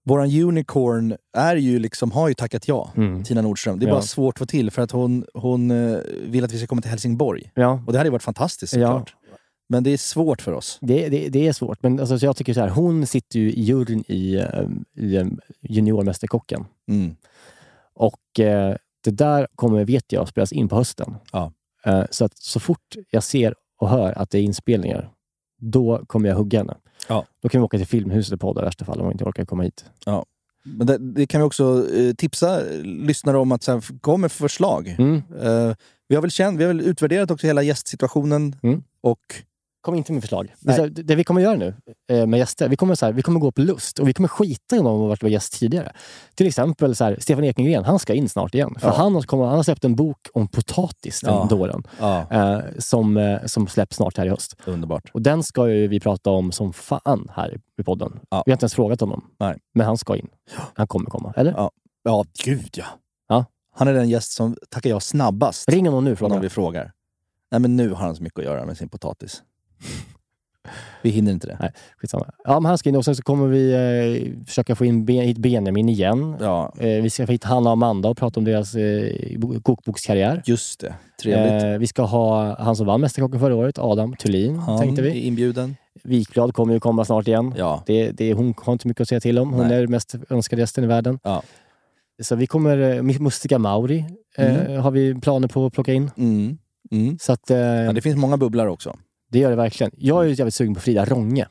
[SPEAKER 3] Våran unicorn är ju liksom, har ju tackat ja.
[SPEAKER 4] mm.
[SPEAKER 3] Tina Nordström. Det är
[SPEAKER 4] Ja.
[SPEAKER 3] bara svårt att få till för att hon, hon eh, vill att vi ska komma till Helsingborg.
[SPEAKER 4] Ja,
[SPEAKER 3] Och det hade ju varit fantastiskt
[SPEAKER 4] Ja.
[SPEAKER 3] såklart. Men det är svårt för oss.
[SPEAKER 4] det, det, det är svårt. Men alltså, så jag tycker så här, hon sitter ju i juryn i, eh, i eh, Juniormästerkocken.
[SPEAKER 3] Mm.
[SPEAKER 4] Och eh, det där kommer, vet jag, spelas in på hösten.
[SPEAKER 3] Ja.
[SPEAKER 4] Eh, så att så fort jag ser och hör att det är inspelningar, då kommer jag hugga henne.
[SPEAKER 3] Ja.
[SPEAKER 4] Då kan vi åka till Filmhuset i podden i värsta fall om hon inte orkar komma hit.
[SPEAKER 3] Men det, det kan vi också eh, tipsa eh, lyssnare om att så här, kom med förslag.
[SPEAKER 4] Mm.
[SPEAKER 3] Eh, vi, har väl känt, vi har väl utvärderat också hela gästsituationen
[SPEAKER 4] Mm.
[SPEAKER 3] och
[SPEAKER 4] Kom inte med förslag. Det, är så här, det- det vi kommer göra nu eh, med gäster, vi kommer, så här, vi kommer gå på lust och vi kommer skita i om de har varit vår gäst tidigare. Till exempel så här, Stefan Ekengren, han ska in snart igen. För
[SPEAKER 3] Ja.
[SPEAKER 4] han, har- kommer, han har släppt en bok om potatis den
[SPEAKER 3] Ja.
[SPEAKER 4] dåren.
[SPEAKER 3] Ja.
[SPEAKER 4] Eh, som, eh, som släpps snart här i höst.
[SPEAKER 3] Underbart.
[SPEAKER 4] Och den ska ju vi prata om som fan här i podden. Vi har inte ens frågat honom.
[SPEAKER 3] Nej.
[SPEAKER 4] Men han ska in. Han kommer komma, eller?
[SPEAKER 3] Ja, ja gud ja.
[SPEAKER 4] Ja.
[SPEAKER 3] Han är den gäst som tackar jag snabbast.
[SPEAKER 4] Ring honom nu och fråga.
[SPEAKER 3] Någon vi frågar. Nej, men nu har han så mycket att göra med sin potatis. Vi hinner inte det.
[SPEAKER 4] Nej, skitsamma. Ja, men han ska in och sen så kommer vi eh, försöka få in ben, hit Benjamin igen.
[SPEAKER 3] Ja,
[SPEAKER 4] Eh, vi ska få hit Hanna och Amanda och prata om deras eh, bo- kokbokskarriär.
[SPEAKER 3] just det. Trevligt.
[SPEAKER 4] Eh, vi ska ha han som vann Mästerkocken förra året, Adam Thulin,
[SPEAKER 3] han
[SPEAKER 4] tänkte
[SPEAKER 3] är
[SPEAKER 4] vi.
[SPEAKER 3] inbjuden.
[SPEAKER 4] Wikblad kommer ju komma snart igen.
[SPEAKER 3] Ja.
[SPEAKER 4] Det, det, hon har inte mycket att säga till om. Hon
[SPEAKER 3] Nej.
[SPEAKER 4] är mest önskade gästen i världen.
[SPEAKER 3] Ja.
[SPEAKER 4] Så vi kommer... eh, Mustiga Mauri eh, har vi planer på att plocka in.
[SPEAKER 3] Mm. Mm.
[SPEAKER 4] Så att, eh,
[SPEAKER 3] Ja, det finns många bubblor också.
[SPEAKER 4] det gör det verkligen. Jag är ju jävligt sugen på Frida Ronge.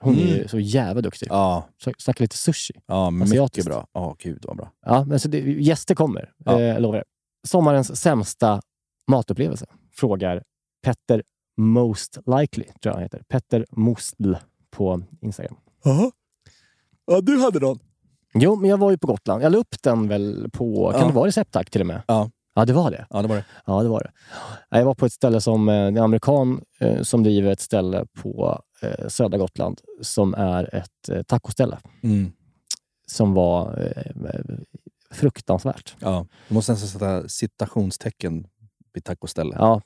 [SPEAKER 4] Hon är ju
[SPEAKER 3] Mm.
[SPEAKER 4] så jävla duktig.
[SPEAKER 3] Ja,
[SPEAKER 4] Så, snacka lite sushi.
[SPEAKER 3] ja mycket
[SPEAKER 4] Asiatiskt.
[SPEAKER 3] bra. Ja, gud vad bra.
[SPEAKER 4] Ja, men så det, gäster kommer,
[SPEAKER 3] Ja.
[SPEAKER 4] eh, jag lovar. Sommarens sämsta matupplevelse frågar Petter Most Likely, tror jag han heter. Petter Mostl på Instagram.
[SPEAKER 3] Aha. Ja, du hade någon.
[SPEAKER 4] Jo, men jag var ju på Gotland. Jag la upp den väl på, kan
[SPEAKER 3] Ja.
[SPEAKER 4] det vara Receptac till och med?
[SPEAKER 3] Ja.
[SPEAKER 4] Ja, det var det.
[SPEAKER 3] Ja, det var det.
[SPEAKER 4] Ja, det var det. Jag var på ett ställe som, eh, det är en amerikan eh, som driver ett ställe på eh, södra Gotland som är ett eh, tacoställe
[SPEAKER 3] Mm.
[SPEAKER 4] som var eh, fruktansvärt.
[SPEAKER 3] Ja. Du måste nästan sätta citationstecken vid tacoställe.
[SPEAKER 4] Ja,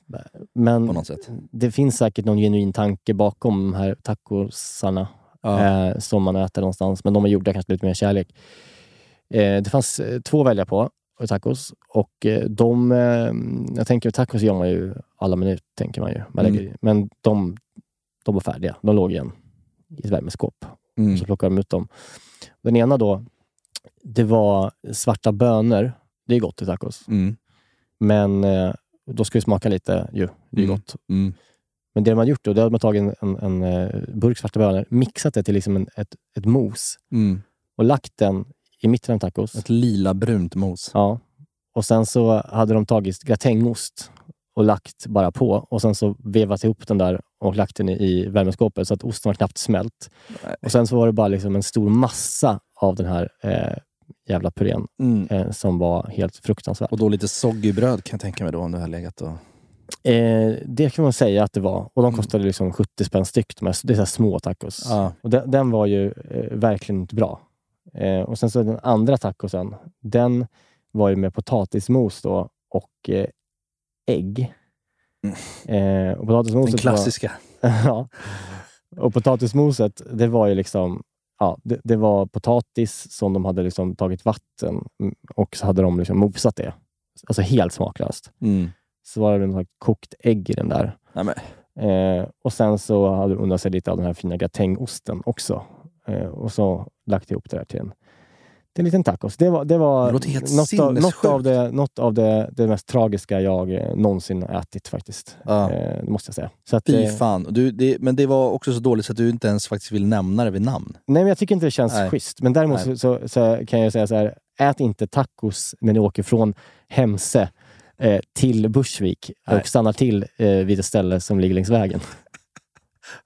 [SPEAKER 4] men
[SPEAKER 3] På något sätt.
[SPEAKER 4] det finns säkert någon genuin tanke bakom de här tacosarna
[SPEAKER 3] Ja.
[SPEAKER 4] eh, som man äter någonstans. Men de är gjorda kanske lite mer kärlek. Eh, det fanns eh, två att välja på eh, tacos. Och eh, de, eh, jag tänker tacos gör man ju alla minut, tänker man ju. Man
[SPEAKER 3] Mm.
[SPEAKER 4] lägger, i. Men de, de var färdiga. De låg i, en, i ett värmeskåp.
[SPEAKER 3] Mm.
[SPEAKER 4] Så plockade de ut dem. Den ena då, det var svarta bönor. Det är gott i tacos.
[SPEAKER 3] Mm.
[SPEAKER 4] Men eh, då ska det smaka lite ju. Det är
[SPEAKER 3] Mm.
[SPEAKER 4] gott.
[SPEAKER 3] Mm.
[SPEAKER 4] Men det de hade gjort då, det hade man tagit en, en, en eh, burk svarta bönor, mixat det till liksom en, ett, ett mos
[SPEAKER 3] Mm.
[SPEAKER 4] och lagt den i mitten av tacos.
[SPEAKER 3] Ett lila brunt mos.
[SPEAKER 4] Ja. Och sen så hade de tagit gratängost och lagt bara på och sen så vevat ihop den där och lagt den i, i värmeskåpet så att osten var knappt smält. Och sen så var det bara liksom en stor massa av den här eh, jävla purén
[SPEAKER 3] Mm.
[SPEAKER 4] eh, som var helt fruktansvärd.
[SPEAKER 3] Och då lite soggybröd kan jag tänka mig då om du har legat och...
[SPEAKER 4] Eh, det kan man säga att det var. Och de kostade liksom 70 spänn styck. De här, det är så här små tacos.
[SPEAKER 3] Ja.
[SPEAKER 4] Och den, den var ju eh, verkligen inte bra. Eh, och sen så den andra tacosen, den var ju med potatismos då och eh, ägg. Eh, och potatismoset
[SPEAKER 3] Den klassiska.
[SPEAKER 4] Var, ja. Och potatismoset, det var ju liksom... Ja, det, det var potatis som de hade liksom tagit vatten mm, och så hade de liksom mosat det. Alltså helt smaklöst
[SPEAKER 3] Mm.
[SPEAKER 4] så var det något kokt ägg i den där.
[SPEAKER 3] Nej, men.
[SPEAKER 4] Eh, och sen så hade hon undrat sig lite av den här fina gratängosten också. Eh, och så lagt ihop det där till en, till en liten tacos. Det var, det var
[SPEAKER 3] Det låter helt
[SPEAKER 4] något, av, något
[SPEAKER 3] sinnessjukt.
[SPEAKER 4] av, det, något av det, det mest tragiska jag eh, någonsin har ätit faktiskt.
[SPEAKER 3] Ja.
[SPEAKER 4] Eh, det måste jag säga. Så att, eh,
[SPEAKER 3] Fy fan. Du, det, men det var också så dåligt så att du inte ens faktiskt vill nämna det vid namn.
[SPEAKER 4] nej, men jag tycker inte det känns
[SPEAKER 3] Nej.
[SPEAKER 4] schysst. Men däremot
[SPEAKER 3] Nej.
[SPEAKER 4] så, så, så kan jag säga så här. Ät inte tacos när ni åker från Hemse eh, till Bursvik
[SPEAKER 3] Nej.
[SPEAKER 4] och stannar till eh, vid ett ställe som ligger längs vägen.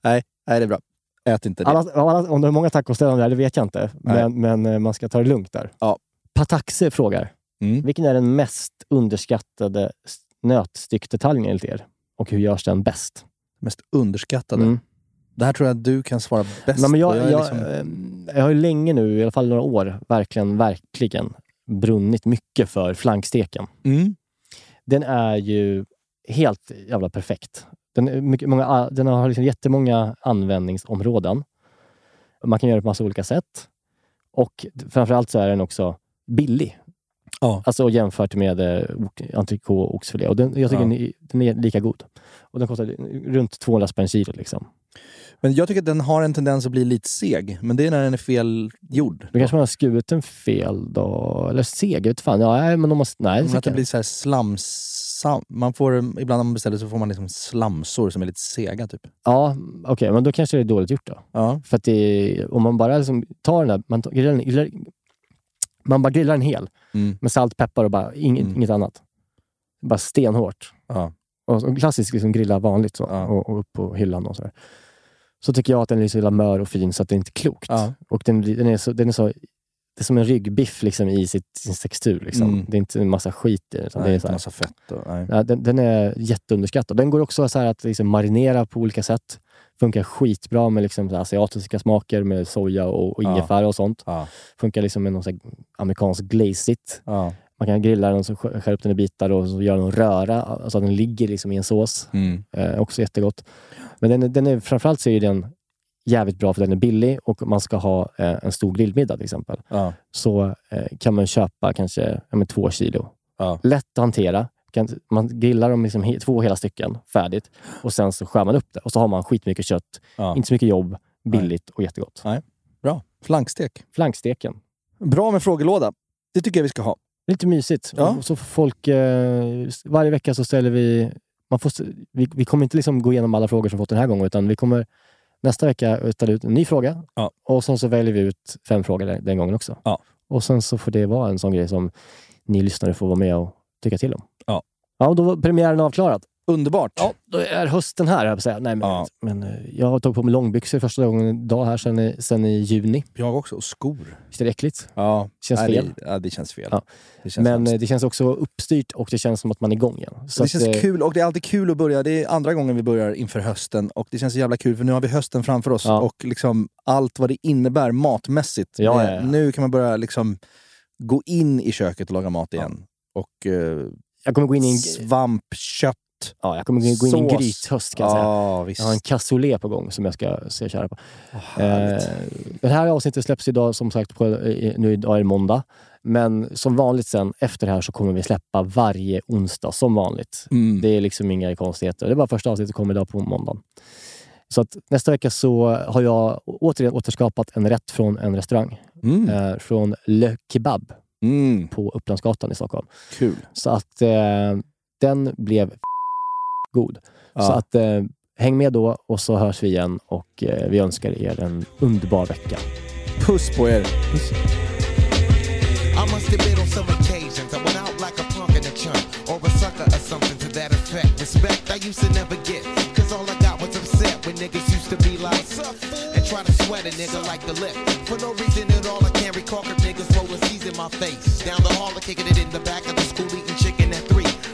[SPEAKER 3] Nej, det är bra. Ät inte det.
[SPEAKER 4] Annars, annars, om det är många tacoställen där, det vet jag inte.
[SPEAKER 3] Nej.
[SPEAKER 4] Men, men eh, man ska ta det lugnt där.
[SPEAKER 3] Ja.
[SPEAKER 4] Pataxe frågar,
[SPEAKER 3] Mm.
[SPEAKER 4] vilken är den mest underskattade s- nötstyckdetaljen enligt er? Och hur görs den bäst?
[SPEAKER 3] Mest underskattade.
[SPEAKER 4] Mm.
[SPEAKER 3] Det här tror jag att du kan svara bäst
[SPEAKER 4] Nej, men jag,
[SPEAKER 3] på.
[SPEAKER 4] jag,
[SPEAKER 3] är liksom-
[SPEAKER 4] eh, jag har ju länge nu, i alla fall några år, verkligen, verkligen brunnit mycket för flanksteken.
[SPEAKER 3] mm.
[SPEAKER 4] Den är ju helt jävla perfekt. Den, är mycket, många, den har liksom jättemånga användningsområden. Man kan göra det på massa olika sätt. Och framförallt så är den också billig.
[SPEAKER 3] Ja.
[SPEAKER 4] Alltså jämfört med eh, ok- entrecote och oxfilé. Och den, jag tycker
[SPEAKER 3] Ja.
[SPEAKER 4] den, är, den är lika god. Och den kostar runt 200 spänn kilo. Liksom.
[SPEAKER 3] Men jag tycker att den har en tendens att bli lite seg. Men det är när den är fel gjord.
[SPEAKER 4] Då kanske man har skurit den fel då. Eller seg, vet fan. Ja, nej, men om man, nej,
[SPEAKER 3] Men
[SPEAKER 4] det
[SPEAKER 3] att det
[SPEAKER 4] tycker jag.
[SPEAKER 3] blir så här slams... Man får, ibland när man beställer så får man liksom slamsor som är lite sega typ.
[SPEAKER 4] Ja, okej. men då kanske det är dåligt gjort då.
[SPEAKER 3] Ja.
[SPEAKER 4] För att det, om man bara liksom tar den där, man, tar- grillar, den- grillar, man bara grillar den hel
[SPEAKER 3] Mm.
[SPEAKER 4] med salt, peppar och bara inget,
[SPEAKER 3] Mm.
[SPEAKER 4] inget annat. Bara stenhårt.
[SPEAKER 3] Ja.
[SPEAKER 4] Och så klassisk liksom grilla vanligt så, och, och upp på hyllan och sådär. Så tycker jag att den är så himla mör och fin så att det inte är klokt. Och den, blir- den, är så, den är så... Det är som en ryggbiff liksom, i sitt, sin textur. Liksom.
[SPEAKER 3] Mm.
[SPEAKER 4] Det är inte en massa skit i den, utan
[SPEAKER 3] Nej,
[SPEAKER 4] det. Är
[SPEAKER 3] inte
[SPEAKER 4] så här,
[SPEAKER 3] massa fett och, nej.
[SPEAKER 4] Ja, den, den är jätteunderskattad. Den går också så här att liksom marinera på olika sätt. Funkar skitbra med liksom så här asiatiska smaker med soja och, och
[SPEAKER 3] Ja.
[SPEAKER 4] ingefära och sånt.
[SPEAKER 3] Ja.
[SPEAKER 4] Funkar liksom med någon så här amerikansk glazigt.
[SPEAKER 3] Ja.
[SPEAKER 4] Man kan grilla den och så skär skära upp den i bitar och så göra en röra, alltså att den ligger liksom i en sås.
[SPEAKER 3] Mm.
[SPEAKER 4] Eh, också jättegott. Men den, är- den är, framförallt så är ju den jävligt bra för den är billig och man ska ha eh, en stor grillmiddag till exempel.
[SPEAKER 3] Ja.
[SPEAKER 4] Så eh, kan man köpa kanske ja, men två kilo.
[SPEAKER 3] Ja.
[SPEAKER 4] Lätt att hantera. Kan, man grillar dem liksom he, två hela stycken färdigt och sen så skär man upp det och så har man skitmycket kött,
[SPEAKER 3] Ja.
[SPEAKER 4] inte så mycket jobb, billigt och jättegott.
[SPEAKER 3] Nej. Bra. Flankstek.
[SPEAKER 4] Flanksteken.
[SPEAKER 3] Bra med frågelåda. Det tycker jag vi ska ha.
[SPEAKER 4] Lite mysigt.
[SPEAKER 3] Ja.
[SPEAKER 4] Och så får folk, eh, varje vecka så ställer vi... Man får, vi, vi kommer inte liksom gå igenom alla frågor som fått den här gången, utan vi kommer nästa vecka ställa ut en ny fråga.
[SPEAKER 3] Ja.
[SPEAKER 4] Och sen så väljer vi ut fem frågor den, den gången också.
[SPEAKER 3] Ja.
[SPEAKER 4] Och sen så får det vara en sån grej som ni lyssnare får vara med och tycka till om.
[SPEAKER 3] Ja.
[SPEAKER 4] Ja, och då var premiären avklarad.
[SPEAKER 3] Underbart.
[SPEAKER 4] Ja, då är hösten här, höll jag på att säga. Nej, men,
[SPEAKER 3] Ja.
[SPEAKER 4] men eh, jag tog på mig långbyxor första gången idag här sen i, sen i juni.
[SPEAKER 3] Jag också. Och skor.
[SPEAKER 4] Visst är det äckligt?
[SPEAKER 3] Ja.
[SPEAKER 4] Känns
[SPEAKER 3] Nej,
[SPEAKER 4] fel.
[SPEAKER 3] Det, ja, det känns fel.
[SPEAKER 4] Ja.
[SPEAKER 3] Det känns
[SPEAKER 4] men
[SPEAKER 3] hemskt.
[SPEAKER 4] eh, det känns också uppstyrt och det känns som att man är igång igen. Så
[SPEAKER 3] det
[SPEAKER 4] att,
[SPEAKER 3] känns
[SPEAKER 4] eh,
[SPEAKER 3] kul och det är alltid kul att börja. Det är andra gången vi börjar inför hösten och det känns så jävla kul för nu har vi hösten framför oss
[SPEAKER 4] Ja.
[SPEAKER 3] och liksom allt vad det innebär matmässigt.
[SPEAKER 4] Ja,
[SPEAKER 3] Men
[SPEAKER 4] ja, ja.
[SPEAKER 3] Nu kan man börja liksom gå in i köket och laga mat igen. Och eh,
[SPEAKER 4] Jag kommer gå in i en,
[SPEAKER 3] svamp, kött,
[SPEAKER 4] ja, jag kommer gå in i en
[SPEAKER 3] sås.
[SPEAKER 4] grythöst kan jag säga.
[SPEAKER 3] Ja, visst.
[SPEAKER 4] Jag har en cassoulet på gång som jag ska se köra på.
[SPEAKER 3] härligt.
[SPEAKER 4] Eh, det här avsnittet släpps idag, som sagt, på, eh, nu idag är det måndag. Men som vanligt sen, efter det här, så kommer vi släppa varje onsdag, som vanligt.
[SPEAKER 3] Mm.
[SPEAKER 4] Det är liksom inga konstigheter. Det är bara första avsnittet som kommer idag på måndagen. Så att nästa vecka så har jag återigen återskapat en rätt från en restaurang.
[SPEAKER 3] Mm.
[SPEAKER 4] Eh, från Le Kebab
[SPEAKER 3] Mm.
[SPEAKER 4] på Upplandsgatan i Stockholm.
[SPEAKER 3] Kul.
[SPEAKER 4] Så att eh, den blev god. Så
[SPEAKER 3] Ja.
[SPEAKER 4] att eh, häng med då och så hörs vi igen och eh, vi önskar er en underbar vecka.
[SPEAKER 3] Puss på er.
[SPEAKER 11] I must have been on some occasions. I went out like a punk and a chump, or a sucker or something to that effect. Respect I used to never get, cause all I got was upset when niggas used to be like, and try to sweat a nigga like the lip. For no reason at all, I can't recall if niggas rolling C's in my face. Down the hall, I kicking it in the back of the school, eating chicken at three.